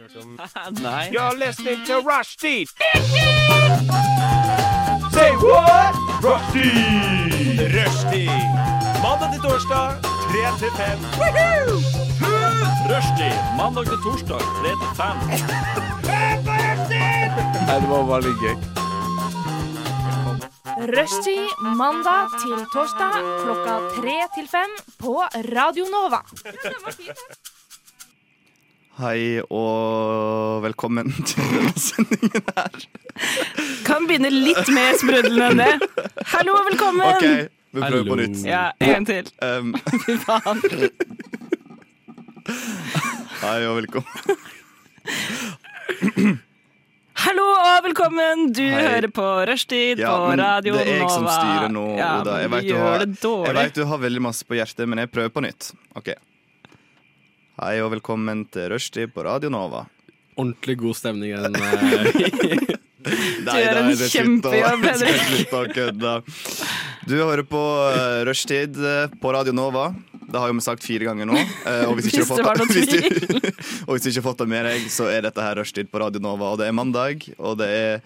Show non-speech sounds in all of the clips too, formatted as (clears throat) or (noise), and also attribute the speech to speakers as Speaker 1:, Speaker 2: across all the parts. Speaker 1: hørt om
Speaker 2: Nei.
Speaker 1: You're listening to Rushdie! Say what? Rushdie! Rushdie! Mandag til torsdag, 3 til 5. Rushdie! Mandag til torsdag, 3 til 5.
Speaker 2: det var veldig gøy.
Speaker 3: Rushtid mandag til torsdag klokka tre til fem på Radio Nova.
Speaker 4: Hei og velkommen (laughs) til denne sendingen her.
Speaker 5: Kan begynne litt mer sprudlende enn det. Hallo og velkommen!
Speaker 4: OK, vi prøver på
Speaker 2: Hallo.
Speaker 4: nytt.
Speaker 5: Ja, en gang til. (laughs)
Speaker 4: Um,
Speaker 5: Fy faen.
Speaker 4: (laughs) hei og velkommen.
Speaker 5: Hallo og velkommen! Du
Speaker 4: Hei.
Speaker 5: hører på Rushtid
Speaker 4: Ja,
Speaker 5: på
Speaker 4: men
Speaker 5: Radio Nova.
Speaker 4: det er jeg som styrer nå,
Speaker 5: Ja,
Speaker 4: Oda. Jeg
Speaker 5: men du
Speaker 4: vet du,
Speaker 5: gjør
Speaker 4: har,
Speaker 5: det
Speaker 4: jeg
Speaker 5: dårlig.
Speaker 4: vet du har veldig masse på hjertet, men jeg prøver på nytt. OK. Hei og velkommen til Rushtid på Radio Nova.
Speaker 2: Ordentlig god stemning. i
Speaker 4: (laughs)
Speaker 2: Den, eh,
Speaker 4: Du
Speaker 5: gjør en
Speaker 4: (laughs)
Speaker 5: kjempejobb, Henrik.
Speaker 4: Slutt å kødde. Du hører på eh, Rushtid eh, på Radio Nova. Det har jo vi sagt fire ganger nå. eh, Og hvis ikke du
Speaker 5: Hvis
Speaker 4: har
Speaker 5: det var
Speaker 4: fått
Speaker 5: noen
Speaker 4: (laughs) hvis du- og hvis du ikke har fått det med deg, så er dette her Rushtid på Radio Nova. Og det er mandag, og det er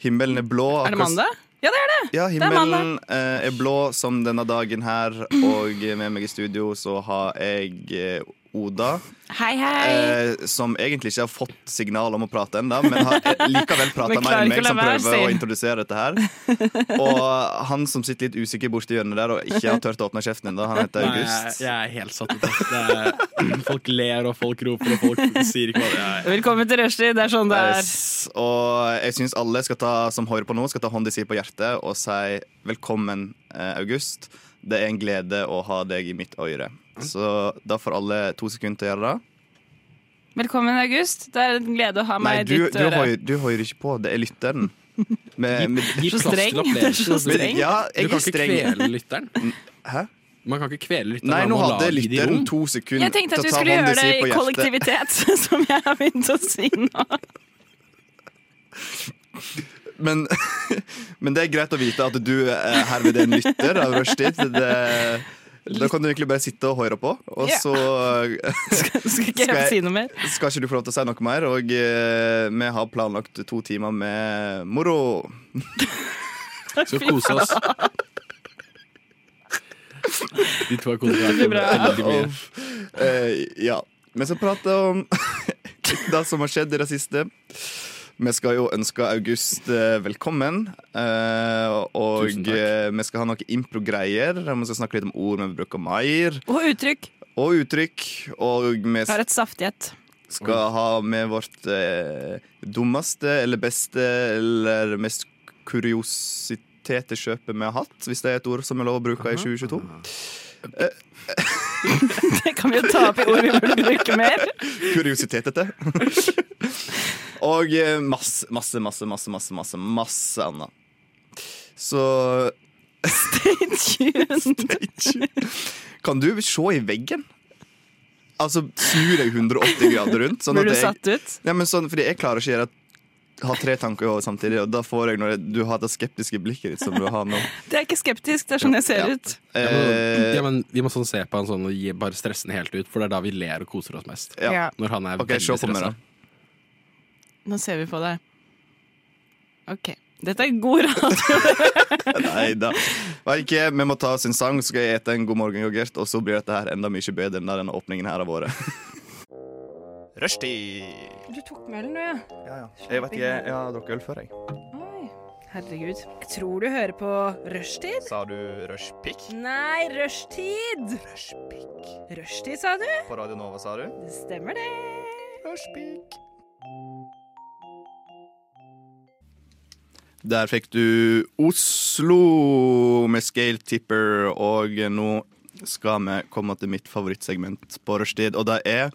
Speaker 4: himmelen er blå.
Speaker 5: Er det
Speaker 4: akkurat-
Speaker 5: mandag? Ja, det er det!
Speaker 4: Ja,
Speaker 5: er
Speaker 4: himmelen eh, er blå som denne dagen her. Og med meg i studio så har jeg eh, Oda.
Speaker 5: Hei, hei.
Speaker 4: Eh, som egentlig ikke har fått signal om å prate ennå, men har eh, likevel prata
Speaker 5: Men
Speaker 4: mer
Speaker 5: klarer
Speaker 4: enn
Speaker 5: ikke å la
Speaker 4: meg, som
Speaker 5: være,
Speaker 4: prøver å
Speaker 5: sier.
Speaker 4: introdusere dette her. Og han som sitter litt usikker borti hjørnet der og ikke har turt å åpne kjeften ennå, han heter
Speaker 2: Nei, jeg,
Speaker 4: August.
Speaker 2: jeg er helt satt ut. ass. Det er- Folk ler, og folk roper, og folk sier ikke hva det er.
Speaker 5: Velkommen til Rushtid. Det er sånn det er.
Speaker 4: Yes, og jeg syns alle skal ta, som hører på nå, skal ta hånda si på hjertet og si velkommen, eh, August. Det er en glede å ha deg i mitt øyre. Så da får alle to sekunder til å gjøre det.
Speaker 5: Velkommen, August. Det er en glede å ha
Speaker 4: Nei,
Speaker 5: meg i
Speaker 4: du,
Speaker 5: ditt
Speaker 4: du,
Speaker 5: øre.
Speaker 4: hører, du hører ikke på. Det er
Speaker 5: (laughs)
Speaker 4: lytteren. Med, med,
Speaker 2: Gi
Speaker 5: Så
Speaker 2: plass til
Speaker 5: streng. Det
Speaker 2: opplevelsen,
Speaker 5: er så
Speaker 2: ass.
Speaker 5: streng.
Speaker 4: ja,
Speaker 2: Du
Speaker 4: jeg
Speaker 2: kan
Speaker 4: er
Speaker 2: ikke
Speaker 4: streng.
Speaker 2: kvele lytteren.
Speaker 4: Hæ?
Speaker 2: Man kan ikke kvele lytteren.
Speaker 4: Nei,
Speaker 2: man
Speaker 4: nå
Speaker 2: må la
Speaker 4: hadde
Speaker 2: de i
Speaker 4: lytteren
Speaker 2: ro.
Speaker 4: to sekunder
Speaker 5: Jeg tenkte at
Speaker 4: til å
Speaker 5: du
Speaker 4: ta
Speaker 5: skulle
Speaker 4: hånda
Speaker 5: gjøre
Speaker 4: si
Speaker 5: det i
Speaker 4: på hjertet.
Speaker 5: kollektivitet, (laughs) som jeg har begynt å si nå.
Speaker 4: Men, (laughs) men det er greit å vite at du er herved en lytter av Rushdie. Det, da kan du egentlig bare sitte og høre på, og
Speaker 5: Ja.
Speaker 4: så (laughs)
Speaker 5: Skal, skal ikke
Speaker 4: Skal jeg-
Speaker 5: jeg si noe mer?
Speaker 4: skal ikke du få lov til å si noe mer. Og eh, vi har planlagt to timer med moro.
Speaker 2: Skal kose oss. (laughs) De to har koset
Speaker 5: blir
Speaker 2: seg
Speaker 5: bra.
Speaker 2: veldig mye.
Speaker 4: Eh, ja. Vi skal prate om (laughs) det som har skjedd i det siste. Vi skal jo ønske August eh, velkommen. eh, og
Speaker 2: Tusen takk.
Speaker 4: eh, vi skal ha noen impro-greier. Vi skal snakke litt om ord vi bruker mer,
Speaker 5: Og uttrykk.
Speaker 4: og uttrykk. Og vi
Speaker 5: Jeg har et saftig et.
Speaker 4: skal ha med vårt eh, dummeste eller beste eller mest kuriositete kjøpet vi har hatt, hvis det er et ord som er lov å bruke i 2022.
Speaker 5: (laughs) Det kan vi jo ta opp i ord vi burde bruke mer.
Speaker 4: Kuriositetete. (laughs) Og eh, masse, masse, masse, masse, masse, masse, masse annet. Så
Speaker 5: Tuned.
Speaker 4: kan du se i veggen? Altså snu deg 180 grader rundt. Sånn
Speaker 5: Blir du
Speaker 4: at jeg,
Speaker 5: satt ut?
Speaker 4: ja, men sånn, fordi jeg klarer ikke å gjøre ha tre tanker i hodet samtidig, og da får jeg når jeg, du har det skeptiske blikket ditt som du har nå.
Speaker 5: Det er ikke skeptisk, det er sånn jeg ser
Speaker 4: Ja.
Speaker 5: ut.
Speaker 2: Ja, men- ja,
Speaker 4: Eh,
Speaker 2: men vi må sånn se på han sånn og gi, bare stresse den helt ut, for det er da vi ler og koser oss mest.
Speaker 4: ja.
Speaker 2: Når han er
Speaker 4: OK, se
Speaker 2: veldig
Speaker 4: på meg, da.
Speaker 2: stressa.
Speaker 5: Nå ser vi på deg. OK. Dette er god radio.
Speaker 4: Nei da. Vet ikke, vi må ta oss en sang, så skal jeg ete en god morgenyoghurt, og så blir dette her enda mye bedre enn denne åpningen her har vært. (laughs) Rushtid.
Speaker 5: Du tok melen, du, ja.
Speaker 4: Ja, ja. Jeg vet ikke, jeg har drukket øl før, jeg.
Speaker 5: Oi. Herregud. Jeg tror du hører på rushtid.
Speaker 4: Sa du rushpick?
Speaker 5: Nei, rushtid.
Speaker 4: Rushpick.
Speaker 5: Rushtid, sa du?
Speaker 4: På Radio Nova, sa du?
Speaker 5: Det stemmer, det.
Speaker 4: Rushpick. Der fikk du Oslo med Scale Tipper, og nå skal vi komme til mitt favorittsegment på rushtid, og det er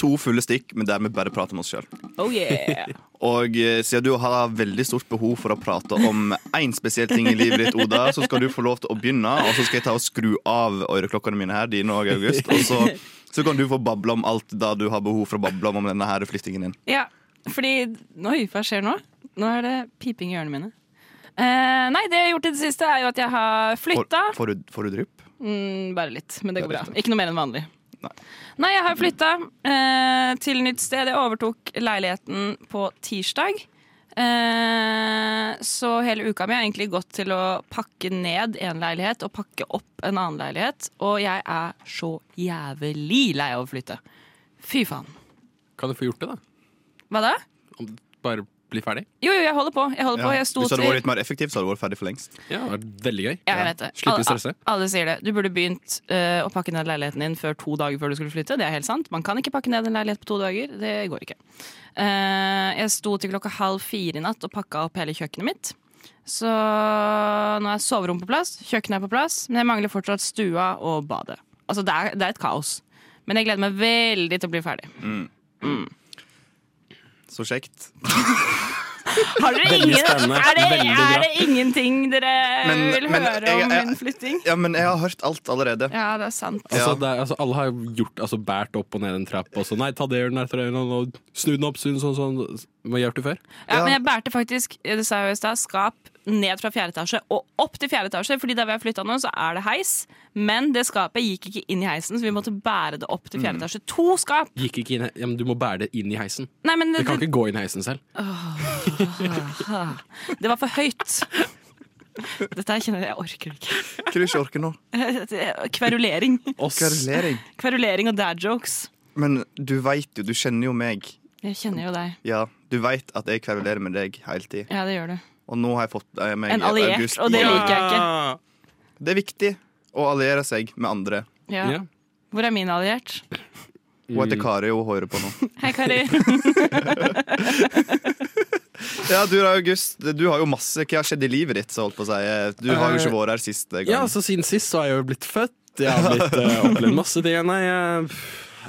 Speaker 4: to fulle stikk, men der vi bare prater med oss sjøl.
Speaker 5: Oh yeah.
Speaker 4: Og eh, siden du har veldig stort behov for å prate om én spesiell ting i livet ditt, Oda, så skal du få lov til å begynne, og så skal jeg ta og skru av øreklokkene mine her, dine og August. Og så, så kan du få bable om alt da du har behov for å bable om, om denne her flyttingen din.
Speaker 5: Ja, fordi Oi, hva skjer nå? Nå er det piping i ørene mine. Eh, nei, det jeg har gjort i det siste, er jo at jeg har
Speaker 4: Får,
Speaker 5: flytta.
Speaker 4: får, du, får du drypp?
Speaker 5: Mm, bare litt, men det går
Speaker 4: Bare
Speaker 5: bra. Ikke noe mer enn vanlig. Nei, jeg har flytta eh, til nytt sted. Jeg overtok leiligheten på tirsdag. Eh, så hele uka mi har egentlig gått til å pakke ned en leilighet og pakke opp en annen leilighet. Og jeg er så jævlig lei av å flytte. Fy faen.
Speaker 2: Kan du få gjort det, da?
Speaker 5: Hva da?
Speaker 2: Om- Bare bli ferdig?
Speaker 5: Jo, jo, jeg holder på. Jeg holder
Speaker 4: Ja.
Speaker 5: på. Jeg
Speaker 4: Hvis
Speaker 5: sto
Speaker 4: det hadde vært
Speaker 5: til
Speaker 4: litt mer effektivt, så hadde det vært ferdig for lengst.
Speaker 2: Ja, det hadde vært veldig gøy.
Speaker 5: Ja, jeg vet det.
Speaker 2: Slippe å
Speaker 5: Alle-
Speaker 2: stresse.
Speaker 5: Alle sier det. Du burde begynt eh, å pakke ned leiligheten din før to dager før du skulle flytte. Det er helt sant. Man kan ikke pakke ned en leilighet på to dager. Det går ikke. Eh, jeg sto til klokka halv fire i natt og pakka opp hele kjøkkenet mitt. Så nå er soverommet på plass, kjøkkenet er på plass, men jeg mangler fortsatt stua og badet. Altså, det er, det er et kaos. Men jeg gleder meg veldig til å bli ferdig.
Speaker 4: Så kjekt.
Speaker 5: Har dere
Speaker 2: Veldig
Speaker 5: ingen,
Speaker 2: spennende.
Speaker 5: er, det,
Speaker 2: Veldig bra.
Speaker 5: er det ingenting dere
Speaker 4: Men-
Speaker 5: vil
Speaker 4: men
Speaker 5: høre
Speaker 4: jeg-
Speaker 5: om
Speaker 4: jeg-
Speaker 5: min flytting?
Speaker 4: Ja, men jeg har hørt alt allerede.
Speaker 5: Ja, det er sant.
Speaker 2: Altså,
Speaker 4: Ja.
Speaker 2: det er, altså, alle har gjort altså, bært opp og ned en trapp. Og så, nei, ta det, gjør den der, ta det, gjør den, og snu den opp, snu den sånn, sånn. Hva gjør du før?
Speaker 5: Ja,
Speaker 4: Ja.
Speaker 5: men jeg bærte faktisk eh, det sa jeg jo i sted, skap ned fra fjerde etasje og opp til fjerde etasje. Fordi der vi har flytta nå, så er det heis. Men det skapet gikk ikke inn i heisen, så vi måtte bære det opp til fjerde etasje. To skap!
Speaker 2: Gikk ikke inn, i- ja, men du må bære det inn i heisen.
Speaker 5: Nei, men
Speaker 2: Det
Speaker 5: det,
Speaker 2: kan
Speaker 5: det,
Speaker 2: ikke gå inn i heisen selv.
Speaker 5: var for høyt. Dette her kjenner jeg jeg orker ikke.
Speaker 4: Hva er det du ikke orker nå?
Speaker 5: (laughs) Kverulering.
Speaker 2: Oss.
Speaker 4: Kverulering.
Speaker 5: Kverulering og dad jokes.
Speaker 4: Men du veit jo, du kjenner jo meg.
Speaker 5: Jeg kjenner jo deg.
Speaker 4: Ja, Du veit at jeg kverulerer med deg hele tida.
Speaker 5: Ja, det gjør du.
Speaker 4: Og nå har jeg fått eh, meg
Speaker 5: En alliert,
Speaker 4: August.
Speaker 5: og det
Speaker 4: Ja.
Speaker 5: liker jeg ikke.
Speaker 4: Det er viktig å alliere seg med andre.
Speaker 5: Ja.
Speaker 2: Ja.
Speaker 5: Hvor er min alliert?
Speaker 4: Hun
Speaker 2: Mm.
Speaker 4: heter Kari, og hun hører på nå.
Speaker 5: Hei, Kari.
Speaker 4: Ja, du da, August, du har jo masse Hva har skjedd i livet ditt? Så holdt på å si. Du har jo ikke vært her sist gang.
Speaker 2: Eh, Ja, altså, så siden sist så har jeg jo blitt født. Jeg har blitt, eh, opplevd masse ting. Nei, jeg,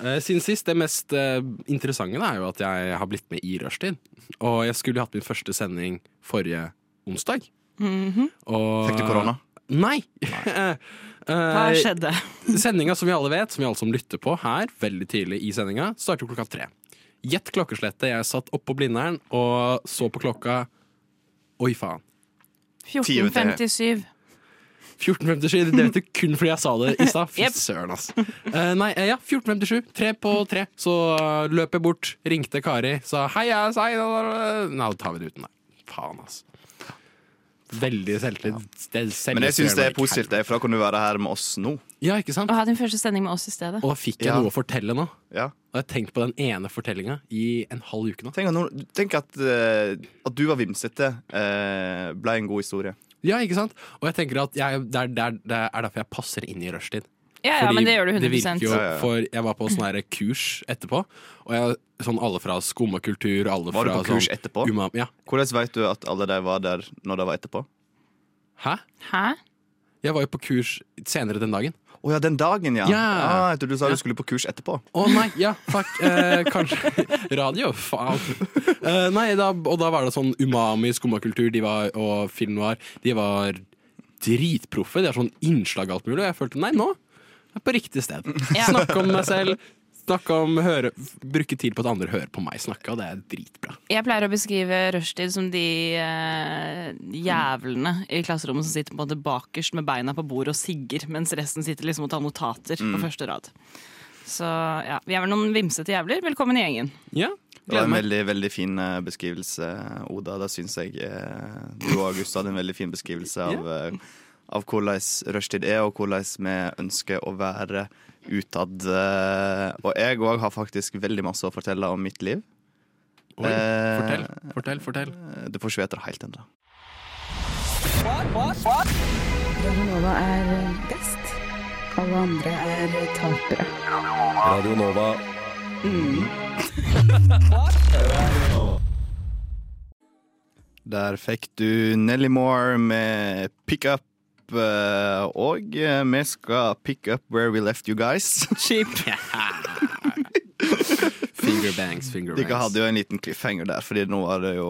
Speaker 2: eh, siden sist, det mest eh, interessante da, er jo at jeg har blitt med i rushtid. Og jeg skulle hatt min første sending forrige onsdag.
Speaker 5: Mhm.
Speaker 2: Og-
Speaker 4: Fikk du korona?
Speaker 2: Nei! (laughs) Eh,
Speaker 5: Hva skjedde?
Speaker 2: Sendinga som vi alle vet, som vi alle som lytter på her, veldig tidlig i sendinga, starter klokka tre. Gjett klokkeslettet. Jeg satt oppå Blindern og så på klokka Oi, faen.
Speaker 5: 14.57.
Speaker 2: 14.57. Det vet du kun fordi jeg sa det i stad. Fy
Speaker 5: Jep.
Speaker 2: søren, ass. Eh, nei, eh, ja, 14.57. Tre på tre. Så eh, løp jeg bort, ringte Kari, sa hei, jeg er sein. Nei, da tar vi det uten deg. Faen, ass. Veldig selvtillit.
Speaker 4: Men jeg syns det er positivt, jeg, for da kan du være her med oss nå.
Speaker 2: Ja, ikke sant?
Speaker 5: Å ha din første sending med oss i stedet.
Speaker 2: Og da fikk jeg
Speaker 4: Ja.
Speaker 2: noe å fortelle nå.
Speaker 4: Ja.
Speaker 2: Og jeg har tenkt på den ene fortellinga i en halv uke nå.
Speaker 4: Tenk, at noen- tenk at, eh, at du var vimsete, eh, ble en god historie.
Speaker 2: Ja, ikke sant? Og jeg tenker at jeg, det, er, det, er, det er derfor jeg passer inn i rushtid.
Speaker 5: Ja, ja,
Speaker 2: Fordi
Speaker 5: men det gjør du 100
Speaker 2: virker jo,
Speaker 4: Ja, ja, ja.
Speaker 2: For jeg var på sånn her kurs etterpå, og jeg, sånn alle fra skum og kultur alle
Speaker 4: Var du
Speaker 2: fra
Speaker 4: på kurs
Speaker 2: sånn,
Speaker 4: etterpå?
Speaker 2: umami- ja.
Speaker 4: Hvordan vet du at alle de var der når de var etterpå?
Speaker 2: Hæ?
Speaker 5: Hæ?
Speaker 2: Jeg var jo på kurs senere den dagen.
Speaker 4: Å ja, den dagen, ja.
Speaker 2: Ja.
Speaker 4: Ah, jeg trodde du sa
Speaker 2: Ja.
Speaker 4: du skulle på kurs etterpå.
Speaker 2: Å nei, ja, fuck. Eh, kanskje (laughs) Radio? Faen. Eh, nei, da, og da var det sånn umami, skummakultur de var, og film var De var dritproffe. De har sånn innslag og alt mulig. Og jeg følte nei, nå er jeg på riktig sted.
Speaker 5: Ja.
Speaker 2: Snakke om meg selv. Snakke om høre, Bruke tid på at andre hører på meg snakke, og det er dritbra.
Speaker 5: Jeg pleier å beskrive rushtid som de eh, jævlene i klasserommet som sitter på en måte bakerst med beina på bordet og sigger, mens resten sitter liksom og tar notater på første rad. Så ja, vi er vel noen vimsete jævler. Velkommen i gjengen.
Speaker 2: Ja,
Speaker 4: Det var
Speaker 2: gleder
Speaker 4: en
Speaker 2: meg.
Speaker 4: veldig veldig fin eh, beskrivelse, Oda. Da syns jeg eh, du og August hadde en veldig fin beskrivelse av, eh, av hvordan rushtid er, og hvordan vi ønsker å være utad. eh, Og jeg òg har faktisk veldig masse å fortelle om mitt liv.
Speaker 2: Oi, fortell, fortell, fortell.
Speaker 4: Eh, Det får ikke vite det helt ennå.
Speaker 6: Nova er best. Alle andre er tapere.
Speaker 7: Radio Nova.
Speaker 4: Der fikk du Nelly Moore med Pick Up. eh, Og eh, vi skal pick up where we left you
Speaker 2: (laughs)
Speaker 4: guys. (laughs)
Speaker 2: Finger bangs, finger
Speaker 4: Dere
Speaker 2: bangs.
Speaker 4: hadde jo en liten cliffhanger der, Fordi nå er det jo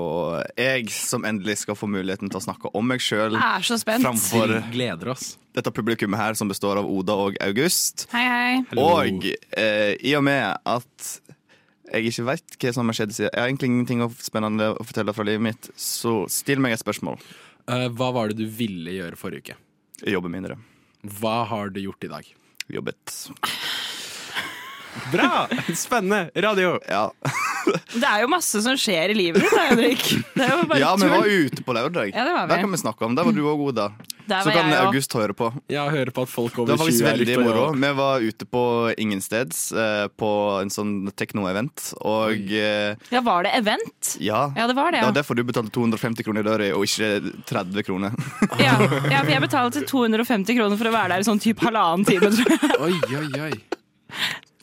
Speaker 4: jeg som endelig skal få muligheten til å snakke om meg sjøl
Speaker 5: Jeg er så spent.
Speaker 4: Mm. framfor
Speaker 2: Vi gleder oss.
Speaker 4: dette publikummet her, som består av Oda og August.
Speaker 5: Hei, hei.
Speaker 4: Og eh, i og med at jeg ikke veit hva som har skjedd siden Jeg har egentlig ingenting å- spennende å fortelle fra livet mitt, så still meg et spørsmål.
Speaker 2: Eh, hva var det du ville gjøre forrige uke?
Speaker 4: Jeg jobber mindre.
Speaker 2: Hva har du gjort i dag?
Speaker 4: Jobbet.
Speaker 2: Bra! (laughs) Spennende radio!
Speaker 4: Ja,
Speaker 5: Det er jo masse som skjer i livet ditt, da, Henrik. Det er jo bare
Speaker 4: ja vi
Speaker 5: tull.
Speaker 4: var ute på lørdag.
Speaker 5: Ja, det var vi.
Speaker 4: kan vi snakke om. Der var du òg, Oda.
Speaker 5: Der
Speaker 4: Så
Speaker 5: var
Speaker 4: kan
Speaker 5: jeg også.
Speaker 4: August høre på.
Speaker 2: Jeg hører på at folk
Speaker 4: Det
Speaker 2: over
Speaker 4: var faktisk
Speaker 2: 20 er
Speaker 4: veldig
Speaker 2: ute og-
Speaker 4: moro. Vi var ute på ingensteds eh, på en sånn tekno-event, og eh,
Speaker 5: Ja, var det event?
Speaker 4: ja.
Speaker 5: Ja, det var det,
Speaker 4: Det
Speaker 5: ja.
Speaker 4: var derfor du betalte 250 kroner i døra, og ikke 30 kroner.
Speaker 5: Ja, ja for jeg betalte 250 kroner for å være der i sånn typ halvannen time. tror jeg.
Speaker 2: Oi, oi, oi.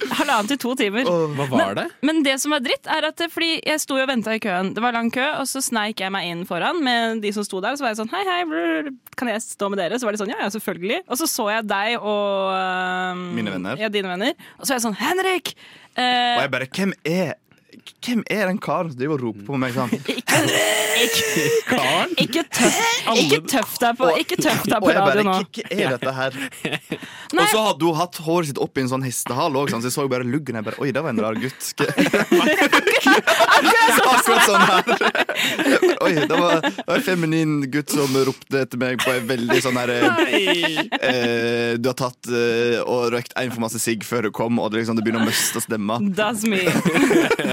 Speaker 5: Halvannen til to timer.
Speaker 2: Hva var det?
Speaker 5: Men det som var dritt, er at eh, fordi jeg sto jo og venta i køen. Det var lang kø, og så sneik jeg meg inn foran med de som sto der. Så var jeg sånn hei, hei, brr, kan jeg stå med dere? Så var de sånn ja, ja, selvfølgelig. Og så så jeg deg og eh,
Speaker 4: Mine venner.
Speaker 5: Ja, dine venner. Og så var jeg sånn Henrik!
Speaker 4: Og
Speaker 5: Eh,
Speaker 4: jeg bare Hvem er hvem er den karen som driver og roper på meg sånn?
Speaker 5: ikke, ikke,
Speaker 2: Karen?
Speaker 5: ikke tøff
Speaker 4: (laughs)
Speaker 5: ikke tøff deg på, ikke tøff deg
Speaker 4: Og
Speaker 5: på
Speaker 4: jeg
Speaker 5: radio
Speaker 4: bare
Speaker 5: nå.
Speaker 4: Hva hva er dette
Speaker 5: (laughs)
Speaker 4: her?
Speaker 5: Nei.
Speaker 4: Og så hadde hun hatt håret sitt opp i en sånn hestehale òg, så jeg så jo bare luggen. Jeg bare Oi, det var en rar
Speaker 5: (laughs)
Speaker 4: gutt. (laughs) Akkurat sånn her. (laughs) Oi, det var, det var en feminin gutt som ropte etter meg på en veldig sånn her eh, Du har tatt eh, og røykt én for masse sigg før du kom, og det, liksom, det begynner å miste stemma.
Speaker 5: That's me.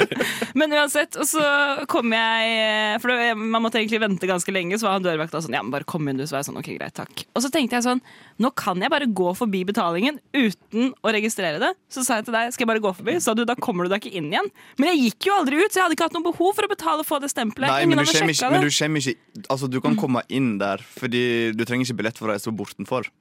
Speaker 5: (laughs) men uansett, og så kom jeg eh, For det, man måtte egentlig vente ganske lenge, så var han dørvakta sånn Ja, men bare kom inn, du. Så var jeg sånn, ok, greit, takk. Og så tenkte jeg sånn Nå kan jeg bare gå forbi betalingen uten å registrere det. Så sa jeg til deg, skal jeg bare gå forbi? Så sa du, da kommer du deg ikke inn igjen. Men jeg gikk jo aldri ut, så jeg hadde ikke hatt noe behov for å betale og få det stempelet.
Speaker 4: Nei, men
Speaker 5: Ingen
Speaker 4: du,
Speaker 5: hadde
Speaker 4: kommer ikke,
Speaker 5: sjekket
Speaker 4: men du
Speaker 5: det. Mm.
Speaker 4: kommer ikke Altså, du kan komme inn der, fordi du trenger ikke billett for å reise bortenfor.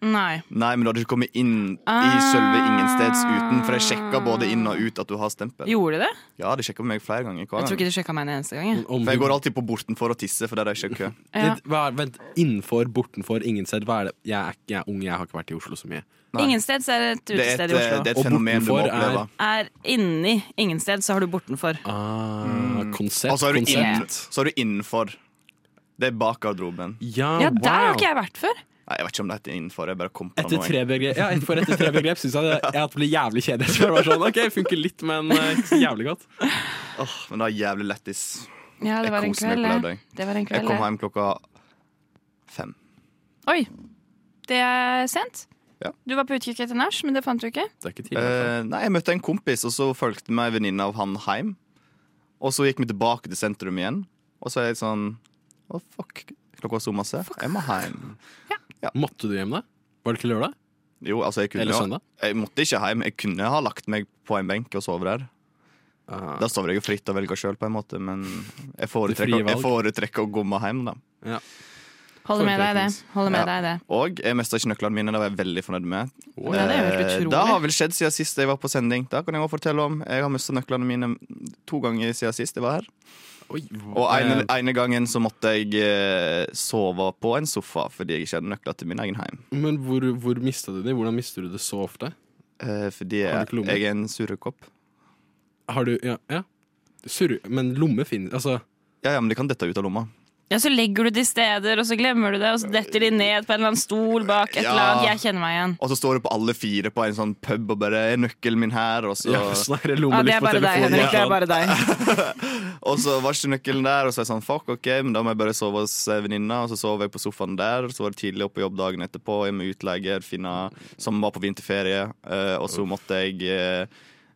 Speaker 5: Nei.
Speaker 4: Nei, men du hadde ikke kommet inn i
Speaker 5: Ah.
Speaker 4: selve ingensteds uten, for jeg sjekka både inn og ut at du har stempel.
Speaker 5: Gjorde de det?
Speaker 4: Ja, de sjekka meg flere ganger.
Speaker 5: Jeg
Speaker 4: Hver
Speaker 5: tror
Speaker 4: gang.
Speaker 5: ikke de sjekka meg en eneste gang. jeg.
Speaker 2: Om
Speaker 4: For jeg
Speaker 2: du-
Speaker 4: går alltid på bortenfor og tisser, for der er det ikke kø.
Speaker 5: Ja.
Speaker 2: Det- hva er- Vent, innenfor, bortenfor, ingen sted. Hva er det? Jeg er, ikke- jeg er ung, jeg har ikke vært i Oslo så mye.
Speaker 4: Nei.
Speaker 5: Ingensteds er et
Speaker 4: Det
Speaker 5: (laughs)
Speaker 4: er
Speaker 5: utested
Speaker 4: et,
Speaker 5: i
Speaker 4: eh,
Speaker 5: Oslo.
Speaker 4: det er
Speaker 2: Og
Speaker 4: et fenomen du må
Speaker 2: bortenfor er-
Speaker 4: oppleve.
Speaker 5: Er inni ingensteds, så har du bortenfor.
Speaker 2: Ah, Konsept,
Speaker 4: Og så Altså, er du, inn,
Speaker 2: konsept.
Speaker 4: så er du innenfor. Det er bak garderoben.
Speaker 2: Ja,
Speaker 5: Ja, der har
Speaker 2: wow.
Speaker 5: ikke jeg vært før.
Speaker 4: Nei, jeg vet ikke om det heter innenfor. Jeg bare kom på det
Speaker 2: Etter
Speaker 4: nå.
Speaker 2: tre begrep, ja, et- for etter tre begrep syns jeg, det- jeg at det ble jævlig kjedelig. Så jeg var sånn, ok, funker litt, men eh, ikke så jævlig godt.
Speaker 4: Åh, men det er jævlig lættis.
Speaker 5: Ja, det
Speaker 4: Jeg
Speaker 5: var en
Speaker 4: koser meg
Speaker 5: kveld.
Speaker 4: på
Speaker 5: ja.
Speaker 4: lørdag.
Speaker 5: Det var en
Speaker 4: Jeg
Speaker 5: kveld.
Speaker 4: kom
Speaker 5: ja.
Speaker 4: hjem klokka fem.
Speaker 5: Oi, det er sent.
Speaker 4: Ja.
Speaker 5: Du var på utkikk etter nach, men det fant du ikke.
Speaker 2: Det er ikke tidlig. i hvert fall.
Speaker 4: Eh, nei, jeg møtte en kompis, og så fulgte meg en venninne av han hjem. Og så gikk vi tilbake til sentrum igjen, og så er jeg litt sånn Å, fuck. Klokka var så masse. Jeg må hjem.
Speaker 2: Eh, Måtte du hjem da? Var det ikke lørdag?
Speaker 4: Jo, altså, jeg kunne
Speaker 2: Eller
Speaker 4: jo-
Speaker 2: søndag?
Speaker 4: Jeg måtte ikke hjem. Jeg kunne ha lagt meg på en benk og sove der.
Speaker 2: Ah,
Speaker 4: Da sover jeg jo fritt og velger sjøl, på en måte, men jeg
Speaker 2: frie
Speaker 4: foretrekker, jeg
Speaker 2: valg.
Speaker 4: foretrekker å gomme hjem, da.
Speaker 5: Holder med deg i det. Holder med
Speaker 4: Ja.
Speaker 5: deg i det.
Speaker 4: Og jeg mista ikke nøklene mine, det var jeg veldig fornøyd med.
Speaker 2: wow.
Speaker 5: Ja, det er jo helt
Speaker 4: Eh,
Speaker 5: utrolig.
Speaker 4: det har vel skjedd siden sist jeg var på sending. Da kan jeg også fortelle om Jeg har mista nøklene mine to ganger siden sist jeg var her.
Speaker 2: Oi,
Speaker 4: Og ene,
Speaker 2: eh,
Speaker 4: ene gangen så måtte jeg eh, sove på en sofa fordi jeg ikke hadde nøkler til min egen heim.
Speaker 2: Eh, Men hvor, hvor mista du de? Hvordan mister du det så ofte?
Speaker 4: Eh, fordi
Speaker 2: Har
Speaker 4: jeg,
Speaker 2: du ikke lommer?
Speaker 4: jeg er en surrekopp.
Speaker 2: Har du Ja. ja. Surre, men lomme finnes Altså,
Speaker 4: Ja, ja, men de kan dette ut av lomma.
Speaker 5: Ja, Så legger du de steder, og så glemmer du det, og så detter de ned på en eller annen stol bak et
Speaker 4: Ja.
Speaker 5: lag. Jeg kjenner meg igjen.
Speaker 4: Og så står du på alle fire på en sånn pub og bare er 'nøkkelen min her', og så,
Speaker 2: ja, sånn her
Speaker 5: Ja, det
Speaker 2: lommelykt
Speaker 5: er bare
Speaker 2: på
Speaker 5: deg,
Speaker 2: telefonen.
Speaker 5: Henrik. Det
Speaker 2: ja.
Speaker 5: er bare
Speaker 4: (laughs)
Speaker 5: deg.
Speaker 4: og så var ikke nøkkelen der, og så er jeg sånn 'fuck, ok, men da må jeg bare sove hos eh, venninna', og så sov jeg på sofaen der, så var det tidlig oppe på jobb dagen etterpå, jeg må utleie, finne som var på vinterferie, eh, og så måtte jeg eh,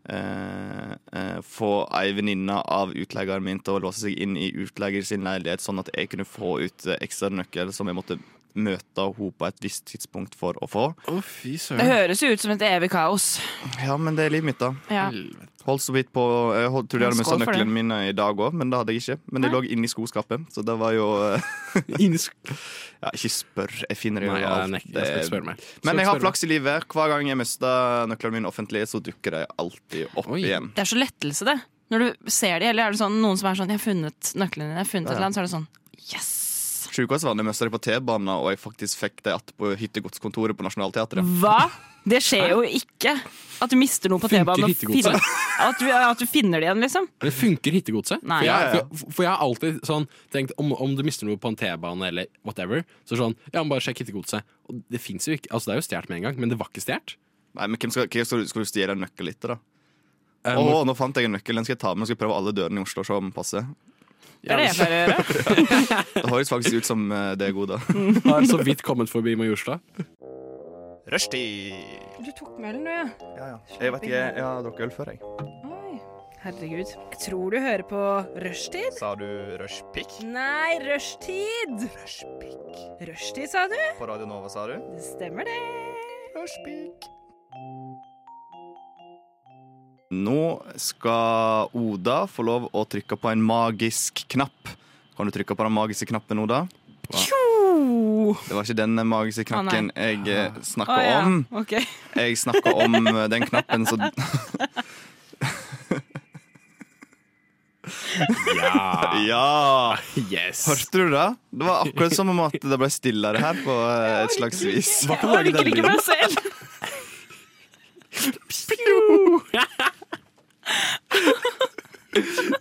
Speaker 4: eh, eh, få ei venninne av utleieren min til å låse seg inn i utleier sin leilighet, sånn at jeg kunne få ut eh, ekstra nøkkel som jeg måtte møte henne på et visst tidspunkt for å få.
Speaker 2: Å, fy
Speaker 5: Det
Speaker 2: søren.
Speaker 5: høres jo ut som et evig kaos.
Speaker 4: Ja, men det er livet mitt, da.
Speaker 5: Ja.
Speaker 4: Holdt så vidt på Jeg holdt, trodde jeg hadde mista
Speaker 5: Skål for det.
Speaker 4: nøklene mine eh, i dag òg, men det hadde jeg ikke. Men de lå inni skoskapet, så det var jo
Speaker 2: (laughs)
Speaker 4: eh,
Speaker 2: Inns-
Speaker 4: ja, Ikke spør, jeg finner det jo
Speaker 2: Nei, jeg
Speaker 4: alt. Eh,
Speaker 2: nekker. Jeg skal ikke spørre
Speaker 4: Men
Speaker 2: mer.
Speaker 4: jeg
Speaker 2: Skal ikke spørre
Speaker 4: har
Speaker 2: mer.
Speaker 4: flaks i livet. Hver gang jeg mister nøklene mine offentlig, så dukker de alltid opp
Speaker 2: Oi.
Speaker 4: igjen.
Speaker 5: Det er så lettelse, det. Når du ser de, eller er det sånn noen som er sånn 'Jeg har funnet nøkkelen din', jeg har funnet et eller annet, så er det sånn Yes!
Speaker 4: Sjukehusvannet mista de på T-banen, og jeg faktisk fikk det igjen på hyttegodskontoret på Nationaltheatret.
Speaker 5: Hva? Det skjer jo ikke. At du mister noe på
Speaker 2: Funker
Speaker 5: T-banen. og
Speaker 2: hittegodset?
Speaker 5: finner- At, du- at du finner det igjen, liksom.
Speaker 2: Men funker hittegodset?
Speaker 5: Nei.
Speaker 2: For,
Speaker 4: Ja, ja, ja.
Speaker 2: jeg- for, for jeg har alltid sånn tenkt om, om du mister noe på en T-bane eller whatever, så sånn Ja, men bare sjekk hittegodset. Og det fins jo ikke. Altså, det er jo stjålet med en gang, men det var ikke stjålet.
Speaker 4: Nei, men hvem skal, hvem skal, skal du stjele en nøkkel etter, da?
Speaker 2: Eh,
Speaker 4: Å,
Speaker 2: må-
Speaker 4: nå fant jeg en nøkkel, den skal jeg ta med. Nå Skal jeg prøve alle dørene i Oslo og se om den passer.
Speaker 5: Det er det jeg pleier å gjøre.
Speaker 4: Det høres faktisk ut som eh, det er god, da.
Speaker 2: har så vidt kommet forbi Majorstad.
Speaker 4: (laughs) Rushtid!
Speaker 5: Du tok med ølen, du, ja.
Speaker 4: Jeg vet ikke, jeg, jeg har drukket øl før, jeg.
Speaker 5: Oi. Herregud.
Speaker 7: Jeg tror du hører på rushtid.
Speaker 4: Sa du rushpick?
Speaker 7: Nei, rushtid.
Speaker 4: Rushpick.
Speaker 7: Rushtid, sa du?
Speaker 4: På Radio Nova, sa du?
Speaker 7: Det stemmer det.
Speaker 4: Rushpick. Nå skal Oda få lov å trykke på en magisk knapp. Kan du trykke på den magiske knappen, Oda? Det var ikke den magiske
Speaker 5: Å, nei.
Speaker 4: knakken jeg eh, snakka
Speaker 5: Å, ja.
Speaker 4: om.
Speaker 5: Ok. (laughs)
Speaker 4: Jeg snakka om eh, den knappen som
Speaker 2: Ja.
Speaker 4: Ja!
Speaker 2: Yes.
Speaker 4: Hørte du det? Det var akkurat som om at det ble stillere her på eh, et slags vis.
Speaker 2: Hva kan
Speaker 5: Jeg
Speaker 2: lage
Speaker 5: orker
Speaker 2: den
Speaker 5: ikke
Speaker 2: lyden?
Speaker 5: meg selv.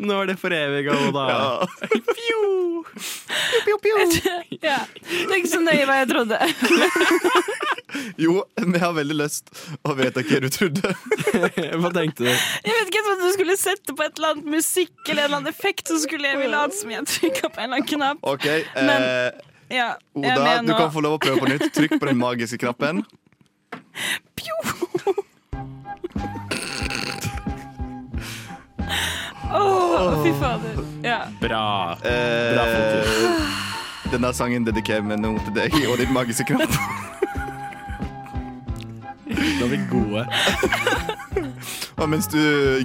Speaker 2: Nå er det for evig, Oda.
Speaker 4: Ja.
Speaker 5: Ja. Det er ikke så nøye hva jeg trodde.
Speaker 4: Jo, vi har veldig lyst å vite hva du
Speaker 5: (laughs)
Speaker 4: trodde.
Speaker 2: Hva tenkte du?
Speaker 5: Jeg vet ikke, jeg trodde du skulle sette på et eller annet musikk eller en eller annen effekt, så skulle jeg ville late som jeg trykka på en eller annen knapp.
Speaker 4: OK, eh,
Speaker 5: Men- Ja, jeg er
Speaker 4: Oda,
Speaker 5: med
Speaker 4: du
Speaker 5: nå.
Speaker 4: kan få lov å prøve på nytt. Trykk på den magiske knappen.
Speaker 5: Åh, fy fader. Ja.
Speaker 2: Bra.
Speaker 4: Eh, denne sangen dedikerer vi nå til deg og din magiske knapp.
Speaker 2: Da er vi gode.
Speaker 4: (laughs) Og mens du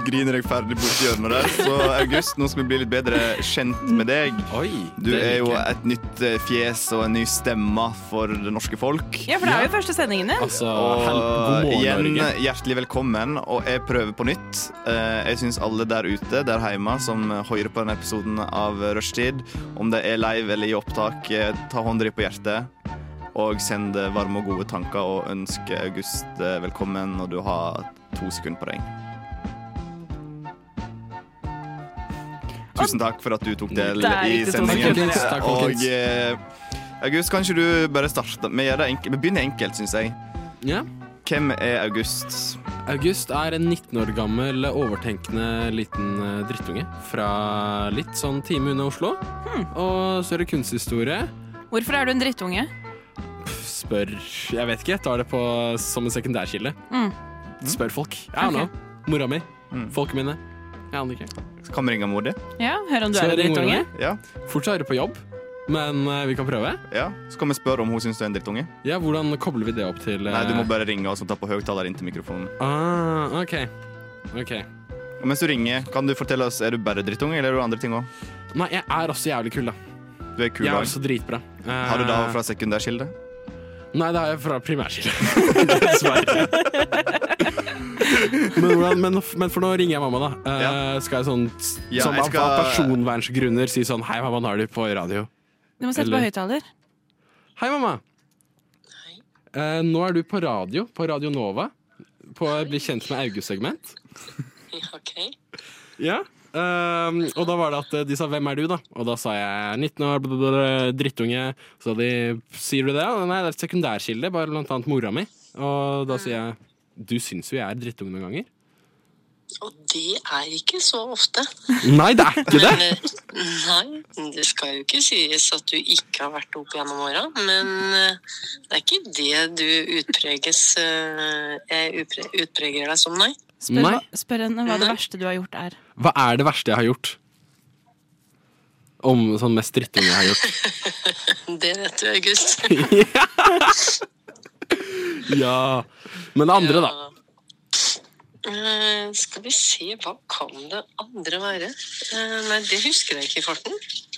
Speaker 4: griner deg ferdig borti hjørnet der, så August, nå skal vi bli litt bedre kjent med deg.
Speaker 2: Oi.
Speaker 4: Du
Speaker 2: det
Speaker 4: er jo
Speaker 2: liker jeg.
Speaker 4: et nytt eh, fjes og en ny stemme for det norske folk.
Speaker 5: ja, for det er jo første sendingen din.
Speaker 2: Altså,
Speaker 4: Og
Speaker 2: hel... god morgen,
Speaker 4: igjen,
Speaker 2: Norge.
Speaker 4: hjertelig velkommen. Og jeg prøver på nytt. Eh, Jeg syns alle der ute, der hjemme, som hører på denne episoden av Rushtid, om det er live eller i opptak, eh, ta hånda di på hjertet. Og send eh, varme og gode tanker og ønsk August eh, velkommen, og du har to sekunder på deg. Tusen takk for at du tok del
Speaker 5: Der
Speaker 4: i
Speaker 5: gikk det to
Speaker 4: sendingen.
Speaker 2: sekunder. Takk, folkens.
Speaker 4: Og eh, August, kan ikke du bare starte? Vi, gjør det enk- vi begynner enkelt, syns jeg.
Speaker 2: Ja.
Speaker 4: Hvem er August?
Speaker 2: August er en 19 år gammel, overtenkende liten eh, drittunge fra litt sånn time unna Oslo. Og så er det kunsthistorie.
Speaker 5: Hvorfor er du en drittunge?
Speaker 2: Pff, Spør Jeg vet ikke, jeg tar det på som en sekundærkilde.
Speaker 5: Mm.
Speaker 2: Spør folk. Jeg aner
Speaker 5: Ok.
Speaker 2: Mora mi.
Speaker 4: Mm.
Speaker 2: Folket mine. Jeg aner ikke.
Speaker 4: Kan vi ringe mor di?
Speaker 5: Ja, hør om du
Speaker 2: Skal
Speaker 5: er en
Speaker 2: jeg ringe
Speaker 5: drittunge.
Speaker 2: mora
Speaker 4: Ja.
Speaker 2: mi? Fortsatt er det på jobb, men eh, vi kan prøve.
Speaker 4: ja. Så kan vi spørre om hun syns du er en drittunge.
Speaker 2: Ja, Hvordan kobler vi det opp til eh,
Speaker 4: Nei, du må bare ringe oss og ta på høyttaler inn til mikrofonen.
Speaker 2: ah, OK. Ok.
Speaker 4: Og mens du ringer, kan du fortelle oss er du bare drittunge, eller er du andre ting òg?
Speaker 2: Nei, jeg er også jævlig kul, da.
Speaker 4: Du er kul.
Speaker 2: Jeg er
Speaker 4: også.
Speaker 2: også dritbra. Eh,
Speaker 4: Har du da fra sekundærkilde?
Speaker 2: Nei, det har jeg fra primærkilde.
Speaker 4: (laughs)
Speaker 2: Dessverre. men, hvordan- men, men for nå ringer jeg mamma, da. Eh,
Speaker 4: Ja.
Speaker 2: Skal jeg sånn
Speaker 4: Ja,
Speaker 2: som
Speaker 4: jeg
Speaker 2: av-
Speaker 4: skal-
Speaker 2: av personvernsgrunner si sånn Hei, mamma, nå er du på radio.
Speaker 5: Du må sette på
Speaker 2: Eller-
Speaker 5: høyttaler.
Speaker 2: Hei, mamma. Eh, nå er du på radio, på Radio Nova, på Bli kjent med August-segment.
Speaker 8: OK.
Speaker 2: Ja. ehm, og da var det at eh, de sa 'Hvem er du', da? Og da sa jeg 19 år, blablabla, drittunge. Så sa de 'Sier du det?' Og nei, det er et sekundærkilde, bare blant annet mora mi. Og da sier jeg 'Du syns jo jeg er drittunge noen ganger'. (laughs)
Speaker 8: Og det er ikke så ofte.
Speaker 2: Nei, det er ikke det!
Speaker 8: eh, nei, det skal jo ikke sies at du ikke har vært opp gjennom åra, men eh, det er ikke det du utpreges eh, Jeg utpre- utpreger deg som, nei.
Speaker 5: Spør,
Speaker 2: Nei.
Speaker 5: hva- spør henne hva det
Speaker 8: Nei.
Speaker 5: verste du har gjort er.
Speaker 2: Hva er det verste jeg har gjort? Om sånn mest drittunge jeg har gjort.
Speaker 8: Det vet du, August.
Speaker 2: Ja. Men det andre, da.
Speaker 8: Eh, skal vi se, hva kan det andre være? Eh, nei, det husker jeg ikke i farten.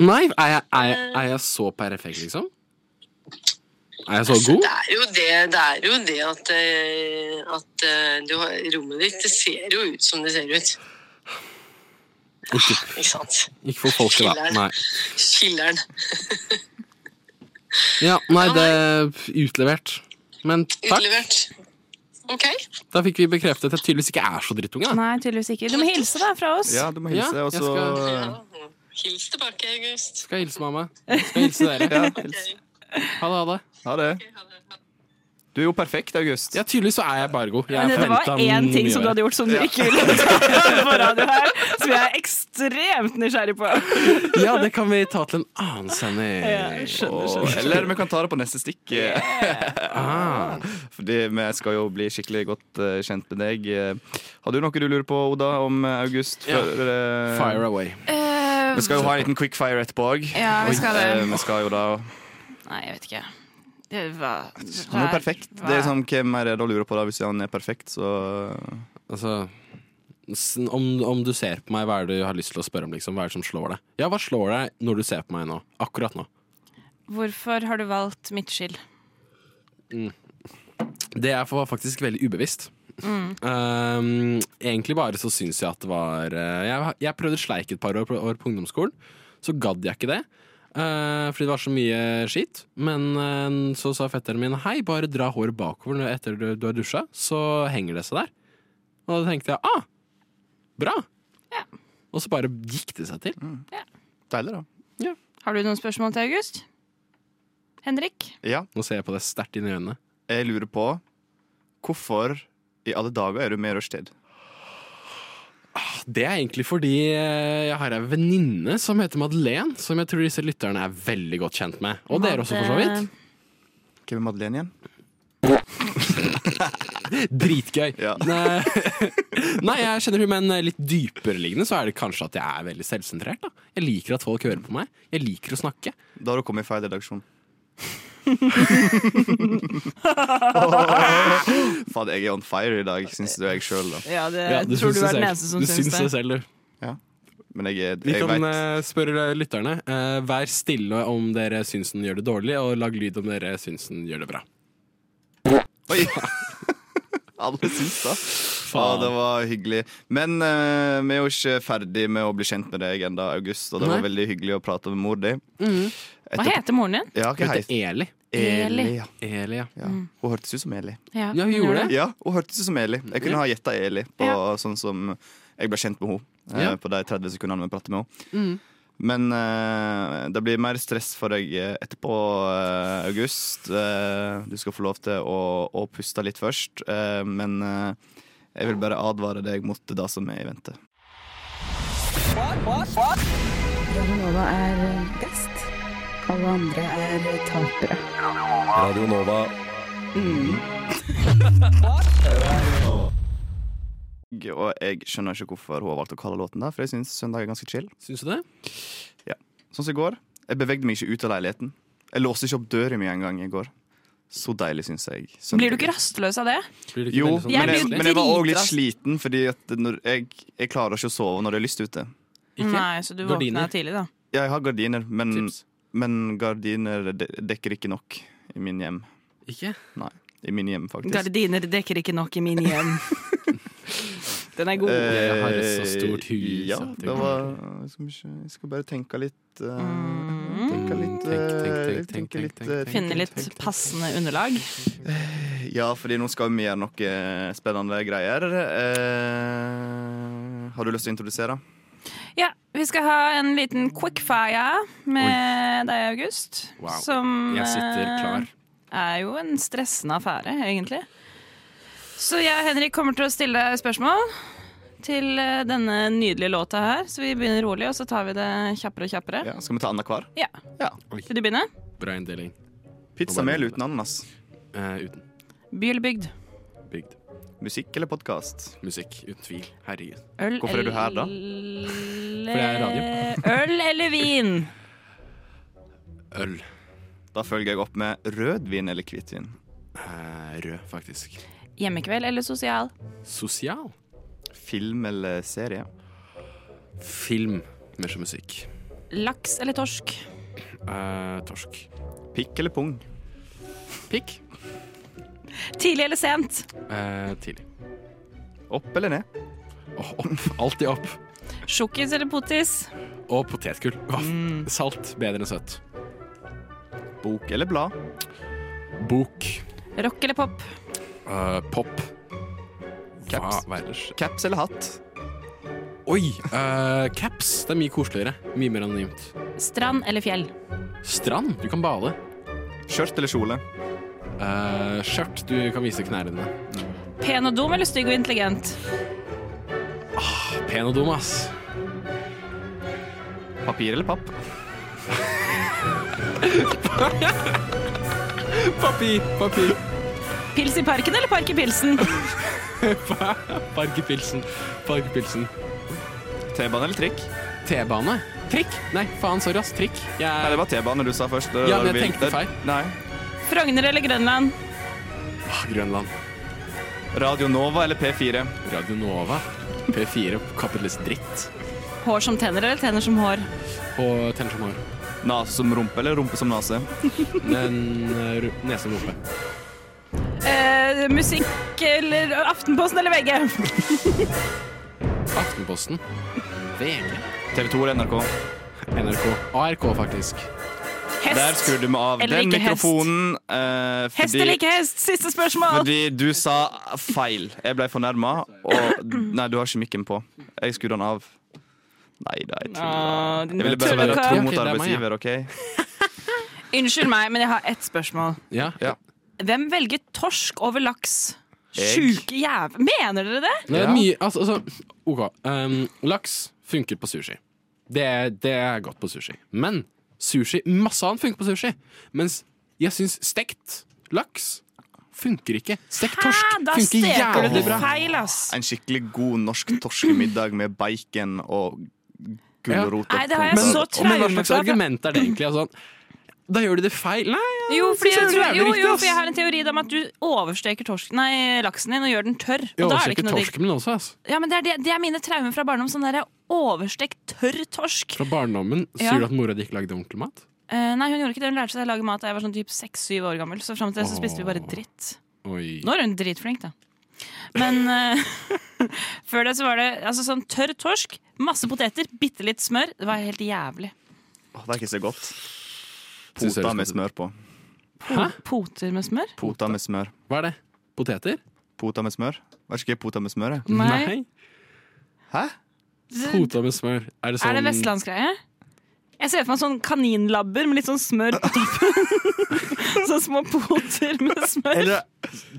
Speaker 2: Nei, er jeg, er, jeg, er jeg så perfekt, liksom? Er jeg så god?
Speaker 8: Det er jo det, det, er jo det at, eh, at eh, du har, rommet ditt det ser jo ut som det ser ut.
Speaker 2: Ikke,
Speaker 8: Ikke sant?
Speaker 2: ikke for folket, da. Nei.
Speaker 8: Filler'n.
Speaker 2: Ja, nei, det er utlevert. Men takk,
Speaker 8: Utlevert. Ok.
Speaker 2: da fikk vi bekreftet at jeg tydeligvis ikke er så drittunge. Da.
Speaker 5: Nei, tydeligvis ikke. Du må hilse da fra oss.
Speaker 4: Ja, du må
Speaker 2: Ja,
Speaker 4: hilse, og
Speaker 2: jeg
Speaker 4: så
Speaker 8: (laughs)
Speaker 2: skal-
Speaker 8: Hils tilbake, August.
Speaker 2: Skal hilse mamma. Skal hilse dere.
Speaker 4: Ja, hils.
Speaker 2: Ha det, ha det.
Speaker 4: Ha det. Du er jo perfekt, August.
Speaker 2: Ja, tydeligvis så er jeg bare god.
Speaker 5: Men
Speaker 2: Jeg
Speaker 5: det var
Speaker 2: forventet
Speaker 5: én ting
Speaker 2: mye
Speaker 5: som du hadde gjort som du ikke ville ta på radio her, som jeg er ekstremt nysgjerrig på.
Speaker 2: verre. Ja, det kan vi ta til en annen sending.
Speaker 5: Jeg skjønner,
Speaker 4: Og,
Speaker 5: skjønner.
Speaker 4: eller vi kan ta det på neste stikk.
Speaker 2: Ah.
Speaker 4: (laughs) Fordi vi skal jo bli skikkelig godt eh, kjent med deg. Eh, Har du noe du lurer på, Oda, om eh, August?
Speaker 2: Ja.
Speaker 4: Før, eh,
Speaker 2: Fire away.
Speaker 5: Eh,
Speaker 4: Vi skal jo ha en liten quickfire etterpå òg.
Speaker 5: ja, vi skal det.
Speaker 4: Eh, Vi skal jo da
Speaker 5: Nei, jeg vet ikke. Det var,
Speaker 4: Han er jo perfekt. Det er sånn, Hvem er det da lurer på da, hvis han er perfekt, så
Speaker 2: Altså s- om, om du ser på meg, hva er det du har lyst til å spørre om? Liksom? Hva er det som slår deg? Ja, hva slår deg når du ser på meg nå? Akkurat nå.
Speaker 5: Hvorfor har du valgt midtskill?
Speaker 2: Det er for- var faktisk veldig ubevisst. Um, egentlig bare så syns jeg at det var eh, jeg, jeg prøvde sleik et par år på, år på ungdomsskolen. Så gadd jeg ikke det, eh, fordi det var så mye skitt. Men eh, så sa fetteren min hei, bare dra håret bakover når- etter du, du har dusja, så henger det seg der. Og da tenkte jeg ah, bra.
Speaker 5: Ja.
Speaker 2: Og så bare gikk det seg til.
Speaker 4: Deilig, da.
Speaker 5: Har du noen spørsmål til August? Henrik?
Speaker 4: Ja.
Speaker 2: Nå ser jeg på det sterkt inn i øynene.
Speaker 4: Jeg lurer på hvorfor i alle dager er du med i rushtid?
Speaker 2: Det er egentlig fordi eh, jeg har ei venninne som heter Madeleine, som jeg tror disse lytterne er veldig godt kjent med. Og dere også, for så vidt.
Speaker 4: Hvem er Madeleine igjen?
Speaker 2: Dritgøy.
Speaker 4: Ja.
Speaker 2: (laughs) Nei, Nei, jeg kjenner hun, men eh, litt dypereliggende så er det kanskje at jeg er veldig selvsentrert. da. Jeg liker at folk hører på meg. Jeg liker å snakke.
Speaker 4: Da har du kommet i feil redaksjon. Faen, jeg er on fire i dag, syns du jeg sjøl, da.
Speaker 5: Ja, det
Speaker 2: Ja,
Speaker 5: tror du er
Speaker 2: det
Speaker 5: den
Speaker 2: selv.
Speaker 5: eneste som
Speaker 2: du syns det selv, du.
Speaker 4: Men jeg, er-
Speaker 2: Vi
Speaker 4: jeg
Speaker 2: kan
Speaker 4: vet
Speaker 2: eh, spørre lytterne. Eh, vær stille om dere syns den gjør det dårlig, og lag lyd om dere syns den gjør det bra.
Speaker 4: Oi! (laughs) Alle syns det. Ja, det var hyggelig. Men eh, vi er jo ikke ferdig med å bli kjent med deg enda, August. Og det var
Speaker 2: Nei.
Speaker 4: veldig hyggelig å prate med mor di.
Speaker 5: Hva heter moren din?
Speaker 4: Ja,
Speaker 2: Hun
Speaker 4: hva
Speaker 2: heter
Speaker 4: heter
Speaker 2: Eli.
Speaker 5: Eli.
Speaker 4: Eli, ja.
Speaker 2: Eli, ja.
Speaker 4: ja. Hun hørtes ut som Eli.
Speaker 2: Ja, hun gjorde det.
Speaker 4: Ja, hun hørtes ut som Eli. Jeg kunne ha gjetta Eli på sånn som jeg ble kjent med henne. eh,
Speaker 2: Ja.
Speaker 4: På de 30 sekundene vi pratet med henne.
Speaker 5: Mm.
Speaker 4: Men eh, det blir mer stress for deg eh, etterpå, eh, August. Eh, du skal få lov til å, å puste litt først. eh, men eh, jeg vil bare advare deg mot det som er i vente.
Speaker 6: Radionova er best. Alle andre er tapere.
Speaker 1: Radio Nova.
Speaker 4: Og jeg skjønner ikke hvorfor hun har valgt å kalle låten det, for jeg syns søndag er ganske chill.
Speaker 2: Syns du det?
Speaker 4: Sånn som i går. Jeg bevegde meg ikke ut av leiligheten. Jeg låste ikke opp døra mi engang i går. Så deilig, syns jeg. Søndag.
Speaker 5: Blir du ikke rastløs av det?
Speaker 2: Blir det ikke
Speaker 4: Jo,
Speaker 2: veldig sånn
Speaker 5: Jeg
Speaker 4: men jeg,
Speaker 5: blir
Speaker 4: men jeg var òg litt
Speaker 5: dritrask.
Speaker 4: sliten, fordi at når jeg, jeg klarer ikke å sove når det er lyst ute.
Speaker 2: Ikke?
Speaker 5: Nei, så du
Speaker 2: Gardiner.
Speaker 5: våkna tidlig, da.
Speaker 4: Ja, jeg har gardiner, men,
Speaker 2: Tips.
Speaker 4: men gardiner de- dekker ikke nok i min hjem.
Speaker 2: Ikke?
Speaker 4: I min hjem, faktisk.
Speaker 5: Gardiner dekker ikke nok i min
Speaker 2: (laughs)
Speaker 5: hjem. Den er god.
Speaker 4: Eh,
Speaker 2: Jeg har et så stort hus
Speaker 4: Ja,
Speaker 2: at det
Speaker 4: det
Speaker 2: går
Speaker 4: var skal vi se, Jeg skal bare tenke litt eh,
Speaker 5: Mm.
Speaker 4: Tenke litt, eh,
Speaker 2: Tenk, tenk, tenk, tenk,
Speaker 4: tenke
Speaker 2: tenk,
Speaker 4: litt
Speaker 2: tenk,
Speaker 4: eh,
Speaker 2: tenk.
Speaker 5: Finne litt passende underlag.
Speaker 4: Ja, fordi nå skal vi gjøre noe spennende greier. Eh, har du lyst til å introdusere?
Speaker 5: Ja, vi skal ha en liten quickfire med deg, August.
Speaker 2: Wow.
Speaker 5: Som
Speaker 2: Jeg sitter
Speaker 5: eh,
Speaker 2: klar.
Speaker 5: er jo en stressende affære, egentlig. Så jeg og Henrik kommer til å stille deg spørsmål til eh, denne nydelige låta her. Så vi begynner rolig, og så tar vi det kjappere og kjappere.
Speaker 4: Ja, skal vi ta annenhver?
Speaker 5: Ja.
Speaker 4: Ja.
Speaker 5: Vil du begynne?
Speaker 2: Bra inndeling.
Speaker 4: Pizza mel uten ananas.
Speaker 2: Eh, uten
Speaker 5: By eller bygd?
Speaker 2: bygd.
Speaker 4: Musikk eller podkast?
Speaker 2: Musikk, uten tvil. Herregud.
Speaker 5: Øl
Speaker 4: Hvorfor er du her, da?
Speaker 5: Fordi
Speaker 2: jeg er radio.
Speaker 5: (laughs) Øl eller vin?
Speaker 2: Øl.
Speaker 4: Da følger jeg opp med rødvin eller hvitvin.
Speaker 2: Eh, rød, faktisk.
Speaker 5: Hjemmekveld eller sosial?
Speaker 2: Sosial.
Speaker 4: Film eller serie?
Speaker 2: Film. Mer som musikk.
Speaker 5: Laks eller torsk?
Speaker 2: Eh, torsk.
Speaker 4: Pikk eller pung?
Speaker 2: Pikk.
Speaker 5: Tidlig eller sent?
Speaker 2: Eh, tidlig.
Speaker 4: Opp eller ned?
Speaker 2: Åh, opp. Alltid opp.
Speaker 5: Sjokkis eller potis?
Speaker 2: Og potetgull. Hva f-
Speaker 4: Mm.
Speaker 2: Salt. Bedre enn søtt.
Speaker 4: Bok eller blad?
Speaker 2: Bok.
Speaker 5: Rock eller pop?
Speaker 2: Eh, pop.
Speaker 4: Caps.
Speaker 2: Hva ellers?
Speaker 4: Caps eller hatt?
Speaker 2: Oi! eh, caps. Det er mye koseligere. Mye mer anonymt.
Speaker 5: Strand eller fjell?
Speaker 2: Strand. Du kan bade.
Speaker 4: Skjørt eller kjole?
Speaker 2: Eh, skjørt, du kan vise knærne dine.
Speaker 5: Pen og dum eller stygg og intelligent?
Speaker 2: Pen og dum, ass.
Speaker 4: Papir eller papp?
Speaker 2: Papir, papir.
Speaker 5: Pils i parken eller park i pilsen?
Speaker 2: Parkepilsen. Parkepilsen.
Speaker 4: T-bane eller trikk?
Speaker 2: T-bane. Trikk? Nei, faen, sorry, ass. Trikk.
Speaker 4: Nei,
Speaker 2: Jeg
Speaker 4: det var T-bane du sa først. Det
Speaker 2: Ja,
Speaker 4: var
Speaker 2: men
Speaker 4: det
Speaker 2: jeg
Speaker 4: vi-
Speaker 2: tenkte feil.
Speaker 4: Nei.
Speaker 5: Frogner eller Grønland?
Speaker 2: ah, Grønland.
Speaker 4: Radio Nova eller P4?
Speaker 2: Radio Nova. P4. Kapitalist dritt.
Speaker 5: Hår som tenner eller tenner som hår?
Speaker 2: Og tenner som hår.
Speaker 4: Nase som rumpe eller rumpe som nase?
Speaker 2: Men, eh, ru- Nese og rumpe.
Speaker 5: Eh, musikk eller Aftenposten eller VG?
Speaker 2: Aftenposten. VG.
Speaker 4: TV 2 eller NRK?
Speaker 2: NRK. ARK, faktisk.
Speaker 4: Der
Speaker 5: Hest.
Speaker 4: skrur du meg av
Speaker 5: Eller
Speaker 4: den
Speaker 5: ikke hest.
Speaker 4: mikrofonen. eh,
Speaker 5: Hest
Speaker 4: fordi-
Speaker 5: eller ikke hest? Siste spørsmål.
Speaker 4: Fordi du sa feil. Jeg ble fornærma,
Speaker 5: (clears throat)
Speaker 4: og Nei, du har ikke mikken på. Jeg skrur den av. Nei da, jeg tuller.
Speaker 5: Å, din
Speaker 4: Jeg ville bare være
Speaker 5: tullekar.
Speaker 4: tro mot
Speaker 2: Ok, det er meg, ja.
Speaker 4: arbeidsgiver, OK?
Speaker 5: Unnskyld meg, men jeg har ett spørsmål.
Speaker 2: Ja.
Speaker 4: Ja.
Speaker 5: Hvem velger torsk over laks?
Speaker 4: Jeg.
Speaker 5: Sjuke jæv... Mener dere det?
Speaker 2: Det er
Speaker 4: Ja.
Speaker 2: mye Altså, altså OK. Um, laks funker på sushi. Det, er- det er godt på sushi. Men sushi Masse annet funker på sushi. Mens jeg syns stekt laks funker ikke. Stekt torsk
Speaker 5: Hæ? Da
Speaker 2: funker
Speaker 5: steker du
Speaker 2: jævlig
Speaker 5: det
Speaker 2: bra.
Speaker 5: feil, ass.
Speaker 4: En skikkelig god norsk torskemiddag med bacon og gulrot.
Speaker 5: Ja.
Speaker 4: og
Speaker 5: Nei, det har jeg
Speaker 4: pommes.
Speaker 5: så
Speaker 2: men hva
Speaker 5: traumet
Speaker 2: slags
Speaker 5: av.
Speaker 2: argument er det egentlig? Altså, da gjør de det feil. Nei, jeg
Speaker 5: Jo, fordi jeg,
Speaker 2: synes det er
Speaker 5: tror,
Speaker 2: jævlig
Speaker 5: jo,
Speaker 2: riktig,
Speaker 5: jo,
Speaker 2: ass.
Speaker 5: for jeg har en teori om at du oversteker torsken, nei, laksen din og gjør den tørr. Og
Speaker 2: Jeg
Speaker 5: da er det
Speaker 2: oversjekker
Speaker 5: ikke noe digg.
Speaker 2: torsken min også. ass.
Speaker 5: Ja, men det, er det, det er mine traumer fra barndom. Sånn der overstekt tørr torsk.
Speaker 2: Fra barndommen
Speaker 5: Ja.
Speaker 2: sier du at mora di ikke lagde ordentlig mat.
Speaker 5: Eh, nei, hun gjorde ikke det. Hun lærte seg å lage mat da jeg var sånn typ 6-7 år gammel. Så fram til det så spiste vi bare dritt.
Speaker 2: Oi.
Speaker 5: Nå er hun dritflink, da. Men eh, (laughs) før det så var det altså, sånn tørr torsk, masse poteter, bitte litt smør. Det var helt jævlig.
Speaker 4: Åh, Det er ikke så godt.
Speaker 2: Synes jeg
Speaker 4: Pota
Speaker 2: det
Speaker 4: med
Speaker 2: skal-
Speaker 4: smør på.
Speaker 2: Hæ?
Speaker 5: Poter med smør?
Speaker 4: Pota med smør.
Speaker 2: Hva er det? Poteter?
Speaker 4: Pota med smør? Vet ikke hva pota med smør er. Hæ?
Speaker 5: Det-
Speaker 2: Pota med smør. Er det sånn
Speaker 5: Er det vestlandsgreie? Jeg ser for meg sånn kaninlabber med litt sånn smør på (laughs) toppen. sånn små poter med smør.
Speaker 4: Eller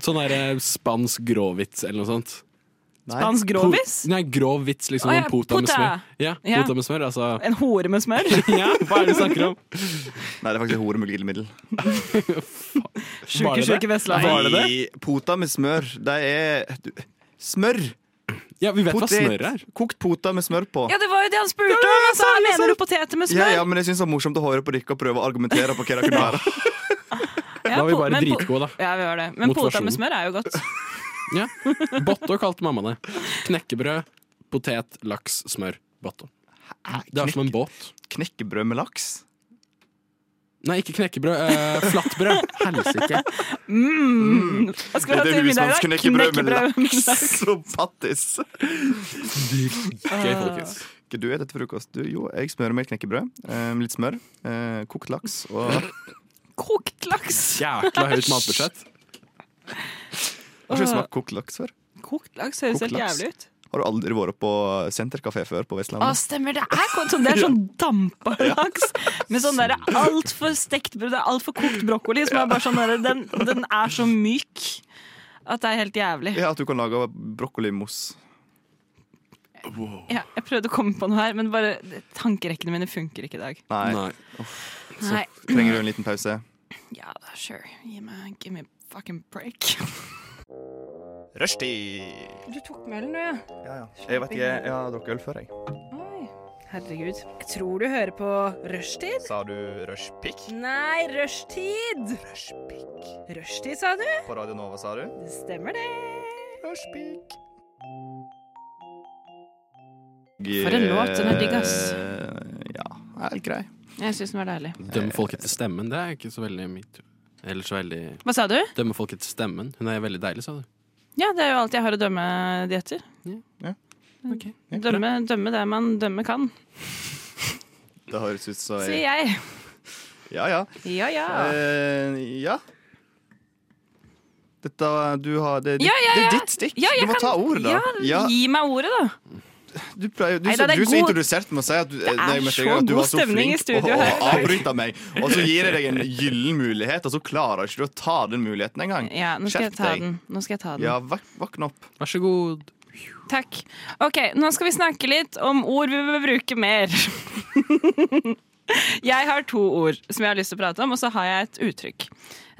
Speaker 2: Sånn der spansk gråhvits eller noe sånt.
Speaker 4: Nei.
Speaker 5: Hans grovis?
Speaker 2: Po- Nei, grov vits,
Speaker 5: Å,
Speaker 2: liksom. om
Speaker 5: ja,
Speaker 2: pota, med
Speaker 5: pota.
Speaker 2: smør. Ja,
Speaker 5: Ja.
Speaker 2: pota med smør, altså.
Speaker 5: En hore med smør?
Speaker 2: Ja, hva er det du snakker om?
Speaker 4: Nei, det er faktisk horemiddelmiddel.
Speaker 2: Var
Speaker 5: (laughs) Sjuke,
Speaker 2: det det?
Speaker 5: sjuke vestlandet.
Speaker 2: Var det det?
Speaker 4: Pota med smør, det er du, Smør!
Speaker 2: Ja, vi vet hva
Speaker 4: Potet.
Speaker 2: smør er.
Speaker 4: Kokt pota med smør på.
Speaker 5: Ja, det var jo det han spurte om! Altså,
Speaker 2: sånn-
Speaker 5: mener du poteter med
Speaker 4: Ja,
Speaker 5: smør?
Speaker 4: ja, men jeg syns det er morsomt å høre på dere og prøve å argumentere på hva det kunne
Speaker 2: (laughs)
Speaker 4: være.
Speaker 5: Ja,
Speaker 2: Da var vi
Speaker 5: po-
Speaker 2: bare
Speaker 5: men po-
Speaker 2: dritgode, da.
Speaker 5: Ja, vi var det. Men poter
Speaker 2: Motivasjonen.
Speaker 5: med smør er jo
Speaker 2: (laughs)
Speaker 5: godt.
Speaker 2: Ja. Botto kalte mamma det. Knekkebrød, potet, laks, smør. Botto. Det er som en båt.
Speaker 4: Knekkebrød med laks?
Speaker 2: Nei, ikke knekkebrød. Eh, flatbrød. Helsike.
Speaker 5: Mm.
Speaker 2: Mm.
Speaker 5: Hva skal vi ha til middag i dag? Knekkebrød med laks.
Speaker 4: (laughs) og pattis.
Speaker 5: Ah.
Speaker 2: Gøy, folkens.
Speaker 4: Hva du spiser til frokost? Du, jo, jeg smører meg et knekkebrød. eh, litt smør. eh, kokt laks og
Speaker 5: Kokt laks.
Speaker 2: Jækla høyt matbudsjett.
Speaker 4: Har ikke smakt kokt laks før?
Speaker 5: Kokt laks høres
Speaker 4: Kokt
Speaker 5: helt
Speaker 4: laks.
Speaker 5: jævlig ut.
Speaker 4: Har du aldri vært på senterkafé før på
Speaker 5: Å,
Speaker 4: Vestlandet?
Speaker 5: stemmer. Det er, kokt- (laughs) sånn, det er sånn dampa laks. Med sånn derre altfor stekt brød, det er altfor kokt brokkoli. Som er bare sånn derre den, den er så myk at det er helt jævlig.
Speaker 4: Ja, at du kan lage brokkolimousse.
Speaker 5: Ja, jeg prøvde å komme på noe her, men bare tankerekkene mine funker ikke i dag.
Speaker 4: Nei.
Speaker 2: Nei.
Speaker 5: Nei.
Speaker 4: Trenger du en liten pause?
Speaker 5: Ja da, sure. Gi meg give me a fucking break.
Speaker 4: Rushtid!
Speaker 7: Du tok med den, du, ja.
Speaker 4: Ja, ja. Jeg vet ikke, jeg har drukket øl før, jeg.
Speaker 7: Oi. Herregud. Jeg tror du hører på rushtid.
Speaker 4: Sa du rushpick?
Speaker 7: Nei, rushtid!
Speaker 4: Rushpick.
Speaker 7: Rushtid, sa du?
Speaker 4: På Radio Nova, sa du?
Speaker 7: Det stemmer, det.
Speaker 4: Rushpick.
Speaker 5: For en låt, den er digg, ass.
Speaker 4: Eh, Ja, er helt grei.
Speaker 5: Jeg syns den var deilig.
Speaker 2: Dømme folk etter stemmen, det er ikke så veldig mitt. Eller så veldig
Speaker 5: Hva sa du?
Speaker 2: Dømme folk etter stemmen. Hun er veldig deilig, sa du.
Speaker 5: Ja, det er jo alt jeg har å dømme de etter.
Speaker 4: Ja.
Speaker 5: Dømme, dømme det man dømme kan,
Speaker 4: Det høres ut som
Speaker 5: sier jeg.
Speaker 4: Ja, ja.
Speaker 5: Ja, ja.
Speaker 4: Eh, ja. Dette du har det, er ditt-
Speaker 5: Ja, ja, ja.
Speaker 4: det er ditt stikk.
Speaker 5: Ja, jeg
Speaker 4: du må
Speaker 5: kan-
Speaker 4: ta ord, da.
Speaker 5: Ja, gi meg ordet, da.
Speaker 4: Du, pleier, du,
Speaker 5: Nei, da, det er
Speaker 4: du som
Speaker 5: god-
Speaker 4: introduserte meg å si at du,
Speaker 5: er
Speaker 4: nei, jeg
Speaker 5: så
Speaker 4: merker at du
Speaker 5: god
Speaker 4: var så
Speaker 5: stemning
Speaker 4: flink
Speaker 5: i studio
Speaker 4: og-
Speaker 5: her i
Speaker 4: og avbryter meg, og så gir jeg deg en gyllen mulighet, og så klarer ikke du å ta den muligheten engang.
Speaker 5: Ja, nå skal jeg
Speaker 4: Skjerp
Speaker 5: ta
Speaker 4: deg.
Speaker 5: den. Nå skal jeg ta den.
Speaker 4: Ja, vak våkn opp.
Speaker 2: Vær så god.
Speaker 5: Takk. Ok, nå skal vi snakke litt om ord vi vil bruke mer. (laughs) jeg har to ord som jeg har lyst til å prate om, og så har jeg et uttrykk.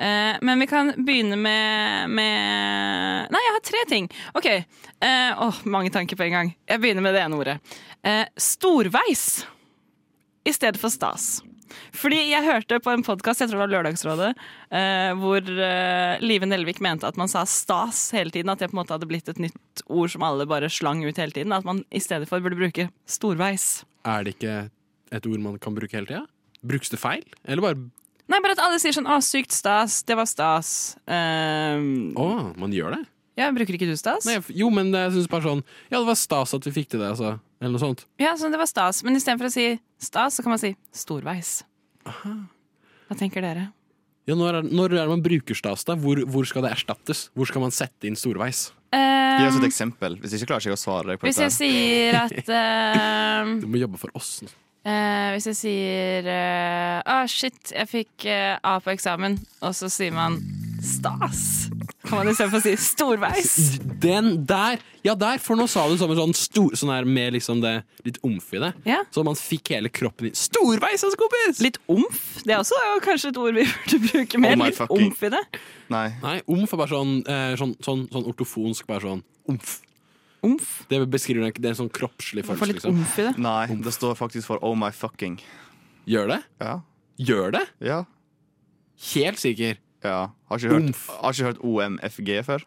Speaker 5: Eh, men vi kan begynne med, med Nei, jeg har tre ting. Ok. Eh, åh, mange tanker på en gang. Jeg begynner med det ene ordet. Eh, storveis i stedet for stas. Fordi jeg hørte på en podkast, jeg tror det var Lørdagsrådet, eh, hvor eh, Live Nelvik mente at man sa stas hele tiden. At det på en måte hadde blitt et nytt ord som alle bare slang ut hele tiden. At man i stedet for burde bruke storveis.
Speaker 2: Er det ikke et ord man kan bruke hele tida? Brukes det feil? Eller bare
Speaker 5: Nei, bare at alle sier sånn 'Å, sykt stas. Det var stas'. Ehm,
Speaker 2: Å, man gjør det?
Speaker 5: ja, bruker ikke du stas?
Speaker 2: Nei, jo, men jeg synes bare sånn Ja, det var stas at vi fikk til det, altså. Eller noe sånt.
Speaker 5: Ja, så det var stas. Men istedenfor å si stas, så kan man si storveis. Hva tenker dere?
Speaker 2: Ja, når, er, når er det man bruker stas, da? Hvor, hvor skal det erstattes? Hvor skal man sette inn storveis?
Speaker 4: Gi oss
Speaker 5: Ehm,
Speaker 4: et eksempel. Hvis ikke klarer ikke jeg å svare deg på
Speaker 5: hvis
Speaker 4: dette.
Speaker 5: jeg sier at ehm,
Speaker 2: Du må jobbe for oss. liksom.
Speaker 5: Eh, hvis jeg sier eh, ah, shit, jeg fikk eh, A på eksamen, og så sier man stas, kan man istedenfor si storveis.
Speaker 2: (laughs) Den der! Ja, der! For nå sa du som en sånn stor Sånn her med liksom det litt omf i det.
Speaker 5: Ja.
Speaker 2: Så man fikk hele kroppen i Storveis, altså, kompis!
Speaker 5: Litt omf, det er også kanskje et ord vi burde bruke mer.
Speaker 4: Oh my
Speaker 5: Litt
Speaker 4: fucking-
Speaker 5: omf i det.
Speaker 4: Nei.
Speaker 2: Nei, omf er bare sånn, eh, sånn, sånn, sånn ortofonsk, bare sånn omf.
Speaker 5: Omf.
Speaker 2: Det beskriver ikke, det er en sånn kroppslig
Speaker 5: Få
Speaker 2: følelse,
Speaker 5: litt
Speaker 2: liksom.
Speaker 5: omf i det.
Speaker 4: Nei, det står faktisk for oh my fucking.
Speaker 2: Gjør det?
Speaker 4: Ja.
Speaker 2: Gjør det?
Speaker 4: Ja.
Speaker 2: Helt sikker.
Speaker 4: ja. Har, ikke hørt,
Speaker 2: Omf.
Speaker 4: har ikke hørt OMFG før?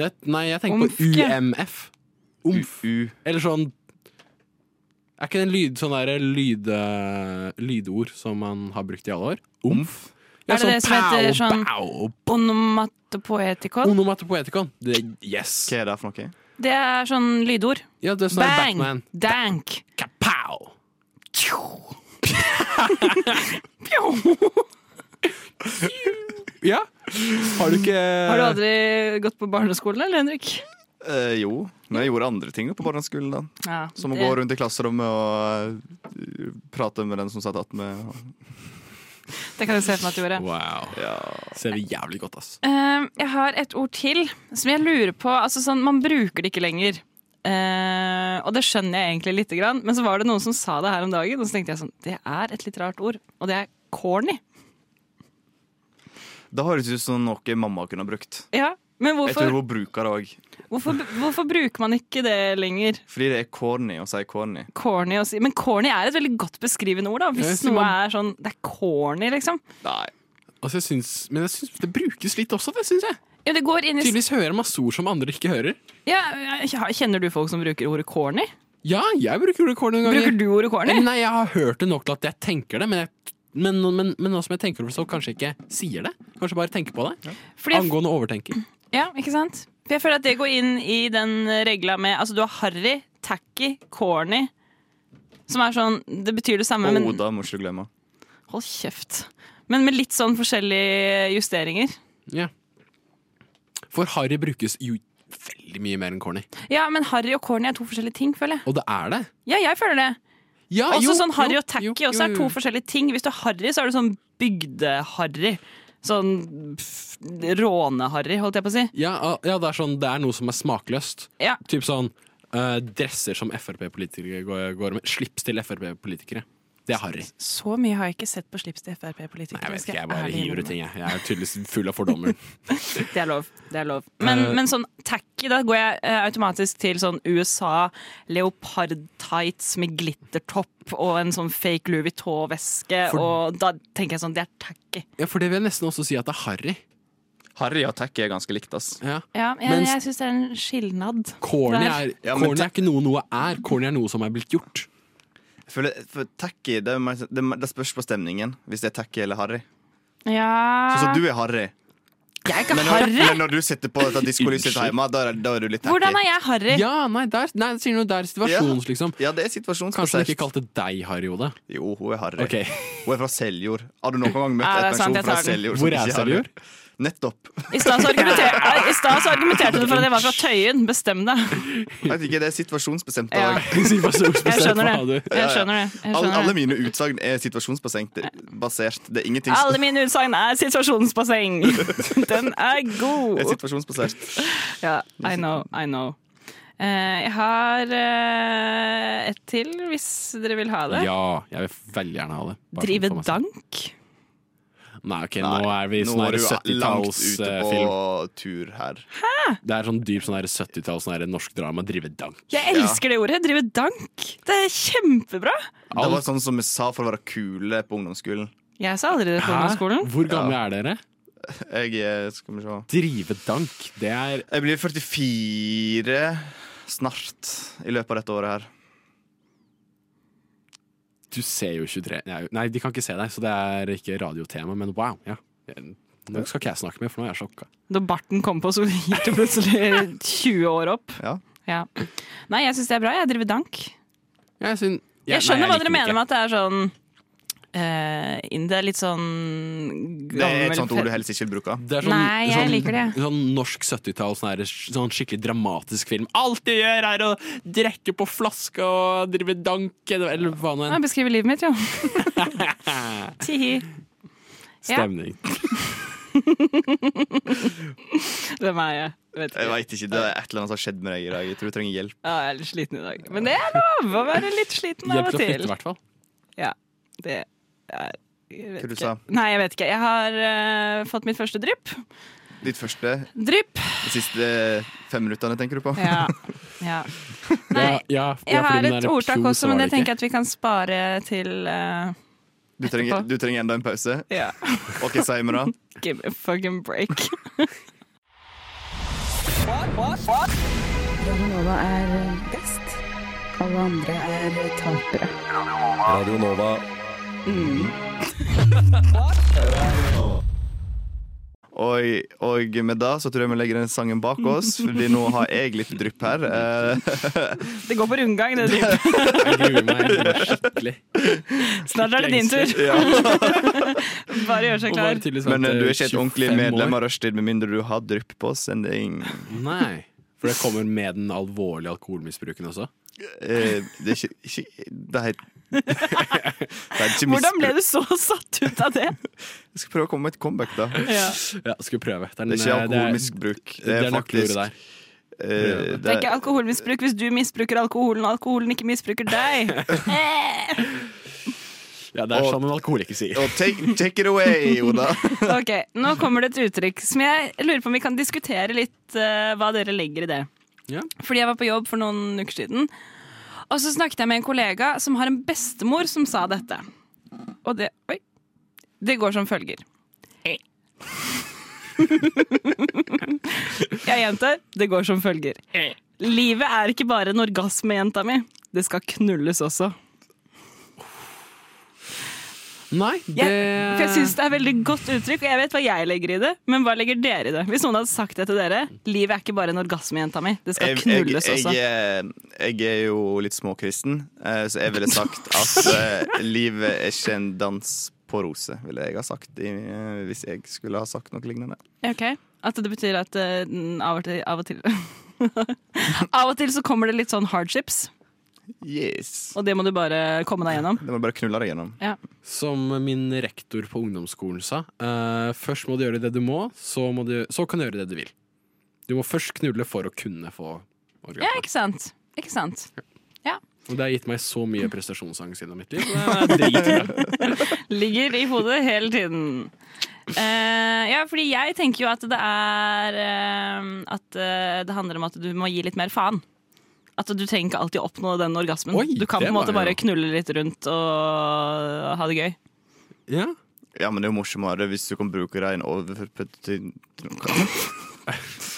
Speaker 2: Det, nei, jeg tenker
Speaker 5: Omf, ja.
Speaker 2: på UMF. Omf.
Speaker 4: U
Speaker 2: Eller sånn Er ikke det en lyd, sånn derre lyd, eh, lydord som man har brukt i alle år? Omf.
Speaker 5: Er det det som heter sånn-
Speaker 2: pow,
Speaker 5: Onomatopoetikon.
Speaker 2: Onomatopoetikon. Det, yes.
Speaker 4: hva er det for noe?
Speaker 5: Det er sånn lydord.
Speaker 2: Ja, det er sånn
Speaker 5: Bang!
Speaker 2: Batman.
Speaker 5: Dank!
Speaker 2: Kapow!
Speaker 5: Tjo!
Speaker 2: Ja. Har du ikke
Speaker 5: Har du aldri gått på barneskolen, eller, Henrik?
Speaker 4: Eh, jo, men jeg gjorde andre ting på barneskolen. da
Speaker 5: Ja,
Speaker 4: Som å
Speaker 5: det-
Speaker 4: gå rundt i klasserommet og eh, prate med den som satt attmed.
Speaker 5: Det kan jeg se for meg at du gjorde.
Speaker 2: Wow.
Speaker 4: Ja.
Speaker 2: Ser vi jævlig godt, ass.
Speaker 5: Eh, jeg har et ord til som jeg lurer på. Altså sånn, Man bruker det ikke lenger. Eh, og det skjønner jeg egentlig lite grann, men så var det noen som sa det her om dagen, og så tenkte jeg sånn Det er et litt rart ord, og det er corny.
Speaker 4: Det høres ut som noe mamma kunne ha brukt.
Speaker 5: Ja, Men
Speaker 4: Jeg tror
Speaker 5: hvorfor,
Speaker 4: hun bruker det òg.
Speaker 5: hvorfor, hvorfor bruker man ikke det lenger?
Speaker 4: Fordi det er corny å si corny.
Speaker 5: Corny å si. Men corny er et veldig godt beskrivende ord, da. Hvis
Speaker 2: Ja, Simon.
Speaker 5: noe er sånn Det er corny, liksom.
Speaker 4: Nei.
Speaker 2: Altså, jeg syns, men jeg syns det brukes litt også, det syns jeg.
Speaker 5: Ja, det går inn i
Speaker 2: Tydeligvis hører masse ord som andre ikke hører.
Speaker 5: ja, Kjenner du folk som bruker ordet corny?
Speaker 2: Ja, jeg bruker julekorn noen ganger.
Speaker 5: Bruker du ordet corny?
Speaker 2: Eller Nei, jeg har hørt det nok til at jeg tenker det, men, jeg, men, men, men nå som jeg tenker over det, så kanskje jeg ikke sier det. Kanskje bare tenker på det.
Speaker 5: Fordi jeg
Speaker 2: Angående overtenking.
Speaker 5: Ja, ikke sant? For jeg føler at det går inn i den regla med Altså, du har harry, tacky, corny, som er sånn Det betyr det samme,
Speaker 4: Og
Speaker 5: men
Speaker 4: Oda må ikke du glemme.
Speaker 5: Hold kjeft. Men med litt sånn forskjellige justeringer.
Speaker 2: Ja. For harry brukes jo veldig mye mer enn corny.
Speaker 5: Ja, men harry og corny er to forskjellige ting, føler jeg.
Speaker 2: Og det er det.
Speaker 5: Ja, jeg føler det.
Speaker 2: Ja,
Speaker 5: Også
Speaker 2: Ah, jo,
Speaker 5: sånn harry
Speaker 2: jo,
Speaker 5: og tacky
Speaker 2: jo,
Speaker 5: også er
Speaker 2: jo,
Speaker 5: to
Speaker 2: jo.
Speaker 5: forskjellige ting. Hvis du er harry, så er du sånn bygde-harry. Sånn pff, råne-harry, holdt jeg på å si.
Speaker 2: ja, ah, ja, det er sånn Det er noe som er smakløst.
Speaker 5: Ja.
Speaker 2: Typ sånn eh, dresser som Frp-politikere går, går med. Slips til Frp-politikere. Det er harry.
Speaker 5: Så mye har jeg ikke sett på slips til Frp-politikere.
Speaker 2: Nei, jeg vet
Speaker 5: skal
Speaker 2: ikke, jeg bare
Speaker 5: ærlig
Speaker 2: hiver
Speaker 5: innrømme.
Speaker 2: ut ting, jeg. Jeg er tydeligvis full av
Speaker 5: (laughs)
Speaker 2: fordommer.
Speaker 5: Det er lov. det er lov Men,
Speaker 2: Eh.
Speaker 5: men sånn tacky, da går jeg eh, automatisk til sånn USA, leopardtights med glittertopp og en sånn fake Louis Vuitton-veske,
Speaker 2: For-
Speaker 5: og da tenker jeg sånn, det er tacky.
Speaker 2: Ja, for det vil jeg nesten også si at det er harry.
Speaker 4: Harry og Tacky er ganske likt, ass.
Speaker 2: Ja.
Speaker 5: Ja, jeg,
Speaker 2: Mens-
Speaker 5: jeg syns det er en skilnad.
Speaker 2: Corny
Speaker 5: Der.
Speaker 2: er,
Speaker 4: Ja, men
Speaker 2: corny er ikke noe noe er, corny er noe som er blitt gjort.
Speaker 4: Jeg føler, for tacky, det, er mer- det, er- det spørs på stemningen. Hvis det er tacky eller harry.
Speaker 5: Ja
Speaker 4: Sånn som du er harry.
Speaker 5: Jeg er ikke
Speaker 4: Men når,
Speaker 5: Ah. harry!
Speaker 4: men når du sitter på dette diskolyset hjemme, da er, da er du litt tacky.
Speaker 5: Hvordan er jeg harry?
Speaker 2: Ja, nei, der, nei sier noe der situasjons, liksom.
Speaker 4: Ja, det er
Speaker 2: Kanskje hun
Speaker 4: situasjonsbasert.
Speaker 2: ikke kalte deg harry, Oda.
Speaker 4: Jo, hun er harry.
Speaker 2: Ok. (laughs)
Speaker 4: Hun er fra Seljord. Har du noen gang møtt
Speaker 5: Ja, det er
Speaker 4: en
Speaker 5: sant,
Speaker 4: person
Speaker 5: jeg
Speaker 4: fra
Speaker 5: tar den.
Speaker 4: Seljord? som
Speaker 2: Hvor
Speaker 4: ikke
Speaker 2: er
Speaker 4: harry?
Speaker 2: Seljord?
Speaker 4: Nettopp.
Speaker 5: I stad så, argumenter- i stad så argumenterte du for at jeg var fra Tøyen. Bestem deg.
Speaker 4: Jeg vet ikke, Det er situasjonsbestemt. i
Speaker 5: Ja.
Speaker 4: dag.
Speaker 2: Si hva som er
Speaker 5: Jeg skjønner
Speaker 2: hva
Speaker 5: det.
Speaker 2: du-
Speaker 5: Jeg skjønner det. Jeg
Speaker 4: Alle,
Speaker 5: skjønner
Speaker 4: alle
Speaker 5: det.
Speaker 4: mine utsagn er situasjonsbasert. Det er ingenting som
Speaker 5: Alle mine utsagn er situasjonsbasseng. Den er
Speaker 4: er
Speaker 5: god.
Speaker 4: situasjonsbasert.
Speaker 5: Ja, I know, I know. Eh, jeg har eh, et til, hvis dere vil ha det.
Speaker 2: Ja, jeg vil veldig gjerne ha det. Bare sånn
Speaker 5: Drive
Speaker 2: for meg selv.
Speaker 5: dank.
Speaker 2: Nei, ok,
Speaker 4: Nei,
Speaker 2: nå er vi i sånn her
Speaker 4: du langt ute på
Speaker 2: 70-tallsfilm.
Speaker 4: tur her.
Speaker 2: Det er sånn dyp sånn her 70-talls sånn her norsk drama. Drive dank.
Speaker 5: Jeg elsker det ordet. Drive dank. Det er kjempebra.
Speaker 4: Det var sånn som vi sa for å være kule på ungdomsskolen.
Speaker 5: Jeg sa aldri det på ungdomsskolen.
Speaker 2: Hvor gamle er dere?
Speaker 4: Jeg er Skal vi se
Speaker 2: Drive dank. Det er
Speaker 4: Jeg blir 44 snart i løpet av dette året her.
Speaker 2: Du ser jo 23 Nei, Nei, de kan ikke se deg, så det er ikke radiotema, men wow. Ja. Nå skal ikke jeg snakke mer, for nå er jeg sjokka.
Speaker 5: Da barten kom på, så gikk du plutselig 20 år opp.
Speaker 4: Ja.
Speaker 5: Ja. Nei, jeg syns det er bra. Jeg driver dank.
Speaker 2: Jeg, syn- Ja,
Speaker 5: Jeg skjønner
Speaker 2: nei,
Speaker 5: hva dere
Speaker 2: liker
Speaker 5: mener
Speaker 2: den
Speaker 5: med at det er sånn eh, inn- Det er litt sånn
Speaker 4: Det er et sånt ord du
Speaker 5: gammel
Speaker 4: helst ikke vil bruke.
Speaker 2: ikke. Det er sånn,
Speaker 5: Nei, jeg
Speaker 2: sånn,
Speaker 5: liker det.
Speaker 2: Sånn norsk 70-tall, sånn, her- sånn skikkelig dramatisk film. Alt de gjør, er å drikke på flaske og drive dank, eller eller hva nå enn.
Speaker 5: Jeg beskriver livet mitt, jo. Tihi. ja.
Speaker 2: Stemning.
Speaker 5: Hvem er jeg? Vet
Speaker 4: Jeg
Speaker 5: ikke.
Speaker 4: vet ikke, Det er et eller annet som har skjedd med deg i dag. Jeg tror du trenger hjelp.
Speaker 5: Ja, jeg er litt sliten i dag. Men det er lov å være litt sliten av
Speaker 2: Hjelp
Speaker 5: og
Speaker 2: til å flytte, i
Speaker 5: til.
Speaker 2: hvert fall.
Speaker 5: Ja, det er jeg vet
Speaker 4: Hva du
Speaker 5: ikke.
Speaker 4: sa?
Speaker 5: Nei, jeg vet ikke. Jeg har eh, fått mitt første drypp.
Speaker 4: Ditt første,
Speaker 5: Drypp!
Speaker 4: de siste fem minuttene, tenker du på?
Speaker 2: (laughs)
Speaker 5: Ja. ja. Nei,
Speaker 2: Ja, ja, ja,
Speaker 5: jeg
Speaker 2: fordi
Speaker 5: har
Speaker 2: den
Speaker 5: et
Speaker 2: der
Speaker 5: ordtak
Speaker 2: Pjo, så
Speaker 5: også,
Speaker 2: var
Speaker 5: men
Speaker 2: det
Speaker 5: jeg tenker at vi kan spare til eh,
Speaker 4: Du trenger,
Speaker 5: Etterpå.
Speaker 4: du trenger enda en pause?
Speaker 5: Ja, (laughs)
Speaker 4: OK, si meg da.
Speaker 5: give me a fucking break.
Speaker 6: Radionova er eh, best. Alle andre er eh, tapere.
Speaker 9: Radio Nova.
Speaker 4: Og, og med det så tror jeg vi legger den sangen bak oss, Fordi nå har jeg litt drypp her. Eh,
Speaker 5: Det går på rundgang, det drypp.
Speaker 2: Jeg gruer meg
Speaker 5: (laughs)
Speaker 2: jeg gruer meg skikkelig.
Speaker 5: Snart er det din tur.
Speaker 4: ja.
Speaker 5: (laughs) Bare gjør seg
Speaker 2: Og bare
Speaker 5: klar.
Speaker 2: tydeligvis sånn
Speaker 4: Men eh,
Speaker 2: vente
Speaker 4: du er ikke et ordentlig
Speaker 2: 25
Speaker 4: medlem
Speaker 2: år.
Speaker 4: av Rushtid med mindre du har drypp på sending.
Speaker 2: Nei. For det kommer med den alvorlige alkoholmisbruken også.
Speaker 4: Eh, det er ikke, ikke Det er, det er ikke
Speaker 5: Hvordan ble
Speaker 4: misbruk.
Speaker 5: du så satt ut av det?
Speaker 4: Jeg skal prøve å komme med et comeback, da. Det
Speaker 5: Ja.
Speaker 2: Ja, skulle prøve. eh, Det er,
Speaker 4: er ikke alkoholmisbruk.
Speaker 2: Det er nøkkelordet der.
Speaker 4: eh,
Speaker 5: Det
Speaker 4: det
Speaker 5: er ikke alkoholmisbruk hvis du misbruker alkoholen, og alkoholen ikke misbruker deg. (laughs)
Speaker 2: Ja, det er
Speaker 4: Og-
Speaker 2: sånn en alkoholiker sier.
Speaker 4: og take, take it away, Oda.
Speaker 5: (laughs) Ok, Nå kommer det et uttrykk som jeg lurer på om vi kan diskutere litt eh, hva dere legger i det.
Speaker 2: Ja.
Speaker 5: Fordi jeg var på jobb for noen uker siden, og så snakket jeg med en kollega som har en bestemor som sa dette. Og det Oi. Det går som følger. Eh. (laughs) jeg gjentar. Det går som følger. Livet er ikke bare en orgasme, jenta mi. Det skal knulles også.
Speaker 2: Nei, det
Speaker 5: Jeg, for jeg syns det er veldig godt uttrykk, og jeg vet hva jeg legger i det. Men hva legger dere i det? Hvis noen hadde sagt det til dere Livet er ikke bare en orgasme, jenta mi. Det skal
Speaker 4: Jeg, jeg,
Speaker 5: knulles
Speaker 4: jeg,
Speaker 5: også.
Speaker 4: eh, jeg er jo litt småkristen, eh, så jeg ville sagt
Speaker 5: (laughs)
Speaker 4: at eh, livet er ikke en dans på roser, ville jeg ha sagt i, eh, hvis jeg skulle ha sagt noe lignende.
Speaker 5: Ok, At det betyr at eh, den av og til Av og til, (laughs) av og til så kommer det litt sånn hardships,
Speaker 4: Yes.
Speaker 5: og det må du bare komme deg gjennom.
Speaker 4: Det må jeg bare knulle deg gjennom.
Speaker 2: Som min rektor på ungdomsskolen sa, eh, først må du gjøre det du må, så, må du, så kan du gjøre det du vil. Du må først knulle for å kunne få
Speaker 5: Ja,
Speaker 2: orgasme.
Speaker 5: ikke sant? Ikke sant?
Speaker 2: Og det har gitt meg så mye prestasjonsangst gjennom mitt liv. og Det er
Speaker 5: (laughs)
Speaker 2: dritbra.
Speaker 5: Ligger i hodet hele tiden. Eh, ja, fordi jeg tenker jo at det er eh, At eh, det handler om at du må gi litt mer faen. At du trenger ikke alltid oppnå den orgasmen.
Speaker 2: Oi,
Speaker 5: du kan på
Speaker 2: det
Speaker 5: en måte
Speaker 2: var
Speaker 5: bare
Speaker 2: jo-
Speaker 5: knulle litt rundt og ha det gøy.
Speaker 2: Ja.
Speaker 4: Ja, men det er jo morsommere hvis du kan bruke rein overført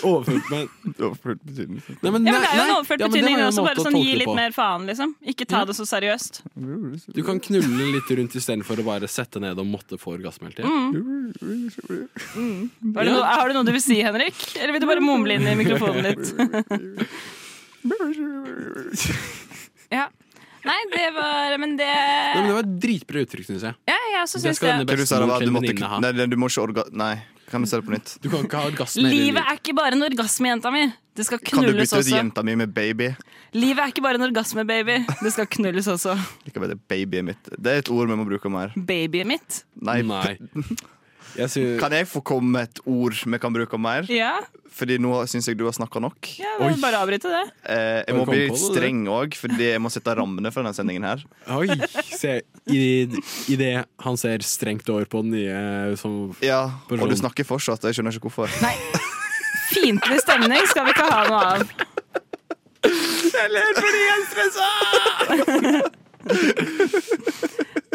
Speaker 2: Overført, men
Speaker 4: betydning.
Speaker 5: Ja,
Speaker 2: Nei, men,
Speaker 5: men Det er jo
Speaker 2: nei,
Speaker 5: en overført
Speaker 2: ja, men det
Speaker 5: betydning.
Speaker 2: var jo en
Speaker 5: også,
Speaker 2: måte
Speaker 5: bare
Speaker 2: å
Speaker 5: sånn,
Speaker 2: tolke
Speaker 5: gi
Speaker 2: det på.
Speaker 5: litt mer faen, liksom. Ikke ta det så seriøst.
Speaker 2: Du kan knulle litt rundt istedenfor å bare sette ned og måtte få orgasme hele tida.
Speaker 5: Mm. Var det
Speaker 2: Ja.
Speaker 5: noe, har du noe du vil si, Henrik? Eller vil du bare mumle inn i mikrofonen
Speaker 2: (laughs)
Speaker 5: litt? (laughs) ja. Nei, det var Men det
Speaker 2: Nei, men det var et dritbra uttrykk, syns jeg.
Speaker 5: Ja, jeg også
Speaker 2: Det
Speaker 5: syns
Speaker 2: skal
Speaker 5: det.
Speaker 2: denne
Speaker 4: Hva du sa, det var at du
Speaker 2: bestemoren
Speaker 4: måtte
Speaker 2: til venninne
Speaker 4: kn-
Speaker 2: ha.
Speaker 4: Nei, du må ikke orga... Nei. Kan vi se det på nytt?
Speaker 2: Du kan ikke ha et gass nedi
Speaker 5: Livet er ikke bare en orgasme, jenta mi. Det skal
Speaker 4: Kan du
Speaker 5: knulles
Speaker 4: bytte ut
Speaker 5: også.
Speaker 4: jenta mi med baby?
Speaker 5: Livet er ikke bare en orgasme, baby. Det skal knulles også.
Speaker 4: Likevel, det er babyen mitt. Det er et ord vi må bruke mer.
Speaker 5: Babyet mitt.
Speaker 4: Nei,
Speaker 2: Nei. Jeg synes-
Speaker 4: Kan jeg få komme med et ord vi kan bruke mer?
Speaker 5: Ja,
Speaker 4: Fordi nå syns jeg du har snakka nok.
Speaker 5: ja
Speaker 2: Oi.
Speaker 5: det er bare å avbryte det.
Speaker 4: Eh, jeg
Speaker 2: Kan
Speaker 4: må
Speaker 2: du
Speaker 4: bli
Speaker 2: komme
Speaker 4: litt
Speaker 2: på det, du?
Speaker 4: streng òg, fordi jeg må sette rammene for denne sendingen her.
Speaker 2: Oi, se Idet han ser strengt over på den nye som
Speaker 4: Ja,
Speaker 2: Person.
Speaker 4: Og du snakker fortsatt, jeg skjønner ikke hvorfor.
Speaker 5: Nei. Fiendtlig stemning skal vi ikke ha noe av.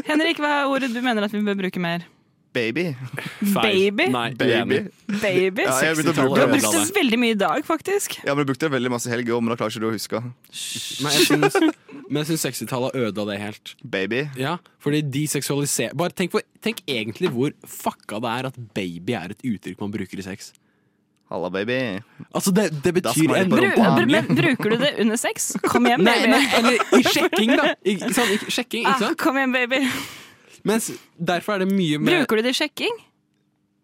Speaker 5: Henrik, hva er ordet du mener at vi bør bruke mer?
Speaker 4: Baby.
Speaker 2: feil.
Speaker 5: Baby?
Speaker 2: Nei,
Speaker 4: Baby.
Speaker 2: uenig.
Speaker 5: Baby?
Speaker 4: Ja, jeg har begynt å
Speaker 5: Du
Speaker 4: bruke
Speaker 5: har
Speaker 4: det.
Speaker 5: brukt det veldig mye i dag, faktisk.
Speaker 4: Ja, men jeg brukte det veldig masse i helga, men da klarer ikke du å huske.
Speaker 2: Men jeg syns, men jeg syns 60-tallet har ødela det helt.
Speaker 4: Baby.
Speaker 2: Ja, fordi de seksualiserer Bare tenk, hvor, tenk egentlig hvor fucka det er at baby er et uttrykk man bruker i sex.
Speaker 4: Halla, baby.
Speaker 2: Altså, det, det
Speaker 4: Da skal
Speaker 2: betyr
Speaker 4: man
Speaker 2: en
Speaker 5: Bru,
Speaker 4: bare
Speaker 2: barn-
Speaker 5: br men bruker du det under sex? Kom hjem,
Speaker 2: Nei, nei,
Speaker 5: baby.
Speaker 2: eller i sjekking, da. I, ikke sant? I sjekking, ikke
Speaker 5: Ah,
Speaker 2: sant?
Speaker 5: kom igjen, baby. Ah.
Speaker 2: Mens derfor er det mye mer
Speaker 5: Bruker du det i sjekking?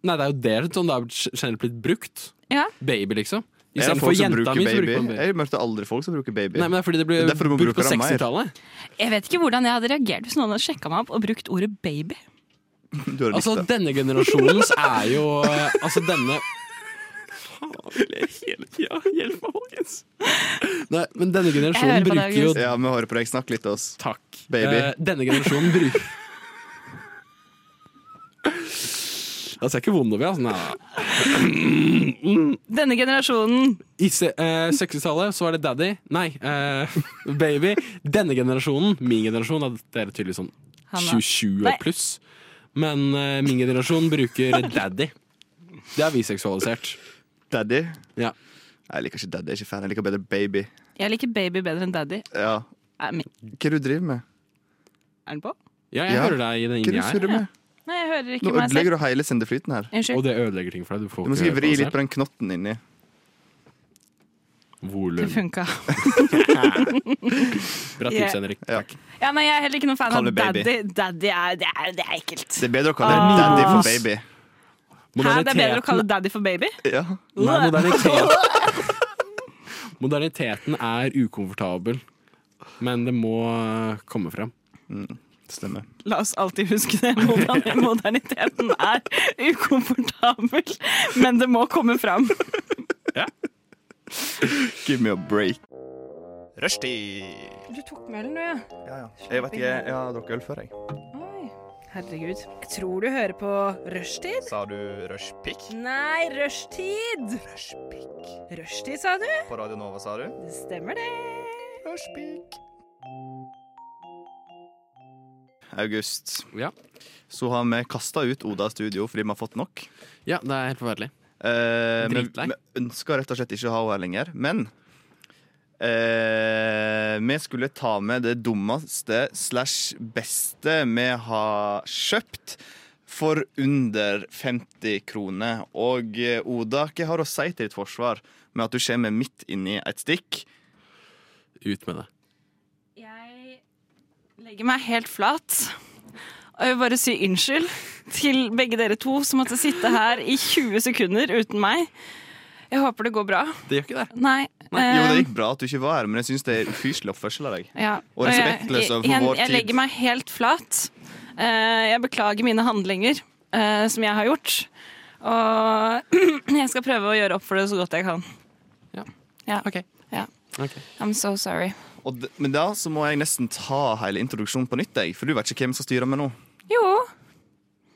Speaker 2: Nei, det er jo det som sånn, det er generelt blitt brukt.
Speaker 5: Ja.
Speaker 2: Baby, liksom.
Speaker 4: Jeg har
Speaker 2: Istedenfor
Speaker 4: folk som
Speaker 2: jenta
Speaker 4: bruker
Speaker 2: mi, så
Speaker 4: baby.
Speaker 2: bruker man baby.
Speaker 4: Jeg møtte aldri folk som bruker baby.
Speaker 2: Nei, men det er fordi det ble
Speaker 4: Det er derfor du må
Speaker 2: brukt på
Speaker 4: bruke det mer.
Speaker 2: 60-tallet.
Speaker 5: Jeg vet ikke hvordan jeg hadde reagert hvis noen hadde sjekka meg opp og brukt ordet baby.
Speaker 4: Du har
Speaker 2: Altså,
Speaker 4: altså, det.
Speaker 2: denne generasjonens er jo eh, Altså, denne Faen, jeg hele tida. Hjelp meg, folkens. Nei, men denne
Speaker 5: hører
Speaker 2: generasjonen
Speaker 5: på deg,
Speaker 2: bruker jo
Speaker 5: August.
Speaker 4: Ja, vi hører på deg. Snakk litt til oss.
Speaker 2: Takk.
Speaker 4: Baby.
Speaker 2: Eh, denne generasjonen bruker
Speaker 4: (laughs)
Speaker 2: Altså, jeg er ikke vond over, altså. Nei.
Speaker 5: Denne generasjonen
Speaker 2: I se- eh, 60-tallet så var det daddy. Nei, eh, (laughs) baby. Denne generasjonen, min generasjon, er dere tydeligvis sånn
Speaker 5: Han er-
Speaker 2: 27
Speaker 5: Nei.
Speaker 2: og pluss. Men eh, min generasjon bruker
Speaker 5: (laughs)
Speaker 2: daddy. Det er vi seksualisert.
Speaker 4: Daddy.
Speaker 2: Ja.
Speaker 4: Nei, Jeg liker ikke daddy. Jeg er ikke fan. Jeg liker bedre baby.
Speaker 5: Jeg liker baby bedre enn daddy.
Speaker 4: Ja.
Speaker 5: Er, min-
Speaker 4: Hva er det du driver med?
Speaker 5: er den på?
Speaker 2: Ja, jeg
Speaker 4: Ja.
Speaker 2: hører deg
Speaker 4: Hva er
Speaker 2: i den
Speaker 4: det
Speaker 2: inni
Speaker 4: du
Speaker 2: her.
Speaker 4: surrer med?
Speaker 5: Nei, jeg hører ikke
Speaker 4: Nå
Speaker 5: meg selv.
Speaker 4: ødelegger du hele sendeflyten her.
Speaker 2: Og
Speaker 5: Unnskyld.
Speaker 2: det ødelegger ting for deg. Du får
Speaker 4: Du må
Speaker 2: ikke
Speaker 4: sikkert vri
Speaker 2: høre
Speaker 4: litt på den knotten inni.
Speaker 2: på volum.
Speaker 5: Det funka.
Speaker 2: Bra
Speaker 5: Yeah.
Speaker 2: tips, Henrik.
Speaker 4: Ja.
Speaker 2: Takk.
Speaker 5: Ja, nei, jeg er heller ikke noen fan
Speaker 4: Kall
Speaker 5: av
Speaker 4: det baby.
Speaker 5: daddy. Daddy er, det er, det er ekkelt.
Speaker 4: Det er bedre å kalle
Speaker 7: Ah.
Speaker 4: det daddy for baby.
Speaker 5: Hæ, det er bedre å kalle daddy for baby?
Speaker 4: Ja.
Speaker 2: Nei, moderniteten (laughs) Moderniteten er ukomfortabel, men det må eh, komme fram.
Speaker 4: Stemmer.
Speaker 5: La oss alltid huske det. Modern, moderniteten er ukomfortabel, men det må komme fram.
Speaker 4: Give me a break.
Speaker 7: Du tok med ølen, du, ja.
Speaker 4: Jeg vet ikke, jeg har drukket øl før, jeg.
Speaker 7: Oi. Herregud. Jeg tror du hører på Rushtid.
Speaker 4: Sa du rushpick?
Speaker 7: Nei, Rushtid!
Speaker 4: Rushpick.
Speaker 7: Rushtid, sa du?
Speaker 4: På Radio Nova, sa du?
Speaker 7: Det stemmer, det.
Speaker 4: Rushpick. August,
Speaker 2: Ja.
Speaker 4: så har vi kasta ut Oda studio fordi vi har fått nok.
Speaker 2: ja, det er helt forferdelig.
Speaker 4: Eh, men
Speaker 2: Dritlei.
Speaker 4: vi ønsker rett og slett ikke å ha henne her lenger. Men eh, vi skulle ta med det dummeste slash beste vi har kjøpt for under 50 kroner. Og eh, Oda, hva har du å si til ditt forsvar med at du kommer midt inni et stikk?
Speaker 2: Ut med det.
Speaker 5: Jeg legger meg helt flat. Og jeg vil bare si unnskyld til begge dere to som måtte sitte her i 20 sekunder uten meg. Jeg håper det går bra.
Speaker 2: Det gjør ikke det.
Speaker 5: Nei.
Speaker 4: Jo, det
Speaker 5: eh,
Speaker 4: gikk bra at du ikke var her, men jeg syns det er ufyselig oppførsel av deg.
Speaker 5: ja.
Speaker 4: Og respektløs
Speaker 5: jeg-
Speaker 4: overfor
Speaker 5: igjen,
Speaker 4: vår
Speaker 5: Jeg
Speaker 4: tid.
Speaker 5: legger meg helt flat. Eh, Jeg beklager mine handlinger eh, som jeg har gjort. Og (clears throat) jeg skal prøve å gjøre opp for det så godt jeg kan.
Speaker 2: Ja.
Speaker 5: Ja.
Speaker 2: Ok.
Speaker 5: Ja.
Speaker 2: Ok.
Speaker 5: I'm so sorry.
Speaker 4: Og d men da så må jeg nesten ta hele introduksjonen på nytt, jeg, for du vet ikke hvem som styrer med nå.
Speaker 5: Jo.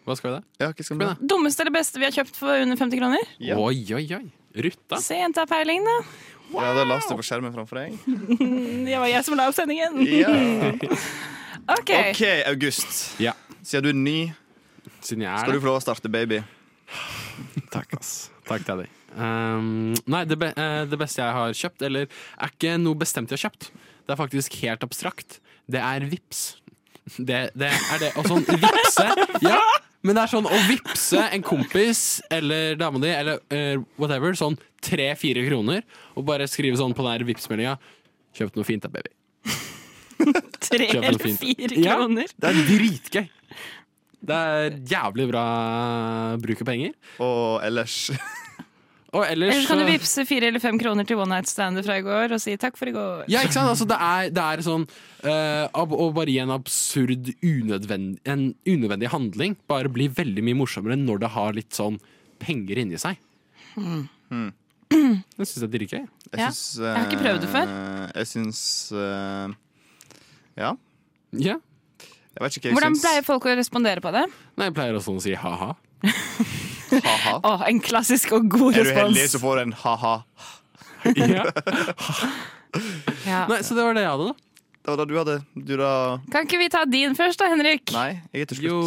Speaker 2: Hva skal vi da?
Speaker 4: Ja, hva skal vi da?
Speaker 5: Dummeste eller beste vi har kjøpt for under 50 kroner?
Speaker 4: Ja.
Speaker 2: Oi, oi, oi. Rutta.
Speaker 5: Se, jenta har peiling, da.
Speaker 4: Ja, da las du på skjermen framfor deg. (laughs)
Speaker 5: Det var jeg som la opp sendingen.
Speaker 4: Ja.
Speaker 5: OK.
Speaker 4: OK, August.
Speaker 2: Ja.
Speaker 4: Siden du er ny,
Speaker 2: Siden jeg er
Speaker 4: skal du få lov å starte baby.
Speaker 2: Takk, ass. Takk, Daddy. Um, nei, det, be eh, det beste jeg har kjøpt, eller er ikke noe bestemt jeg har kjøpt. Det er faktisk helt abstrakt. Det er vips. Det, det er det. Og sånn vipse Ja, men det er sånn å vipse en kompis eller dama di eller eh, whatever, sånn tre-fire kroner, og bare skrive sånn på den her vipsmeldinga Kjøpt noe fint da, baby.
Speaker 5: Tre
Speaker 2: Kjøp en
Speaker 5: eller
Speaker 2: fin.
Speaker 5: fire
Speaker 2: Ja.
Speaker 5: kroner.
Speaker 2: Det er dritgøy. Det er jævlig bra bruk av penger.
Speaker 4: Og ellers (laughs)
Speaker 2: Og ellers
Speaker 5: Ellers kan du vippse fire eller fem kroner til One Night Stander fra i går og si takk for i går.
Speaker 2: Ja, ikke sant? Altså, det, er, det er sånn eh, ab Og bare i en absurd, unødvendig, en unødvendig handling bare blir veldig mye morsommere når det har litt sånn penger inni seg. Hmm. Det syns jeg er dritgøy.
Speaker 5: Ja.
Speaker 4: Jeg syns
Speaker 5: Jeg har ikke prøvd det før.
Speaker 4: eh, Jeg syns eh, Ja.
Speaker 2: Ja.
Speaker 4: Jeg vet ikke hva jeg
Speaker 5: Hvordan
Speaker 4: syns.
Speaker 5: pleier folk å respondere på det?
Speaker 2: Nei, jeg pleier også å si ha-ha.
Speaker 5: (laughs)
Speaker 4: Ha-ha.
Speaker 5: Å, en klassisk og god
Speaker 4: Er du heldig,
Speaker 5: respons.
Speaker 4: så får du en ha-ha.
Speaker 2: Ja.
Speaker 5: Ja.
Speaker 2: Nei, så det var det jeg hadde, da.
Speaker 4: Det var da du hadde Du da
Speaker 5: Kan ikke vi ta din først da, Henrik?
Speaker 4: Nei, jeg er til
Speaker 2: Jo.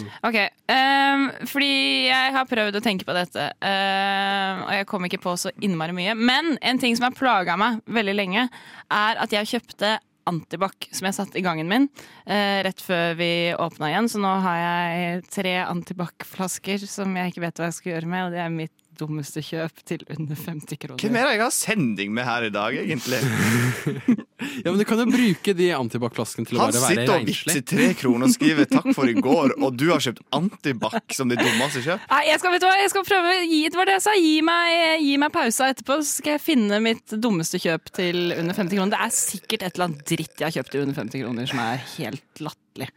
Speaker 4: slutt.
Speaker 5: Ok, ehm, fordi jeg har prøvd å tenke på dette, ehm, og jeg kom ikke på så innmari mye. Men en ting som har plaga meg veldig lenge, er at jeg kjøpte Antibac som jeg satte i gangen min eh, rett før vi åpna igjen. Så nå har jeg tre Antibac-flasker som jeg ikke vet hva jeg skal gjøre med, og det er mitt dummeste kjøp til under 50 kroner.
Speaker 4: Hvem er det jeg har sending med her i dag, egentlig?
Speaker 2: (laughs) Ja, men du kan jo bruke de antibac-flaskene til å
Speaker 4: Han
Speaker 2: bare være
Speaker 4: sitter og
Speaker 2: renslig.
Speaker 4: vippser tre kroner og skriver 'takk for i går', og du har kjøpt antibac som det dummeste kjøp?
Speaker 5: Nei, jeg skal, vet du hva, jeg skal prøve å gi, det var det jeg sa. Gi meg, gi meg pausa etterpå, så skal jeg finne mitt dummeste kjøp til under 50 kroner. Det er sikkert et eller annet dritt jeg har kjøpt til under 50 kroner som er helt latterlig.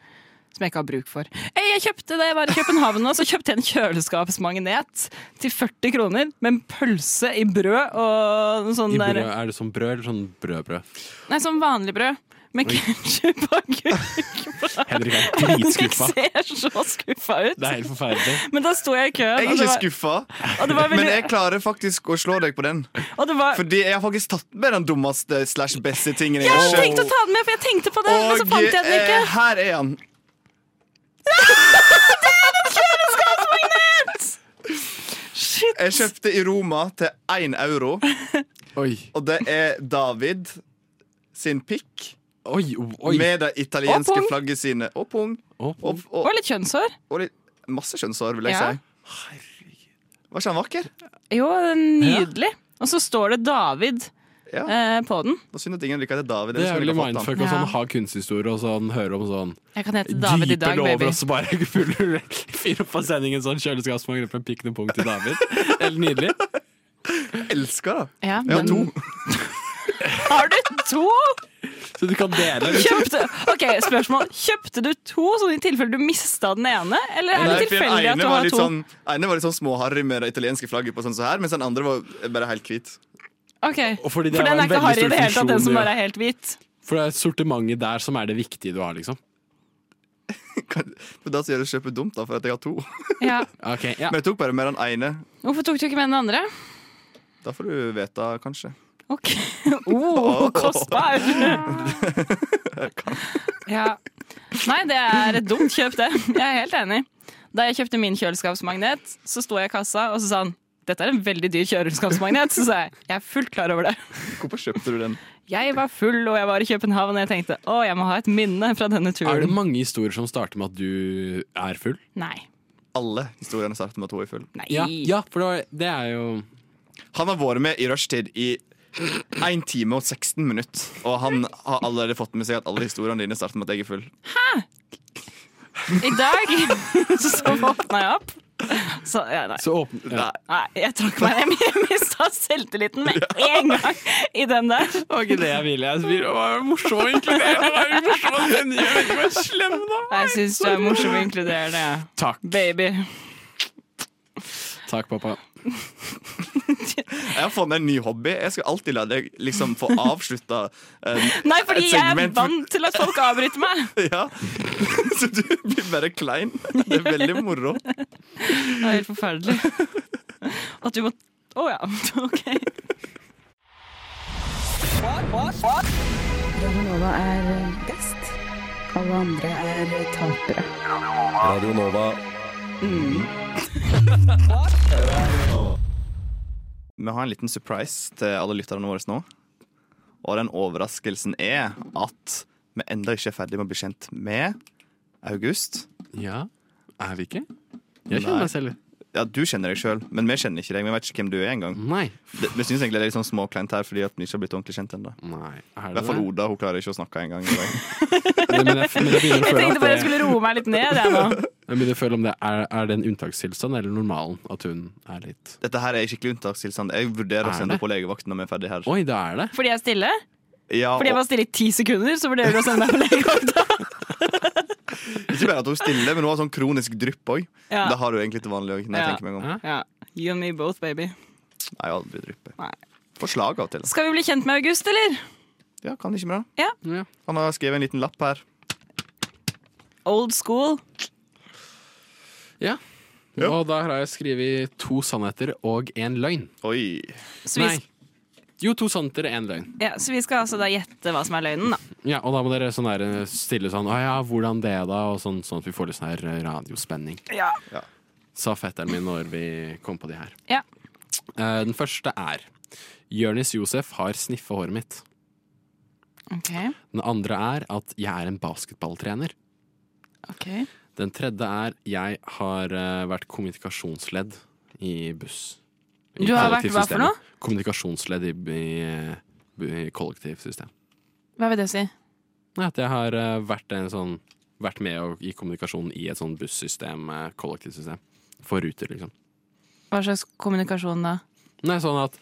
Speaker 5: Som jeg ikke har bruk for. Eh, Jeg kjøpte det, jeg var i København nå, så kjøpte jeg en kjøleskapsmagnet til 40 kroner med en pølse i brød og noe sånn
Speaker 2: I brød,
Speaker 5: der
Speaker 2: er det sånn brød eller sånn brødbrød?
Speaker 5: Nei, sånn vanlig brød. Med ketsjup og
Speaker 2: (laughs)
Speaker 5: gurk.
Speaker 2: Henrik er
Speaker 5: Henrik
Speaker 2: dritskuffa.
Speaker 5: ser så skuffa ut.
Speaker 2: Det er helt forferdelig.
Speaker 5: Men da sto jeg i køen.
Speaker 4: Jeg er
Speaker 5: og det
Speaker 4: ikke
Speaker 5: var-
Speaker 4: skuffa,
Speaker 5: og det var veldig-
Speaker 4: men jeg klarer faktisk å slå deg på den.
Speaker 5: og det var,
Speaker 4: Fordi jeg har faktisk tatt med den dummeste slash beste tingen jeg
Speaker 5: Jeg
Speaker 4: har
Speaker 5: har tenkt å
Speaker 4: kjøpt.
Speaker 5: ta den med, for jeg tenkte på det, men så fant jeg den
Speaker 4: eh,
Speaker 5: ikke.
Speaker 4: her er han.
Speaker 5: Shit.
Speaker 4: Jeg kjøpte i Roma til én euro,
Speaker 2: Oi,
Speaker 4: og det er David sin pikk
Speaker 2: oi, oi.
Speaker 4: med det italienske
Speaker 5: Og pung.
Speaker 4: flagget sine. Og pung.
Speaker 2: Å,
Speaker 4: Og, og,
Speaker 5: Og litt kjønnshår.
Speaker 4: og litt, masse kjønnshår, vil jeg
Speaker 5: Ja.
Speaker 4: si. Var ikke han vakker?
Speaker 5: Jo, nydelig. Og så står det David
Speaker 4: Ja.
Speaker 5: eh, på den.
Speaker 4: Det var synd at ingen liker at det er David.
Speaker 2: Det
Speaker 4: ellers
Speaker 2: er
Speaker 4: ville
Speaker 2: veldig
Speaker 4: jeg fått han.
Speaker 2: mindfuck å sånn
Speaker 5: Ja.
Speaker 2: ha kunsthistorie og sånn høre om sånn
Speaker 5: Jeg kan hete David i
Speaker 2: dype
Speaker 5: dag,
Speaker 2: lover,
Speaker 5: baby.
Speaker 2: og så bare fyller du- fyrer opp av sendingen sånn kjøleskapsmangrep med pikk og punkt til David. Helt nydelig.
Speaker 4: Jeg elsker det.
Speaker 5: Ja,
Speaker 4: Jeg har
Speaker 5: men-
Speaker 4: to.
Speaker 5: (laughs) Har du to?
Speaker 2: Så du kan dele. Liksom.
Speaker 5: Kjøpte, ok, spørsmål. Kjøpte du to, sånn i tilfelle du mista den ene? Eller er
Speaker 4: Nei,
Speaker 5: det
Speaker 4: for den
Speaker 5: tilfeldig at
Speaker 4: ene
Speaker 5: du
Speaker 4: var
Speaker 5: har
Speaker 4: litt
Speaker 5: to?
Speaker 4: Sånn, ene var litt sånn småharry med det italienske flagget på, sånn så her, mens den andre var bare helt hvit. (laughs)
Speaker 5: Ok,
Speaker 2: Og
Speaker 5: For
Speaker 2: fordi det
Speaker 5: den
Speaker 2: har
Speaker 5: er
Speaker 2: en
Speaker 5: ikke
Speaker 2: veldig
Speaker 5: harry i
Speaker 2: stor
Speaker 5: det hele tatt, den
Speaker 2: funksjon,
Speaker 5: som
Speaker 2: ja.
Speaker 5: bare er helt hvit.
Speaker 2: For det er sortimentet der som er det viktige du har, liksom.
Speaker 4: Kan- Men da sier jeg å kjøpe dumt, da, for at jeg har to.
Speaker 5: Ja.
Speaker 2: Ok, ja.
Speaker 4: Men jeg tok bare med den ene.
Speaker 5: Hvorfor tok du ikke med den andre?
Speaker 4: Da får du vite, kanskje.
Speaker 2: (laughs)
Speaker 5: Ok. (laughs) Oh, kostbar! ja. Nei, det er et dumt kjøp, det. Jeg er helt enig. Da jeg kjøpte min kjøleskapsmagnet, så sto jeg i kassa og så sa han dette er en veldig dyr kjøleskapsmagnet. Så sa jeg jeg er fullt klar over det.
Speaker 4: Hvorfor kjøpte du den?
Speaker 5: Jeg var full og jeg var i København og jeg tenkte å, jeg må ha et minne fra denne
Speaker 2: Er det
Speaker 5: turen.
Speaker 2: mange historier som starter med at du er full?
Speaker 5: Nei.
Speaker 4: Alle historiene starter med to i full.
Speaker 5: Nei.
Speaker 2: Ja, ja for det var- det er jo
Speaker 4: Han har vært med i rushtid i 1 time og 16 minutter. Og han har allerede fått med seg at alle historiene dine starter med at jeg er full.
Speaker 5: I dag (laughs) så våkna jeg opp. Så, ja, nei.
Speaker 2: Så åpen... Ja.
Speaker 5: Nei, jeg trakk meg hjem. Jeg mista selvtilliten med en gang i den der.
Speaker 2: Det var ikke det jeg ville. Jeg ville det var morsom å inkludere. Det var morsom å sende. Jeg vet ikke om jeg er slem, da.
Speaker 5: Jeg syns du er morsom og inkluderende, ja.
Speaker 2: Takk.
Speaker 5: baby.
Speaker 2: Takk, pappa.
Speaker 4: Jeg har funnet en ny hobby. Jeg skal alltid la deg liksom få avslutta eh,
Speaker 5: Nei, fordi
Speaker 4: Et
Speaker 5: jeg er
Speaker 4: segment-
Speaker 5: vant til at folk avbryter meg.
Speaker 4: (laughs) Ja. (laughs) Så du blir bare klein. Det er veldig moro.
Speaker 5: Det er helt forferdelig. At du må Å ja, (laughs) OK.
Speaker 6: Radionova er eh, best. Alle andre er tapere.
Speaker 9: Radio Nova.
Speaker 4: Vi har en liten surprise til alle lytterne våre nå. Og den overraskelsen er at vi enda ikke er ferdig med å bli kjent med August.
Speaker 2: Ja, er vi ikke? Jeg kjenner
Speaker 4: Nei.
Speaker 2: meg selv.
Speaker 4: Ja, Du kjenner deg sjøl, men vi kjenner ikke deg. Vi vet ikke hvem du er engang.
Speaker 2: Nei.
Speaker 4: Det- Vi syns egentlig det er litt sånn småkleint her, fordi at vi ikke har blitt ordentlig kjent ennå.
Speaker 2: Nei, er
Speaker 4: I
Speaker 2: det
Speaker 4: hvert fall Oda hun klarer ikke å snakke engang. i dag.
Speaker 2: Men jeg, men jeg begynner å
Speaker 5: Jeg
Speaker 2: føle
Speaker 5: tenkte
Speaker 2: at
Speaker 5: bare jeg
Speaker 2: det-
Speaker 5: skulle roe meg litt ned, jeg nå.
Speaker 2: Jeg begynner å føle om det er, er det en unntakstilstand eller normalen at hun er litt
Speaker 4: Dette her er skikkelig unntakstilstand. Jeg vurderer
Speaker 2: Er
Speaker 4: å sende
Speaker 2: det?
Speaker 4: på legevakten når vi er ferdig her.
Speaker 2: Oi, det er det!
Speaker 5: Fordi jeg er stille?
Speaker 4: Ja,
Speaker 5: Fordi jeg
Speaker 4: og,
Speaker 5: var stille i ti sekunder, så vurderer du å sende meg på
Speaker 2: (laughs)
Speaker 5: legevakta?
Speaker 4: ikke bare at hun er stille, men hun har sånn kronisk drypp òg.
Speaker 5: Ja.
Speaker 4: Det har hun egentlig til vanlig òg. når jeg
Speaker 5: Ja.
Speaker 4: tenker meg om.
Speaker 2: Hæ?
Speaker 5: Ja. You and me both, baby.
Speaker 4: Nei, jeg har aldri drypp.
Speaker 5: Nei.
Speaker 4: Får slag av og til.
Speaker 5: Skal vi bli kjent med August, eller?
Speaker 4: Ja, kan ikke mer.
Speaker 5: Ja.
Speaker 2: Ja.
Speaker 4: Han har skrevet en liten lapp her.
Speaker 5: Old school.
Speaker 2: Ja.
Speaker 4: Ja.
Speaker 2: Og der har jeg skrevet to sannheter og én løgn.
Speaker 4: Oi.
Speaker 5: Så vi,
Speaker 2: Nei. Jo, to sannheter og én løgn.
Speaker 5: ja, så vi skal altså da gjette hva som er løgnen, da.
Speaker 2: Ja, Og da må dere sånn der, stille sånn Å ja, hvordan det, da? Og sånn, sånn at vi får litt sånn her radiospenning.
Speaker 5: Ja.
Speaker 4: Ja.
Speaker 2: Sa fetteren min når vi kom på de her.
Speaker 5: Ja.
Speaker 2: Eh, den første er Jørnis Josef har sniffa håret mitt.
Speaker 5: Ok.
Speaker 2: Den andre er at jeg er en basketballtrener.
Speaker 5: ok.
Speaker 2: Den tredje er jeg har eh, vært kommunikasjonsledd i buss. I
Speaker 5: Du har vært hva for
Speaker 2: kollektivsystemet.
Speaker 5: noe?
Speaker 2: Kommunikasjonsledd i, i, eh, bu- i kollektivsystem.
Speaker 5: Hva vil det si?
Speaker 2: Nei, At jeg har eh, vært, en sånn, vært med og, i kommunikasjon i et sånn bussystem, eh, kollektivsystem. For ruter, liksom.
Speaker 5: Hva slags kommunikasjon da?
Speaker 2: Nei, sånn at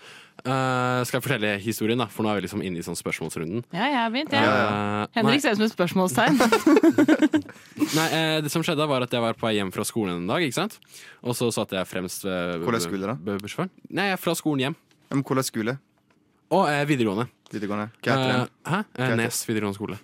Speaker 2: eh, Skal jeg fortelle historien, da? For nå er vi liksom inne i sånn spørsmålsrunden.
Speaker 5: Ja, jeg har begynt,
Speaker 4: Ja,
Speaker 5: jeg.
Speaker 4: ja.
Speaker 2: Eh, nei.
Speaker 5: Henrik ser ut som et spørsmålstegn.
Speaker 2: Nei, eh, det som skjedde var at jeg var på vei hjem fra skolen en dag, ikke sant? Og så satt jeg fremst ved
Speaker 4: Hvordan skulle det da?
Speaker 2: ved bussjåføren. Nei, jeg er fra skolen hjem.
Speaker 4: Men hvordan skole?
Speaker 2: Og eh, videregående.
Speaker 4: Videregående? Hva heter den?
Speaker 2: Eh, hæ? Eh,
Speaker 4: heter
Speaker 2: Nes videregående skole.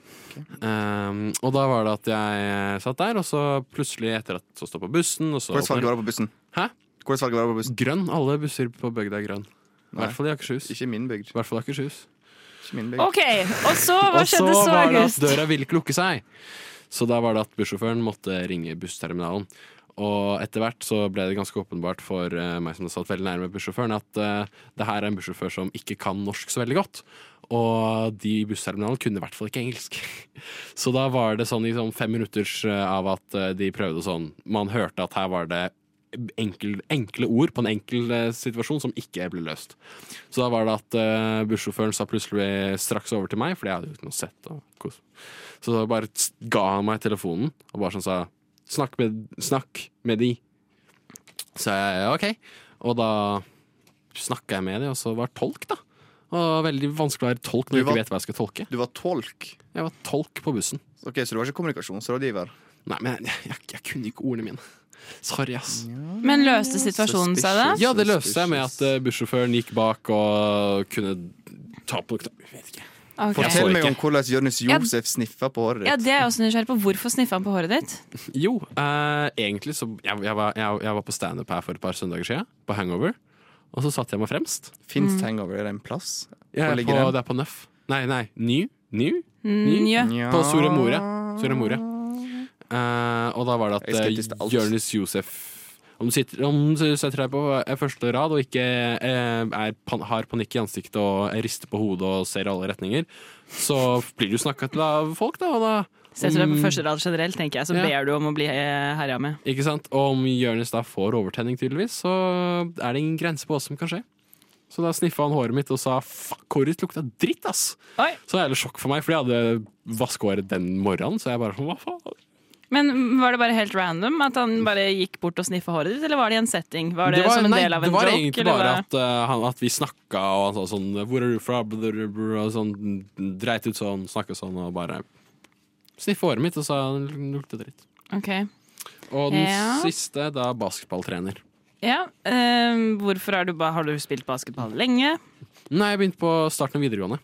Speaker 2: Um, og da var det at jeg eh, satt der, og så plutselig etter at så stod på bussen og så
Speaker 4: Hvordan farge var det på bussen?
Speaker 2: Hæ?
Speaker 4: Hvordan farge var det på bussen?
Speaker 2: Grønn. Alle busser på bygda er grønn. I
Speaker 4: Nei.
Speaker 2: hvert fall i Akershus.
Speaker 4: Ikke min bygd.
Speaker 2: I hvert fall i Akershus.
Speaker 4: Ikke min bygd.
Speaker 5: Ok, og så, hva
Speaker 2: Og så
Speaker 5: skjedde så,
Speaker 2: var det at
Speaker 5: August?
Speaker 2: døra ville ikke lukke seg. Så da var det at bussjåføren måtte ringe bussterminalen. Og etter hvert så ble det ganske åpenbart for eh, meg som satt veldig nærme bussjåføren, at eh, det her er en bussjåfør som ikke kan norsk så veldig godt. Og de i bussterminalen kunne i hvert fall ikke engelsk. (laughs) Så da var det sånn i sånn fem minutters eh, av at eh, de prøvde sånn Man hørte at her var det enkel, enkle ord på en enkel eh, situasjon som ikke ble løst. Så da var det at eh, bussjåføren sa plutselig straks over til meg, Fordi jeg hadde jo ikke noe sett. Og kos. Så da bare s- ga han meg telefonen og bare sånn sa snakk med, snakk med de. Så jeg ja, OK. Og da snakka jeg med de, og så var tolk, da. Og veldig vanskelig å være tolk
Speaker 4: Du
Speaker 2: når du ikke
Speaker 4: var-
Speaker 2: vet hva jeg skal tolke.
Speaker 4: Du var tolk.
Speaker 2: Jeg var tolk på bussen.
Speaker 4: Ok, Så du var ikke kommunikasjonsrådgiver?
Speaker 2: Nei, men jeg, jeg, jeg kunne ikke ordene mine. Sorry, ass.
Speaker 5: (laughs) Men løste situasjonen seg da?
Speaker 2: Ja, det løste seg med at eh, bussjåføren gikk bak og kunne ta på Jeg vet
Speaker 5: Ok.
Speaker 2: ikke. Jeg så
Speaker 4: Fortell meg
Speaker 2: ikke.
Speaker 4: om hvordan Jonis Josef sniffa på håret
Speaker 5: Ja,
Speaker 4: ditt.
Speaker 5: det er jeg også nysgjerrig på. Hvorfor sniffa han på håret ditt?
Speaker 2: Jo, eh, egentlig så jeg, jeg, var, jeg, jeg var på standup her for et par søndager siden, på Hangover. Og så satte jeg meg fremst.
Speaker 4: Fins hangover? Er det en plass?
Speaker 2: mm. Jeg
Speaker 4: Hvor
Speaker 2: er
Speaker 4: ligger
Speaker 2: på,
Speaker 4: den?
Speaker 2: det er på Nøff. Nei, nei, Ny. Ny? Mm.
Speaker 5: Njø.
Speaker 4: Ja.
Speaker 2: På Soria Moria. Soria Moria. Eh, og da var det
Speaker 4: Jeg er skeptisk
Speaker 2: at
Speaker 4: til
Speaker 2: uh,
Speaker 4: alt.
Speaker 2: Jonis Josef om du, sitter, om du setter deg på eh, første rad og ikke eh, er, pan, har panikk i ansiktet og rister på hodet og ser i alle retninger, så blir du snakka til av folk, da. Og da
Speaker 5: Setter deg på første rad generelt, tenker jeg, så
Speaker 2: Mm. Ja.
Speaker 5: ber du om å bli eh, herja med.
Speaker 2: ikke sant? Og om Jonis da får overtenning, tydeligvis, så er det ingen grense på hva som kan skje. Så da sniffa han håret mitt og sa 'fuck, håret ditt lukta dritt', ass.
Speaker 5: Oi.
Speaker 2: Så det er litt sjokk for meg, for jeg hadde vaskehåret den morgenen, så jeg bare sånn, hva faen?
Speaker 5: Men var det bare helt random at han bare gikk bort og sniffa håret ditt, eller var det i en setting? Var det,
Speaker 2: var-
Speaker 5: som en
Speaker 2: nei,
Speaker 5: del av en
Speaker 2: det var
Speaker 5: joke?
Speaker 2: egentlig
Speaker 5: eller
Speaker 2: bare
Speaker 5: hva?
Speaker 2: at, eh, han, at vi snakka, og han sa sånn 'Hvor er du fra?' Blah, blah, blah, og sånn, dreit ut sånn, snakka sånn, og bare sniffa håret mitt og sa den lukter dritt.
Speaker 5: Ok.
Speaker 2: Og den
Speaker 5: Ja.
Speaker 2: siste, da basketballtrener.
Speaker 5: Ja, ehm, hvorfor er du ba har du spilt basketball lenge?
Speaker 2: Nei, jeg begynte på starten av videregående.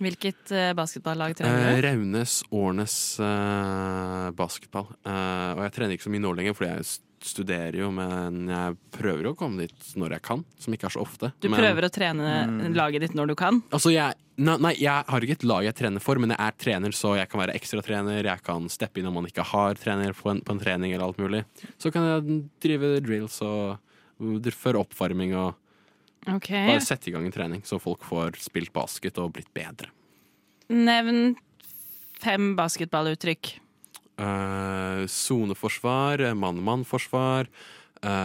Speaker 5: Hvilket eh, basketballag
Speaker 2: Eh,
Speaker 5: trener du?
Speaker 2: Raunes Årnes eh, basketball. Eh, og jeg trener ikke så mye nå lenger, fordi jeg s- studerer jo, men jeg prøver å komme dit når jeg kan, som ikke er så ofte.
Speaker 5: Du
Speaker 2: men, Mm.
Speaker 5: prøver å trene laget ditt når du kan?
Speaker 2: Altså, jeg, nei, nei, jeg har ikke et lag jeg trener for, men jeg er trener, så jeg kan være ekstratrener. Jeg kan steppe inn om man ikke har trener på en, på en trening eller alt mulig. Så kan jeg drive drills og dr- føre oppvarming og
Speaker 5: Ok.
Speaker 2: bare sette i gang en trening, så folk får spilt basket og blitt bedre.
Speaker 5: Nevn fem basketballuttrykk.
Speaker 2: Eh, Soneforsvar, eh, mann-mann-forsvar,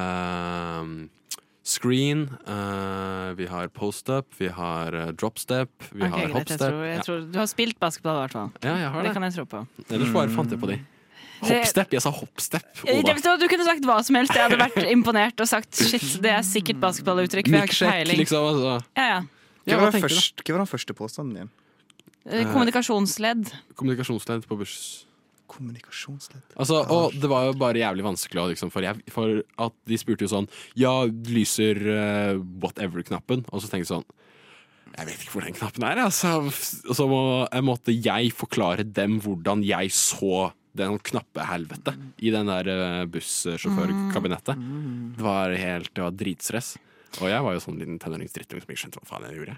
Speaker 2: eh, screen, eh, vi har post-up, vi har eh, drop-step, vi
Speaker 5: Ok,
Speaker 2: har
Speaker 5: greit, jeg
Speaker 2: hop-step.
Speaker 5: tror, jeg tror, du har spilt basketball, i hvert fall.
Speaker 2: Ja. ja, jeg har
Speaker 5: Det
Speaker 2: det.
Speaker 5: kan jeg tro på.
Speaker 2: Ellers bare fant jeg på de. Hoppstep? Jeg sa hoppstep,
Speaker 5: Eh,
Speaker 2: Oda.
Speaker 5: det- Du kunne sagt hva som helst. Jeg hadde vært
Speaker 2: (laughs)
Speaker 5: imponert og sagt shit, det er sikkert basketballuttrykk. for jeg har ikke
Speaker 2: Milkshake,
Speaker 5: peiling.
Speaker 2: liksom. Altså.
Speaker 5: Ja, ja.
Speaker 4: Hva
Speaker 2: Ja,
Speaker 4: var den
Speaker 2: hva tenker du da?
Speaker 4: første, hva var den første påstanden igjen?
Speaker 5: Eh, Kommunikasjonsledd.
Speaker 2: Kommunikasjonsledd på buss.
Speaker 4: Kommunikasjonsledd.
Speaker 2: Altså, og det var jo bare jævlig vanskelig å liksom, for, jeg, for at de spurte jo sånn Ja, lyser eh, whatever-knappen? Og så tenkte jeg sånn Jeg vet ikke hvor den knappen er, altså. Og så må, jeg måtte jeg forklare dem hvordan jeg så den knappehelvete i den der eh, bussjåførkabinettet. Det var helt det var dritstress. Og jeg var jo sånn liten tenåringsdrittung som ikke skjønte hva faen jeg gjorde.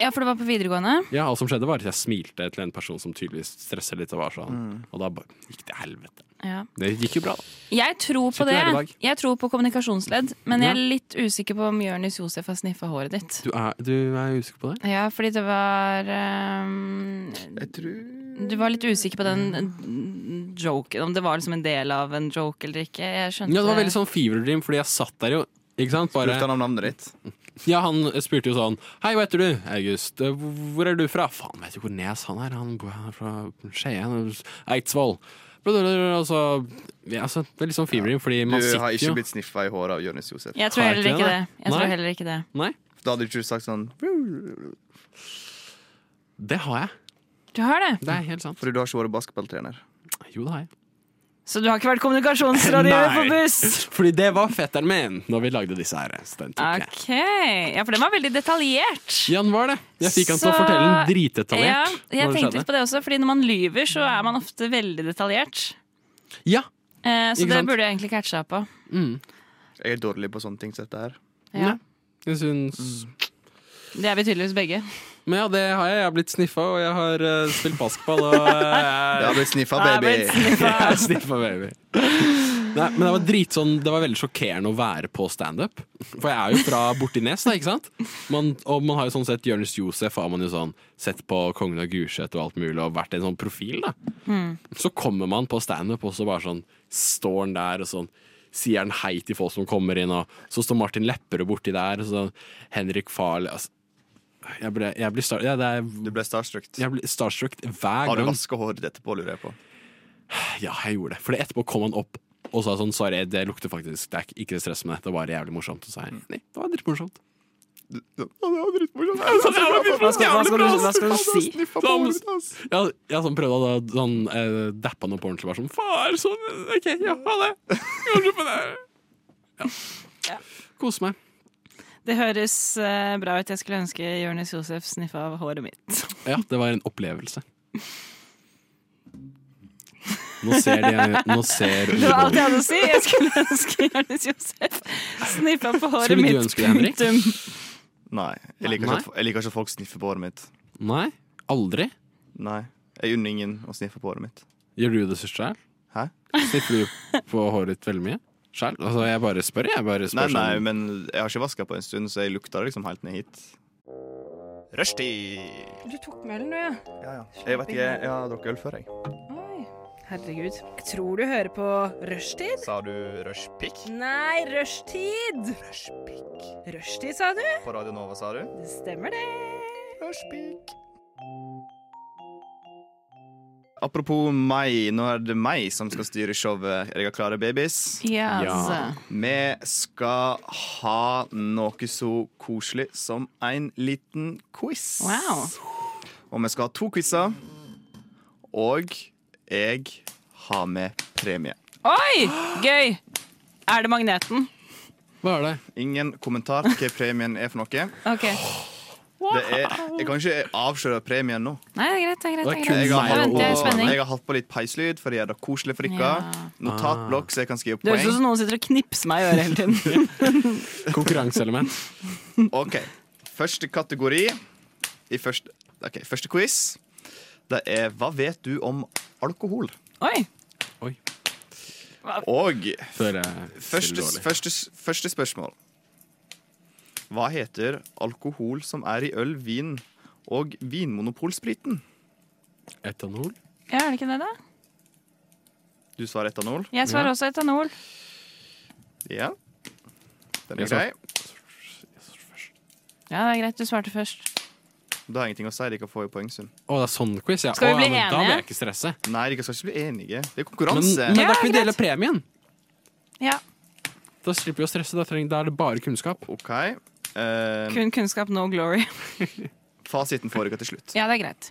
Speaker 5: Ja, for det var på videregående.
Speaker 2: Ja, Alt som skjedde, var at jeg smilte til en person som tydeligvis stresser litt. Og var sånn Og da bare gikk det helvete.
Speaker 5: Ja.
Speaker 2: Det gikk jo bra, da.
Speaker 5: Jeg tror på
Speaker 2: Sitter her i
Speaker 5: det.
Speaker 2: dag.
Speaker 5: Jeg tror på kommunikasjonsledd, men jeg er
Speaker 2: Ja.
Speaker 5: litt usikker på om Jonis Josef har sniffa håret ditt.
Speaker 2: Du er, du er usikker på det?
Speaker 5: Ja, fordi det var ehm,
Speaker 4: Jeg tror
Speaker 5: Du var litt usikker på den joken, om det var liksom en del av en joke eller ikke. Jeg skjønte
Speaker 2: Ja, det var veldig sånn fever dream, fordi jeg satt der jo. Ikke sant?
Speaker 4: Spurte
Speaker 2: Bare,
Speaker 4: han om navnet ditt?
Speaker 2: ja, han spurte jo sånn Hei, hva heter du? August. «Eh, Hvor er du fra? Faen, vet du hvor Nes han er? Han bor- han er fra Skien. Eidsvoll. Blablabla, Og så ja, altså, Det er litt sånn fever dream, fordi
Speaker 4: Du
Speaker 2: man
Speaker 4: har
Speaker 2: sitter
Speaker 4: ikke
Speaker 2: jo
Speaker 4: blitt sniffa i håret av Jonis Josef.
Speaker 5: Jeg tror
Speaker 2: sånn- Har jeg
Speaker 5: heller
Speaker 2: ikke
Speaker 5: ikke det.
Speaker 2: det?
Speaker 5: Jeg
Speaker 2: Nei.
Speaker 5: tror heller ikke det.
Speaker 2: Nei,
Speaker 4: Da hadde du ikke sagt sånn
Speaker 2: det har jeg.
Speaker 5: Du har det.
Speaker 2: Det er helt sant.
Speaker 4: Fordi du har ikke vært basketballtrener.
Speaker 2: Jo, det har jeg.
Speaker 5: Så du har ikke vært kommunikasjonsrådgiver på
Speaker 2: Nei. (laughs)
Speaker 5: buss?
Speaker 2: Fordi det var fetteren min når vi lagde disse her. Så den tok jeg.
Speaker 5: Ok, Ja, for den var veldig detaljert.
Speaker 2: Jan var det. Jeg fikk han til å
Speaker 5: Så-
Speaker 2: fortelle den
Speaker 5: Ja,
Speaker 2: dritdetaljert.
Speaker 5: jeg
Speaker 2: når det
Speaker 5: tenkte
Speaker 2: skjedde.
Speaker 5: litt på det også, fordi når man lyver, så er man ofte veldig detaljert.
Speaker 2: Ja.
Speaker 5: Eh, så
Speaker 2: Ikke
Speaker 5: det
Speaker 2: sant?
Speaker 5: burde jeg egentlig catcha på.
Speaker 2: Mm.
Speaker 4: Jeg er dårlig på sånne ting som dette her.
Speaker 5: Ja.
Speaker 2: Nei, Jeg syns
Speaker 5: Det er vi tydeligvis begge.
Speaker 2: Men ja, det har jeg. Jeg har blitt sniffa, og jeg har eh, spilt basketball. Og
Speaker 4: Jeg har
Speaker 2: Eh. jeg
Speaker 4: blitt sniffa,
Speaker 5: Ah,
Speaker 4: baby!
Speaker 5: blitt sniffa.
Speaker 2: er sniffa, baby. Nei, men det var dritsånn Det var veldig sjokkerende å være på standup. For jeg er jo fra borti Nes, da, ikke sant? Man, og man har jo sånn sett Jonis Josef har man jo sånn sett på Kongen av Gulset og alt mulig, og vært en sånn profil, da. Så kommer man på standup, og så bare sånn står han der og sånn sier han hei til folk som kommer inn, og så står Martin Lepperød borti der, og så sånn, Henrik Farley altså, Jeg ble, jeg ble star, ja, det er
Speaker 4: Du ble starstruck.
Speaker 2: jeg ble starstruck hver
Speaker 4: Har du
Speaker 2: gang.
Speaker 4: vaska håret etterpå, lurer jeg på.
Speaker 2: Ja, jeg gjorde det. For etterpå kom han opp og sa sånn sorry, det lukter faktisk Det er ikke- ikke stress med det, det var jævlig morsomt. Og så sa jeg nei, det
Speaker 5: (laughs)
Speaker 2: var dritmorsomt.
Speaker 4: Det var dritmorsomt. Jeg satt så glad for
Speaker 5: Hva skal, hva skal, du, hva skal du si?
Speaker 4: at jeg sniffa på håret mitt, ass.
Speaker 2: Jeg, jeg sånn prøvde å da- sånn, eh, dappe han opp ordentlig bare sånn far, sånn, OK, ja, ha det. Kanskje på det. Ja. Kose meg.
Speaker 5: Det høres eh, bra ut. Jeg skulle ønske Jonis Josef sniffa av håret mitt.
Speaker 2: Ja, det var en opplevelse. Nå ser de Nå ser
Speaker 5: (laughs) Det var alt jeg hadde å si. Jeg
Speaker 2: (laughs)
Speaker 5: skulle ønske Jonis Josef sniffa på håret
Speaker 2: Skulle du
Speaker 5: mitt.
Speaker 2: ønske det, Henrik?
Speaker 5: Punktum.
Speaker 4: Nei, jeg liker, ikke at, jeg liker ikke at folk sniffer på håret mitt.
Speaker 2: Nei, aldri.
Speaker 4: Nei, Jeg unner ingen å sniffe på håret mitt.
Speaker 2: Gjør du det sjøl?
Speaker 4: Hæ?
Speaker 2: Sniffer du på håret ditt veldig mye? Sjæl? Altså, jeg bare spør, jeg. Bare
Speaker 4: Nei,
Speaker 2: spør
Speaker 4: nei,
Speaker 2: sånn.
Speaker 4: men jeg har ikke vaska på en stund, så jeg lukter det liksom helt ned hit.
Speaker 1: Rushtid!
Speaker 7: Du tok mølen, du, ja.
Speaker 4: Jeg vet ikke, jeg har drukket øl før, jeg.
Speaker 7: Oi. Herregud. Jeg tror du hører på rushtid.
Speaker 1: Sa du rushpick?
Speaker 7: Nei, rushtid!
Speaker 1: Rushpick.
Speaker 7: Rushtid, sa du?
Speaker 1: På Radio Nova, sa du?
Speaker 7: Det stemmer, det.
Speaker 1: Rushpick.
Speaker 4: Apropos meg, nå er det meg som skal styre showet Jeg har klare babies.
Speaker 2: Ja.
Speaker 5: Yes.
Speaker 4: Vi skal ha noe så koselig som en liten quiz.
Speaker 5: Wow.
Speaker 4: Og vi skal ha to quizer. Og jeg har med premie.
Speaker 5: Oi! Gøy! Er det magneten?
Speaker 2: Hva er det?
Speaker 4: Ingen kommentar til hva premien er for noe.
Speaker 5: Ok.
Speaker 4: Det er, jeg kan ikke avsløre premien nå.
Speaker 5: Nei, det er greit. det er greit,
Speaker 2: Det
Speaker 5: det
Speaker 2: er
Speaker 5: er
Speaker 2: kun
Speaker 5: greit.
Speaker 4: Jeg har,
Speaker 5: Da
Speaker 2: meg
Speaker 4: hatt
Speaker 5: venter jeg i
Speaker 2: og-
Speaker 4: på,
Speaker 5: spenning.
Speaker 4: jeg har hatt på litt peislyd for å gjøre det koselig for dere.
Speaker 5: Ja.
Speaker 4: Notatblokk så jeg kan skrive
Speaker 5: Det høres ut
Speaker 4: poeng.
Speaker 5: som noen sitter og knipser meg i øret hele
Speaker 2: (laughs)
Speaker 5: tiden.
Speaker 2: Konkurranseelement.
Speaker 4: Ok, Første kategori i første, ok, første quiz det er Hva vet du om alkohol?
Speaker 5: Oi!
Speaker 2: Oi.
Speaker 4: Og
Speaker 2: Før jeg
Speaker 4: første,
Speaker 2: stiller dårlig.
Speaker 4: første, første spørsmål. Hva heter alkohol som er i øl, vin og vinmonopolspriten?
Speaker 2: Etanol?
Speaker 5: Ja, er det ikke det, da?
Speaker 4: Du svarer etanol.
Speaker 5: Jeg svarer
Speaker 2: Ja.
Speaker 5: også etanol.
Speaker 4: Ja. Den
Speaker 2: Jeg
Speaker 4: er grei.
Speaker 2: svarer-
Speaker 5: Ja, det er greit. Du svarte først.
Speaker 4: Det har ingenting å si. De kan få i poengsum.
Speaker 2: Å, det er sånn quiz, ja.
Speaker 5: Skal vi
Speaker 2: Å, ja,
Speaker 5: bli
Speaker 2: men Da
Speaker 5: enige?
Speaker 2: må jeg ikke stresse.
Speaker 4: Nei, de skal ikke bli enige. Det er
Speaker 2: Men,
Speaker 4: konkurranse.
Speaker 2: men da
Speaker 5: Ja,
Speaker 2: kan vi dele premien.
Speaker 5: Ja.
Speaker 2: Da slipper vi å stresse. Da, trenger, da er det bare kunnskap.
Speaker 4: OK. Eh,
Speaker 5: Kun kunnskap, no glory. (laughs)
Speaker 4: fasiten får dere til slutt.
Speaker 5: Ja, det er greit.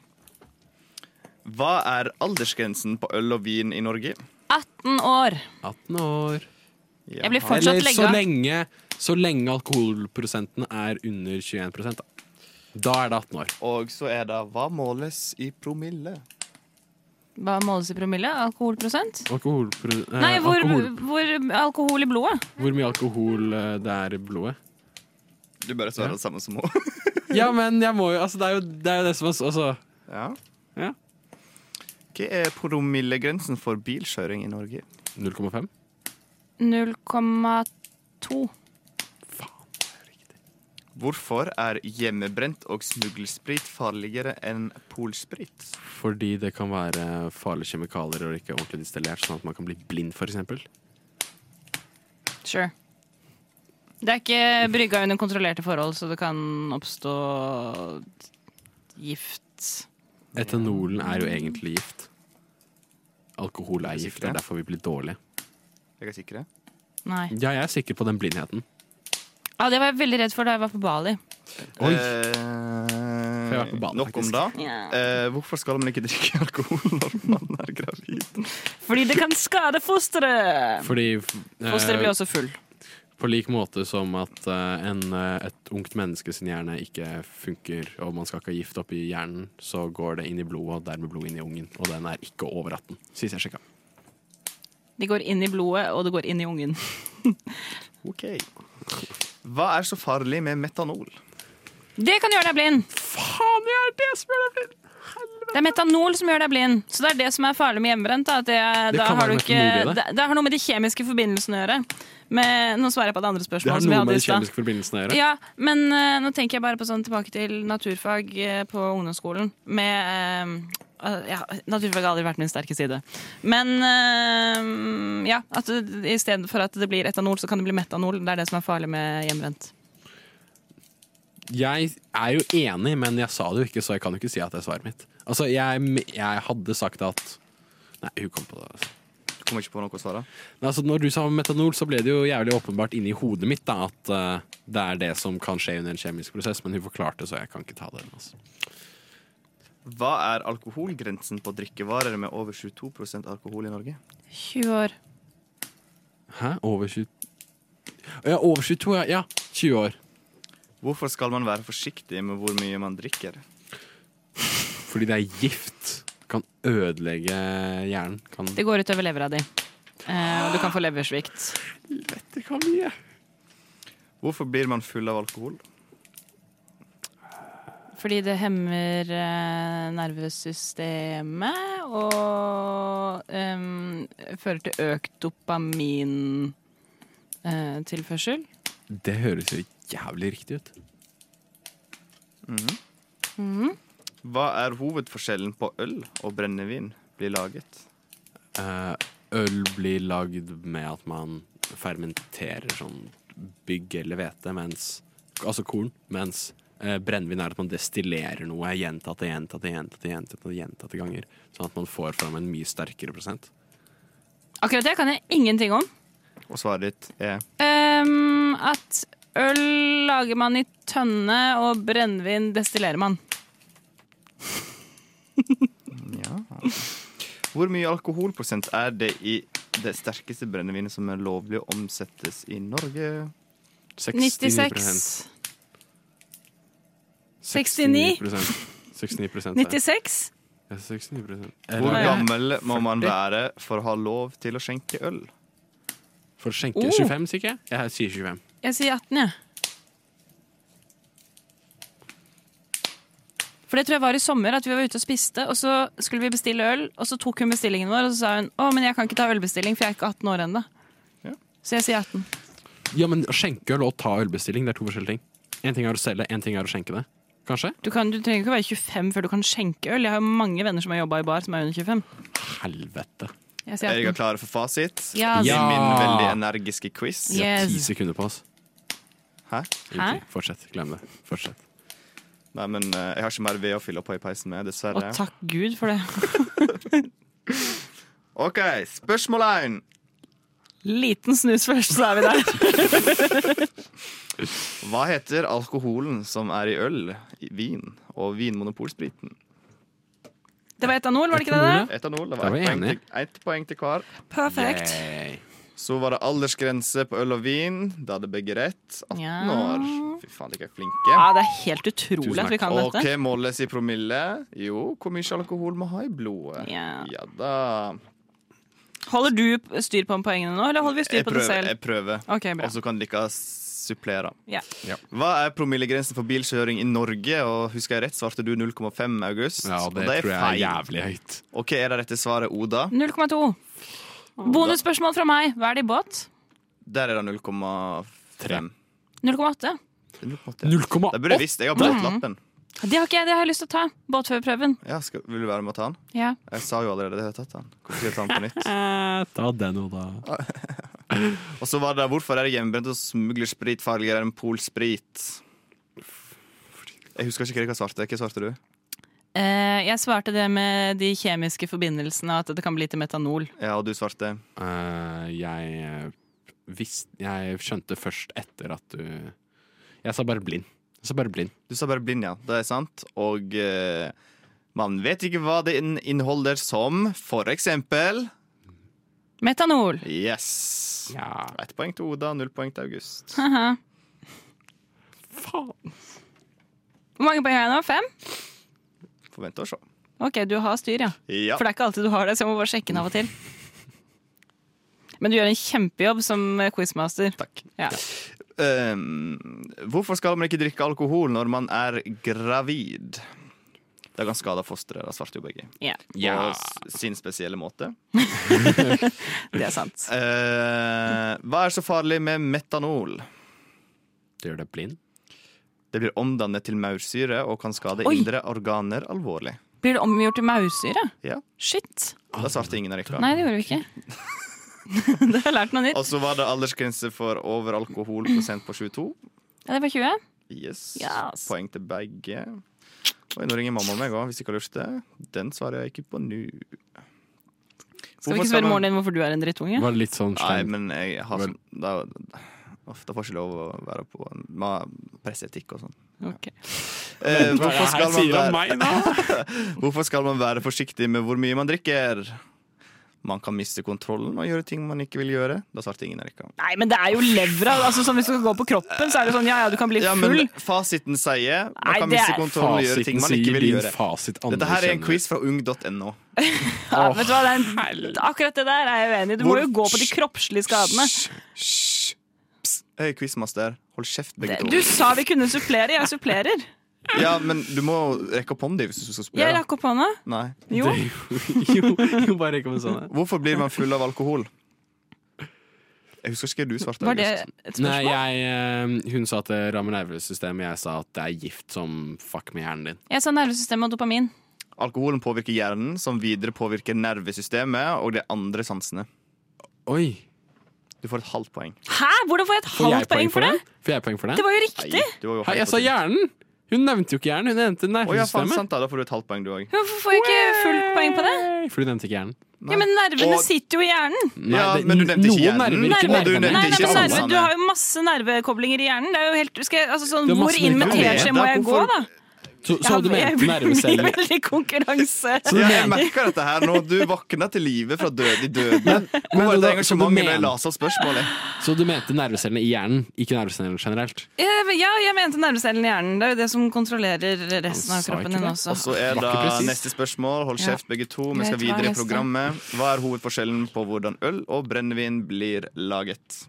Speaker 4: Hva er aldersgrensen på øl og vin i Norge?
Speaker 5: 18 år.
Speaker 2: 18 år.
Speaker 4: Ja.
Speaker 5: Jeg blir fortsatt
Speaker 2: Eller
Speaker 5: legga.
Speaker 2: så lenge, så lenge alkoholprosenten er under 21 da. Da er det 18 år.
Speaker 4: Og så er det Hva måles i promille?
Speaker 5: Hva måles i promille? Alkoholprosent?
Speaker 2: Alkoholpro eh,
Speaker 5: Nei, hvor,
Speaker 2: alkohol,
Speaker 5: hvor alkohol i blodet?
Speaker 2: hvor mye alkohol eh, det er i blodet?
Speaker 4: Du bare svarer
Speaker 2: Ja.
Speaker 4: det samme som
Speaker 2: (laughs)
Speaker 4: henne.
Speaker 2: Ja, men jeg må jo Altså, det er jo det, er jo det som er så- altså,
Speaker 4: ja.
Speaker 2: Ja.
Speaker 4: Hva er promillegrensen for bilkjøring i Norge?
Speaker 2: 0,5?
Speaker 5: 0,2.
Speaker 4: Hvorfor er hjemmebrent og smuglersprit farligere enn polsprit?
Speaker 2: Fordi det kan være farlige kjemikalier og ikke ordentlig distillert, sånn at man kan bli blind, f.eks.
Speaker 5: Sure. Det er ikke brygga under kontrollerte forhold, så det kan oppstå gift.
Speaker 2: Etanolen er jo egentlig gift. Alkohol er gift, det er derfor vi blir dårlige.
Speaker 4: Jeg er sikker.
Speaker 5: Nei.
Speaker 2: Ja, jeg er sikker på den blindheten.
Speaker 5: Ja, det var jeg veldig redd for da jeg var på Bali.
Speaker 2: Oi.
Speaker 4: Eh,
Speaker 2: Jeg har vært på banen,
Speaker 4: nok om
Speaker 2: faktisk.
Speaker 4: det. Eh, hvorfor skal man ikke drikke alkohol når man er gravid?
Speaker 5: Fordi det kan skade fosteret!
Speaker 2: Fordi eh,
Speaker 5: Fosteret blir også full.
Speaker 2: På lik måte som at eh, en, eh, et ungt menneske sin hjerne ikke funker, og man skal ikke ha gift oppi hjernen, så går det inn i blodet, og dermed blod inn i ungen. Og den er ikke over 18, sist jeg sjekka.
Speaker 5: De går inn i blodet, og det går inn i ungen.
Speaker 4: Ok. Hva er så farlig med metanol?
Speaker 5: Det kan gjøre deg blind!
Speaker 2: Faen, det er det som er det!
Speaker 5: Det er metanol som gjør deg blind. Så det er det som er farlig med hjemmebrent. Da, at det, er-
Speaker 2: Det
Speaker 5: da
Speaker 2: kan
Speaker 5: har
Speaker 2: være
Speaker 5: du ikke,
Speaker 2: metanol i det.
Speaker 5: det, det har noe med de kjemiske forbindelsene å gjøre. Men, nå svarer jeg på det andre
Speaker 2: Det
Speaker 5: spørsmålet.
Speaker 2: har
Speaker 5: som vi
Speaker 2: noe
Speaker 5: hadde
Speaker 2: med
Speaker 5: i
Speaker 2: de
Speaker 5: stad.
Speaker 2: kjemiske forbindelsene å gjøre.
Speaker 5: Ja, men eh, nå tenker jeg bare på sånn tilbake til naturfag eh, på ungdomsskolen. Med eh, eh, ja, Naturfag har aldri vært min sterke side. Men eh, ja, at det- i stedet for at det blir etanol, så kan det bli metanol. Det er det som er farlig med hjemmebrent.
Speaker 2: Jeg er jo enig, men jeg sa det jo ikke, så jeg kan jo ikke si at det er svaret mitt. Altså, jeg, jeg hadde sagt at Nei, hun kom på det. altså.
Speaker 4: Du kommer ikke på noe å svare.
Speaker 2: Nei, altså, når du sa metanol, så ble det jo jævlig åpenbart inni hodet mitt da, at eh, det er det som kan skje under en kjemisk prosess, men hun forklarte, så jeg kan ikke ta den. Altså.
Speaker 4: Hva er alkoholgrensen på drikkevarer med over 22 alkohol i Norge?
Speaker 5: 20 år.
Speaker 2: Hæ? Over 20 Ja, over 22, ja. ja. 20 år.
Speaker 4: Hvorfor skal man være forsiktig med hvor mye man drikker?
Speaker 2: Fordi det er gift. Kan ødelegge hjernen. Kan
Speaker 5: Det går utover levra di. Eh, og du kan få leversvikt.
Speaker 2: Dette kan mye.
Speaker 4: Hvorfor blir man full av alkohol?
Speaker 5: Fordi det hemmer eh, nervesystemet og em, fører til økt dopamintilførsel. tilførsel
Speaker 2: Det høres jo jævlig riktig ut.
Speaker 4: Hva er hovedforskjellen på øl og brennevin blir laget?
Speaker 2: Eh, øl blir lagd med at man fermenterer sånn bygg eller hvete, mens Altså korn. Mens eh, brennevin er at man destillerer noe gjentatte, gjentatte, gjentatte, gjentatte, gjentatte ganger. Sånn at man får fram en mye sterkere prosent.
Speaker 5: Akkurat det kan jeg ingenting om.
Speaker 4: Og svaret ditt er
Speaker 5: Em, at øl lager man i tønne, og brennevin destillerer man.
Speaker 4: Ja. (laughs) Hvor mye alkoholprosent er det i det sterkeste brennevinet som er lovlig å omsettes i Norge?
Speaker 5: 96.
Speaker 2: 69 69 prosent.
Speaker 5: 96?
Speaker 2: Ja, 69 prosent.
Speaker 4: Hvor
Speaker 5: Eller-
Speaker 4: gammel må man
Speaker 2: 40?
Speaker 4: være for å ha lov til å skjenke øl?
Speaker 2: For å skjenke
Speaker 5: Oh.
Speaker 2: 25, sier ikke jeg? Jeg sier 25.
Speaker 5: Jeg sier 18, jeg. For det tror jeg var i sommer, at vi var ute og spiste, og så skulle vi bestille øl, og så tok hun bestillingen vår, og så sa hun å, men jeg kan ikke ta ølbestilling, for jeg er ikke 18 år ennå.
Speaker 4: Ja.
Speaker 5: Så jeg sier 18.
Speaker 2: Ja, men skjenkeøl og ta ølbestilling, det er to forskjellige ting. En ting er å selge, en ting er å skjenke det. Kanskje?
Speaker 5: Du, kan, du trenger ikke å være 25 før du kan skjenke øl. Jeg har jo mange venner som har jobba i bar som er under 25.
Speaker 2: Helvete.
Speaker 5: Jeg
Speaker 4: Er
Speaker 5: sier
Speaker 4: dere
Speaker 5: 18.
Speaker 4: klare for fasit?
Speaker 5: Ja.
Speaker 4: I min
Speaker 2: Ja.
Speaker 4: veldig energiske quiz.
Speaker 2: Vi har ti
Speaker 5: Yes.
Speaker 2: sekunder på oss.
Speaker 4: Hæ?
Speaker 5: Hæ?
Speaker 2: Ingenting. Fortsett. Glem det. Fortsett.
Speaker 4: Nei, men eh, jeg har ikke mer ved å fylle på i peisen med,
Speaker 5: Og
Speaker 4: dessverre.
Speaker 5: takk Gud for det.
Speaker 4: OK, spørsmål én.
Speaker 5: Liten snus først, så er vi der.
Speaker 4: Hva heter alkoholen som er i øl, i vin og vinmonopolspriten?
Speaker 5: Det var etanol, var det ikke det? det?
Speaker 4: Etanol. Det
Speaker 2: Da
Speaker 4: var
Speaker 2: var
Speaker 4: ett
Speaker 2: jeg
Speaker 4: poeng,
Speaker 2: enig.
Speaker 4: til- ett poeng til hver.
Speaker 5: Perfekt.
Speaker 2: Yay.
Speaker 4: Så var det aldersgrense på øl og vin. Da hadde begge rett. 18
Speaker 5: Ja.
Speaker 4: år. Fy faen, dere er flinke.
Speaker 5: Ja, det er helt utrolig
Speaker 2: Tusen
Speaker 5: at vi kan
Speaker 4: Og
Speaker 5: dette.
Speaker 4: hva måles i promille? Jo, hvor mye alkohol må ha i blodet.
Speaker 5: Ja.
Speaker 4: ja da.
Speaker 5: Holder du styr på poengene nå, eller holder vi styr
Speaker 4: Jeg
Speaker 5: på det
Speaker 4: prøver,
Speaker 5: selv?
Speaker 4: jeg prøver.
Speaker 5: Ok, bra.
Speaker 4: og så kan dere supplere.
Speaker 5: Ja.
Speaker 4: Hva er promillegrensen for bilkjøring i Norge? Og husker jeg rett, svarte du 0,5 august?
Speaker 2: Ja,
Speaker 4: Og
Speaker 2: det,
Speaker 4: er
Speaker 2: tror jeg er
Speaker 4: feil.
Speaker 2: jævlig høyt.
Speaker 4: Og hva er det rette svaret, Oda?
Speaker 5: 0,2. Bonusspørsmål fra meg. Hva er det i båt?
Speaker 4: Der er det 0,5.
Speaker 5: 0,8.
Speaker 4: Det
Speaker 2: 0,8!
Speaker 4: burde jeg visst. Jeg har båtlappen.
Speaker 5: Det har ikke jeg, det har jeg lyst til å ta. Båtførerprøven.
Speaker 4: Ja, skal, vil du være med å ta den?
Speaker 5: Ja.
Speaker 4: Jeg sa jo allerede at jeg har tatt den. Hvorfor skal jeg ta den på nytt?
Speaker 5: (laughs)
Speaker 2: Ta den, Oda.
Speaker 4: Og så var det hvorfor er det hjemmebrent og smuglersprit farligere enn polsprit? Jeg husker ikke hva jeg svarte. Hva svarte du?
Speaker 5: Eh, jeg svarte det med de kjemiske forbindelsene, og at det kan bli til metanol.
Speaker 4: Ja, og du svarte
Speaker 2: Eh, jeg eh, visst, Jeg skjønte først etter at du Jeg sa bare blind. Jeg sa bare blind.
Speaker 4: Du sa bare blind, ja. Det er sant. Og eh, man vet ikke hva det inn- inneholder som for eksempel
Speaker 5: Metanol!
Speaker 4: Yes!
Speaker 2: Ja,
Speaker 4: Ett poeng til Oda, null poeng til August.
Speaker 5: Haha.
Speaker 2: faen.
Speaker 5: Hvor mange poeng har jeg nå? Fem?
Speaker 4: Får vente og se.
Speaker 5: Ok, du har styr, ja.
Speaker 4: Ja.
Speaker 5: For det er ikke alltid du har det, så jeg må bare sjekke den av og til. Men du gjør en kjempejobb som quizmaster.
Speaker 4: Takk.
Speaker 5: Ja.
Speaker 4: Ehm, hvorfor skal man ikke drikke alkohol når man er gravid? Det kan skade fosteret, da svarte jo begge.
Speaker 5: ja,
Speaker 2: Ja.
Speaker 4: På s- sin spesielle måte.
Speaker 5: det er sant.
Speaker 4: Eh, hva er så farlig med metanol?
Speaker 2: Du gjør det blind?
Speaker 4: Det blir omdannet til maursyre og kan skade
Speaker 5: Oi.
Speaker 4: indre organer alvorlig.
Speaker 5: Blir det omgjort til maursyre?
Speaker 4: Ja,
Speaker 5: Shit!
Speaker 4: Da svarte ingen av dere.
Speaker 5: Nei, det gjorde vi ikke. (laughs) det har jeg lært noe nytt.
Speaker 4: Og så var det aldersgrense for over alkoholprosent på 22.
Speaker 5: Ja, det var 20.
Speaker 4: Yes.
Speaker 5: Yes.
Speaker 4: Poeng til begge. Oi, nå ringer mamma meg òg, hvis ikke har lurt det. Den svarer jeg ikke på nå.
Speaker 5: Skal
Speaker 4: Hvorfor
Speaker 5: vi ikke
Speaker 4: skal
Speaker 5: spørre
Speaker 4: man-
Speaker 5: moren din hvorfor du er en drittunge?
Speaker 2: Var det litt sånn
Speaker 4: Nei,
Speaker 2: slem?
Speaker 4: men jeg har
Speaker 2: Vel.
Speaker 4: sånn Da, uff, da får jeg ikke lov å være på en- ma- presseetikk og sånn.
Speaker 5: Ok.
Speaker 4: Eh,
Speaker 2: Hva er
Speaker 4: hvorfor,
Speaker 2: det her
Speaker 4: skal
Speaker 2: sier han
Speaker 4: man være,
Speaker 2: meg
Speaker 4: (laughs)
Speaker 2: nå?
Speaker 4: hvorfor skal man være forsiktig med hvor mye man drikker? Man kan miste kontrollen og gjøre ting man ikke vil gjøre. Da svarte ingen Erika.
Speaker 5: Nei, men det er jo levra. Altså, sånn hvis du skal gå på kroppen, så er det sånn ja ja, du kan bli
Speaker 4: Ja,
Speaker 5: full.
Speaker 4: men fasiten sier man
Speaker 5: Nei,
Speaker 4: kan
Speaker 5: det
Speaker 4: miste
Speaker 5: er-
Speaker 4: kontrollen og gjøre ting
Speaker 2: Fasiten
Speaker 4: Sånn man ikke vil
Speaker 2: sier din
Speaker 4: gjøre.
Speaker 2: fasit. Andre
Speaker 4: Dette her er en
Speaker 2: kjenner.
Speaker 4: quiz fra ung.no.
Speaker 5: Ja, vet du hva, det er en, akkurat det der er jeg uenig i. Du må
Speaker 4: Hvor-
Speaker 5: jo gå på de kroppslige skadene.
Speaker 4: Hysj! Psst. Hei, quizmaster. Hold kjeft, begge
Speaker 5: Du
Speaker 4: to.
Speaker 5: sa vi kunne supplere, jeg supplerer.
Speaker 4: Ja, men du må rekke opp hånda hvis du skal
Speaker 5: Jeg
Speaker 4: spørre.
Speaker 5: rakk opp hånda.
Speaker 4: Nei.
Speaker 5: Jo.
Speaker 2: jo, (laughs) jo, bare ikke med sånne.
Speaker 4: Hvorfor blir man full av alkohol? Jeg husker ikke hva du svarte.
Speaker 5: Var det
Speaker 4: August.
Speaker 5: et
Speaker 2: Nei,
Speaker 5: spørsmål?
Speaker 2: jeg, eh, hun sa at det rammer nervesystemet. Jeg sa at det er gift som fuck med hjernen din.
Speaker 5: Jeg sa nervesystemet og dopamin.
Speaker 4: Alkoholen påvirker hjernen, som videre påvirker nervesystemet og de andre sansene.
Speaker 2: Oi,
Speaker 4: Du får et halvt poeng.
Speaker 5: Hæ? Hvordan får jeg et
Speaker 2: Får jeg
Speaker 5: halvt poeng for det?
Speaker 2: Får jeg poeng for
Speaker 5: Det
Speaker 2: det?
Speaker 5: var jo
Speaker 4: Nei,
Speaker 5: riktig!
Speaker 4: du var jo
Speaker 2: Hei, jeg
Speaker 4: helt
Speaker 2: sa
Speaker 4: på-
Speaker 2: hjernen! Hun nevnte jo ikke hjernen, hun nevnte
Speaker 4: Å ja, faen,
Speaker 2: nervesystemet.
Speaker 4: sant da. Da får du et halvt poeng, du
Speaker 2: (laughs)
Speaker 4: òg.
Speaker 5: Hvorfor får jeg ikke fullt poeng på det?
Speaker 2: For du nevnte ikke hjernen.
Speaker 5: Ja, Men nervene
Speaker 4: Og-
Speaker 5: sitter jo i hjernen.
Speaker 2: Nei,
Speaker 4: Ja,
Speaker 2: det-
Speaker 4: men du nevnte ikke
Speaker 2: noen
Speaker 4: hjernen.
Speaker 2: nerver,
Speaker 4: Nei,
Speaker 2: ikke
Speaker 4: men- du
Speaker 2: nervene.
Speaker 5: Nei,
Speaker 4: nevnte
Speaker 5: nei,
Speaker 4: ikke
Speaker 5: men sånn
Speaker 4: alle
Speaker 5: nerve,
Speaker 4: sammen.
Speaker 5: Du har jo masse nervekoblinger i hjernen. Det er jo helt, skal jeg, altså sånn,
Speaker 2: Det er
Speaker 5: Hvor
Speaker 2: masse
Speaker 5: inn med
Speaker 2: nervekoblinger.
Speaker 5: teskje må
Speaker 4: Da,
Speaker 5: jeg gå,
Speaker 4: hvorfor-
Speaker 5: da?
Speaker 2: Så, så du
Speaker 5: Jeg
Speaker 2: mente
Speaker 5: blir
Speaker 4: (laughs)
Speaker 5: (laughs)
Speaker 2: nerveceller?
Speaker 5: veldig konkurranse.
Speaker 2: (laughs) Så du
Speaker 4: Ja, jeg
Speaker 2: mener-
Speaker 4: merker dette her nå. Du våkna til live fra død i døden. Hvor
Speaker 2: men
Speaker 4: var
Speaker 2: Oda,
Speaker 4: det
Speaker 2: så du
Speaker 4: engasjementet da jeg
Speaker 2: mener-
Speaker 4: leste opp spørsmålet?
Speaker 2: Så du mente nervecellene i hjernen, ikke nervecellene generelt?
Speaker 5: Eh, Ja, jeg mente nervecellen i hjernen. Det er jo det som kontrollerer resten
Speaker 2: Han
Speaker 5: av
Speaker 2: sa
Speaker 5: kroppen din
Speaker 2: ikke det. Altså,
Speaker 5: også.
Speaker 4: Og så er
Speaker 2: Var
Speaker 4: da
Speaker 2: ikke presis.
Speaker 4: neste spørsmål. Hold
Speaker 5: Ja.
Speaker 4: kjeft, begge to. Vi
Speaker 5: Greit,
Speaker 4: skal
Speaker 5: hva er
Speaker 4: videre i
Speaker 5: neste?
Speaker 4: programmet. Hva er hovedforskjellen på hvordan øl og brennevin blir laget?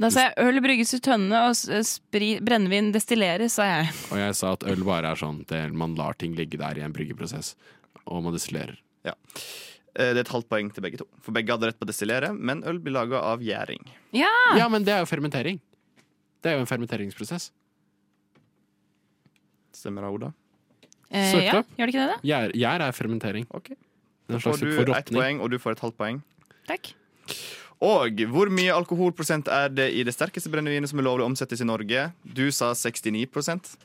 Speaker 5: Da sa jeg øl brygges i tønne og s- eh, spri, brennevin destilleres, sa jeg.
Speaker 2: Og jeg sa at øl bare er sånn det, man lar ting ligge der i en bryggeprosess, og man destillerer.
Speaker 4: Eh, Det er et halvt poeng til begge to. For begge hadde rett på å destillere, men øl blir laga av gjæring.
Speaker 2: Ja, men det er jo fermentering. Det er jo en fermenteringsprosess.
Speaker 4: Stemmer det, Oda?
Speaker 5: Eh,
Speaker 2: Søkt
Speaker 5: ja,
Speaker 2: opp.
Speaker 5: gjør det ikke det? det?
Speaker 2: Gjær, gjær er fermentering.
Speaker 4: Ok.
Speaker 2: Det er en slags
Speaker 4: Får
Speaker 2: form
Speaker 4: du
Speaker 2: for
Speaker 4: ett
Speaker 2: råtning.
Speaker 4: poeng, og du får et halvt poeng.
Speaker 5: Takk.
Speaker 4: Og hvor mye alkoholprosent er det i det sterkeste brennevinet som er lovlig omsettes i Norge? Du sa 69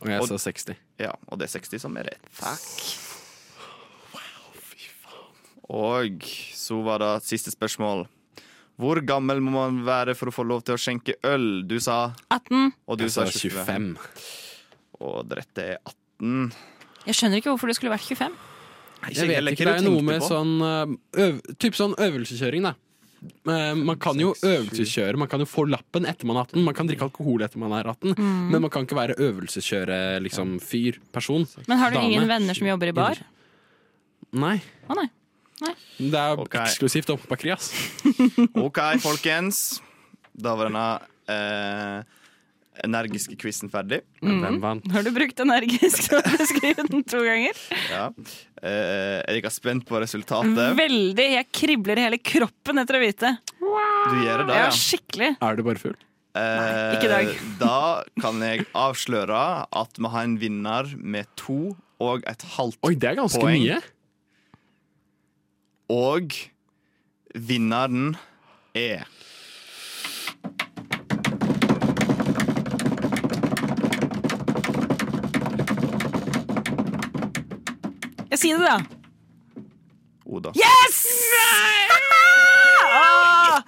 Speaker 2: Og jeg
Speaker 4: Og-
Speaker 2: sa 60.
Speaker 4: Ja, og det er 60 som er rett. Og så var det siste spørsmål. Hvor gammel må man være for å få lov til å skjenke øl? Du sa
Speaker 5: 18.
Speaker 4: Og du
Speaker 2: Jeg
Speaker 4: sa
Speaker 2: sa
Speaker 4: 25.
Speaker 2: 25.
Speaker 4: Og det rette er 18.
Speaker 5: Jeg skjønner ikke hvorfor det skulle vært 25.
Speaker 2: Jeg vet ikke, det er noe med sånn eh, øv, Typ sånn øvelseskjøring, da. Eh, Man kan jo øvelseskjøre, man kan jo få lappen etter man er 18. Man kan drikke alkohol etter man er 18,
Speaker 5: Mm.
Speaker 2: men man kan ikke være øvelseskjøre liksom, fyr, person.
Speaker 5: Men har du
Speaker 2: Dame.
Speaker 5: ingen venner som jobber i bar?
Speaker 2: Nei.
Speaker 5: Å nei.
Speaker 2: Det er
Speaker 4: Ok.
Speaker 2: eksklusivt oppe på Krias.
Speaker 4: OK, folkens. Da var denne eh, energiske quizen ferdig.
Speaker 5: Mm.
Speaker 2: Hvem vant?
Speaker 5: Har du brukt energisk til å beskrive den to ganger?
Speaker 4: Ja. Eh, jeg er ikke spent på resultatet.
Speaker 5: Veldig. Jeg kribler i hele kroppen etter å vite.
Speaker 4: Du gjør det, da,
Speaker 5: Ja,
Speaker 4: ja.
Speaker 5: skikkelig.
Speaker 2: Er du bare full?
Speaker 4: Eh,
Speaker 5: ikke i dag.
Speaker 4: (laughs) da kan jeg avsløre at vi har en vinner med to og et halvt
Speaker 2: Oi, det er ganske
Speaker 4: Poeng.
Speaker 2: mye.
Speaker 4: Og vinneren er
Speaker 5: Jeg sier det, da.
Speaker 4: Oda.
Speaker 5: Yes! Ah!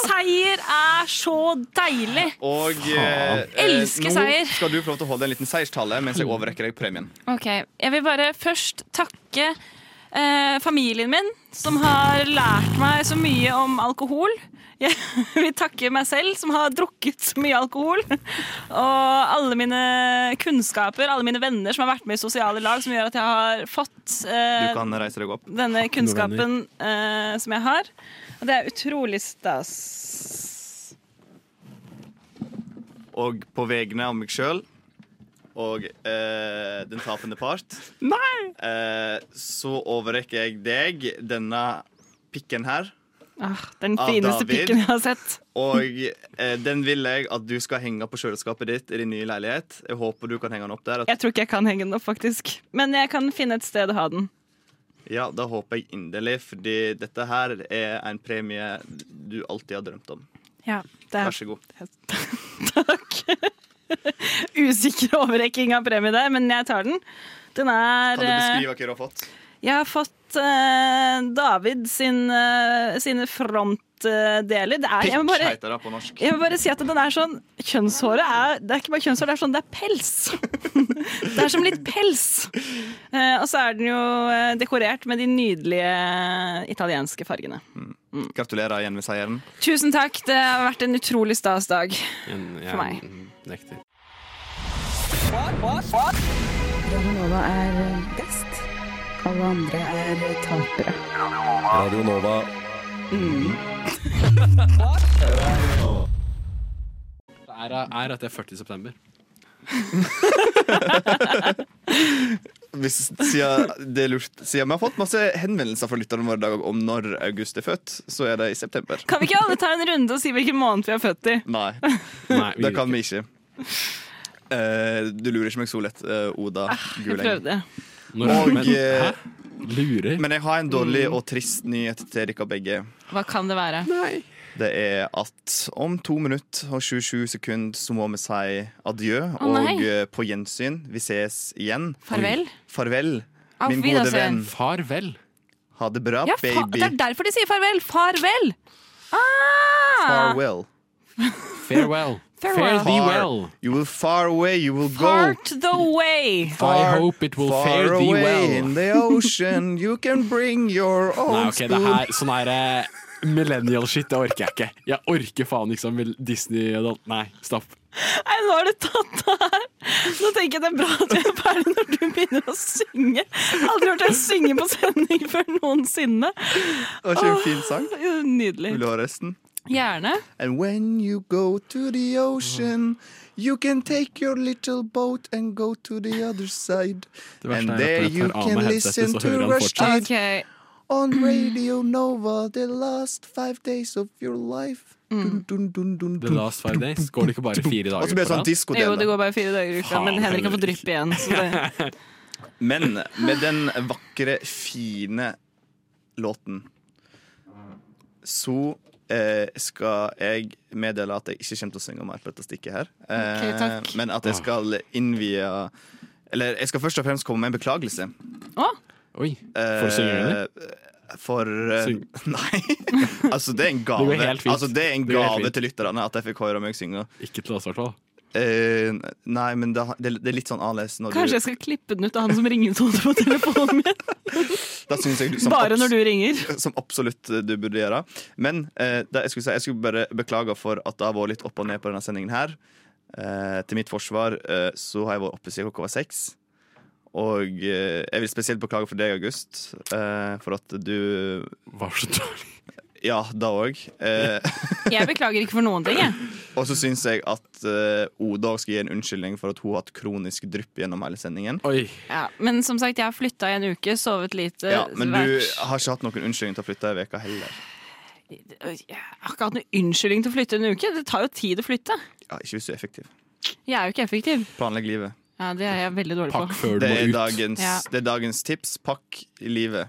Speaker 5: Seier er så deilig.
Speaker 4: Og eh, eh,
Speaker 5: Elsker seier.
Speaker 4: Nå skal du få lov til å holde en liten seierstale mens jeg overrekker deg premien.
Speaker 5: Ok, Jeg vil bare først takke eh, familien min, som har lært meg så mye om alkohol. Jeg (laughs) vil takke meg selv, som har drukket så mye alkohol. Og alle mine kunnskaper, alle mine venner som har vært med i sosiale lag, som gjør at jeg har fått
Speaker 4: Du
Speaker 5: eh,
Speaker 4: kan reise deg opp.
Speaker 5: denne kunnskapen eh, som jeg har. Og det er utrolig stas.
Speaker 4: Og på vegne av meg sjøl og eh, den tapende part,
Speaker 5: Nei!
Speaker 4: eh, så overrekker jeg deg denne pikken her.
Speaker 5: Ah, den
Speaker 4: Av
Speaker 5: fineste
Speaker 4: David.
Speaker 5: pikken jeg har sett.
Speaker 4: Og eh, den vil jeg at du skal henge på kjøleskapet ditt i din nye leilighet. Jeg håper du kan henge den opp der.
Speaker 5: Jeg tror ikke jeg kan henge den opp, faktisk. Men jeg kan finne et sted å ha den.
Speaker 4: Ja, Da håper jeg inderlig, fordi dette her er en premie du alltid har drømt om.
Speaker 5: Ja, det
Speaker 4: Vær
Speaker 5: er
Speaker 4: så god.
Speaker 5: Takk. (laughs) Usikker overrekking av premie der, men jeg tar den. Den er
Speaker 4: Kan du
Speaker 5: eh,
Speaker 4: beskrive hva du har fått?
Speaker 5: Jeg har fått eh, David sin, eh, sine frontdeler. Det er jeg
Speaker 4: Pikk
Speaker 5: må bare,
Speaker 4: heter det på norsk.
Speaker 5: jeg må bare si at den er sånn Kjønnshåret er Det er ikke bare kjønnshår, det er sånn det er pels. (laughs) det er som litt pels. Eh, og så er den jo eh, dekorert med de nydelige eh, italienske fargene.
Speaker 4: Gratulerer igjen med seieren.
Speaker 5: Tusen takk, det har vært en utrolig stas dag.
Speaker 2: En- jeg
Speaker 5: For meg.
Speaker 2: nekter.
Speaker 6: Radionova er eh, best. Alle andre er eh, tapere.
Speaker 9: Radio Nova.
Speaker 2: Det er, er at det er 40. september.
Speaker 4: Hvis, siden, det er lurt, siden vi har fått masse henvendelser fra lytterne våre i dag om når august er født, så er det i september.
Speaker 5: Kan vi ikke alle ta en runde og si hvilken måned vi er født i?
Speaker 4: Nei,
Speaker 2: Nei,
Speaker 4: det kan vi ikke. Eh, du lurer ikke meg så lett, eh, Oda
Speaker 5: Ah, Jeg
Speaker 4: Guleng.
Speaker 5: prøvde.
Speaker 2: Når er det?
Speaker 4: Og,
Speaker 2: Men,
Speaker 4: eh,
Speaker 2: hæ? Lurer?
Speaker 4: Men jeg har en dårlig
Speaker 5: Mm.
Speaker 4: og trist nyhet til dere begge.
Speaker 5: Hva kan det være?
Speaker 4: Det er at om to minutter og 27 sekunder så må vi si adjø.
Speaker 5: Å, nei.
Speaker 4: og eh, på gjensyn. Vi ses igjen.
Speaker 5: Farvel?
Speaker 4: Farvel,
Speaker 5: Auf
Speaker 4: min gode venn.
Speaker 5: Wiedersehen.
Speaker 2: Farvel.
Speaker 4: Ha det bra,
Speaker 5: Ja, fa
Speaker 4: baby.
Speaker 5: det er derfor de sier farvel! Farvel! Ah!
Speaker 4: Farewell.
Speaker 2: Farewell.
Speaker 5: Farewell.
Speaker 2: Fare thee well.
Speaker 4: You will far away, you will go.
Speaker 5: Part the way!
Speaker 4: Far,
Speaker 2: I hope it will
Speaker 4: far
Speaker 2: fare thee
Speaker 4: away
Speaker 2: well.
Speaker 4: in the ocean, you can bring your
Speaker 2: (laughs) Nei,
Speaker 4: own
Speaker 2: ok, det her, sånn her eh, millennial-shit, det orker jeg ikke. Jeg orker faen ikke sånn mil- Disney adult. Nei, stopp.
Speaker 5: Nei, nå har du tatt det her! Nå tenker jeg det er bra at vi er ferdig når du begynner å synge. Aldri hørt deg synge på sending før noensinne.
Speaker 4: spoon. Det var ikke en fin sang.
Speaker 5: Nydelig.
Speaker 4: Vil du ha resten?
Speaker 5: Gjerne.
Speaker 4: And when you go to the ocean,
Speaker 2: Mm-hmm.
Speaker 4: you can take your little boat and go to the other side.
Speaker 2: verste er at
Speaker 4: And
Speaker 2: når
Speaker 4: there
Speaker 2: jeg tar
Speaker 4: you
Speaker 2: av
Speaker 4: can
Speaker 2: meg
Speaker 4: listen
Speaker 2: headsetet, så hører
Speaker 4: to
Speaker 2: han
Speaker 4: Rushdie
Speaker 2: fortsatt.
Speaker 5: Ok.
Speaker 4: on Radio Nova the last five days of your life. Dun, dun, dun, dun,
Speaker 2: The
Speaker 4: dun.
Speaker 2: last five days. Går det ikke bare
Speaker 4: Og
Speaker 2: fire
Speaker 4: så
Speaker 2: dager
Speaker 4: blir det sånn
Speaker 2: rad?
Speaker 5: Jo, det
Speaker 4: diskodel.
Speaker 5: går bare fire dager i uka, men
Speaker 2: Faen,
Speaker 5: Henrik har fått
Speaker 2: Henrik.
Speaker 5: drypp igjen. Så
Speaker 4: (laughs)
Speaker 5: det.
Speaker 4: Men med den vakre, fine låten så eh, skal jeg meddele at jeg ikke kommer til å synge mer på dette stikket her. Eh,
Speaker 5: Ok, takk.
Speaker 4: men
Speaker 2: Ah.
Speaker 4: at jeg skal innvie Eller jeg skal først og fremst komme med en beklagelse.
Speaker 5: Å,
Speaker 2: Oi. Får du synge, eller?
Speaker 4: Eh, For eh,
Speaker 2: Syng.
Speaker 4: (laughs) Nei. altså,
Speaker 2: (laughs)
Speaker 4: det er en
Speaker 2: går
Speaker 4: gave.
Speaker 2: helt fint.
Speaker 4: Altså, det er en
Speaker 2: Det går helt
Speaker 4: gave
Speaker 2: fint.
Speaker 4: til lytterne at jeg fikk høre meg synge.
Speaker 2: Ikke til oss, i hvert fall.
Speaker 4: Eh, nei, men det, det, er litt sånn annerledes når
Speaker 5: kanskje
Speaker 4: du
Speaker 5: jeg skal klippe den ut av han som ringetone på telefonen min.
Speaker 4: Da synes jeg du (laughs) som
Speaker 5: Bare
Speaker 4: abs-
Speaker 5: når du ringer.
Speaker 4: Som absolutt eh, du burde gjøre. Men eh, det jeg, skulle si, jeg skulle bare beklage for at det har vært litt opp og ned på denne sendingen her. Eh, til mitt forsvar eh, så har jeg vært oppe siden klokka var seks. Og eh, jeg vil spesielt beklage for deg, August, eh, for at du
Speaker 2: Var så dårlig.
Speaker 4: Ja, da òg. Eh,
Speaker 5: Jeg beklager ikke for noen ting, jeg.
Speaker 4: og så syns jeg at eh, Oda skal gi en unnskyldning for at hun har hatt kronisk drypp gjennom hele sendingen.
Speaker 2: Oi.
Speaker 5: Ja, men som sagt, jeg har flytta i en uke, sovet lite.
Speaker 4: Ja, men du
Speaker 5: vært-
Speaker 4: har ikke hatt noen unnskyldning til å flytte ei uke heller.
Speaker 5: Jeg har ikke hatt noen unnskyldning til å flytte i en uke. Det tar jo tid å flytte.
Speaker 4: Ja, ikke hvis du er effektiv.
Speaker 5: Jeg er jo ikke effektiv.
Speaker 4: Planlegg livet.
Speaker 5: Ja, Det er jeg veldig dårlig
Speaker 2: Pakk
Speaker 5: på.
Speaker 2: før du
Speaker 4: Det er,
Speaker 2: må ut.
Speaker 4: dagens,
Speaker 5: Ja.
Speaker 4: det er dagens tips. Pakk livet.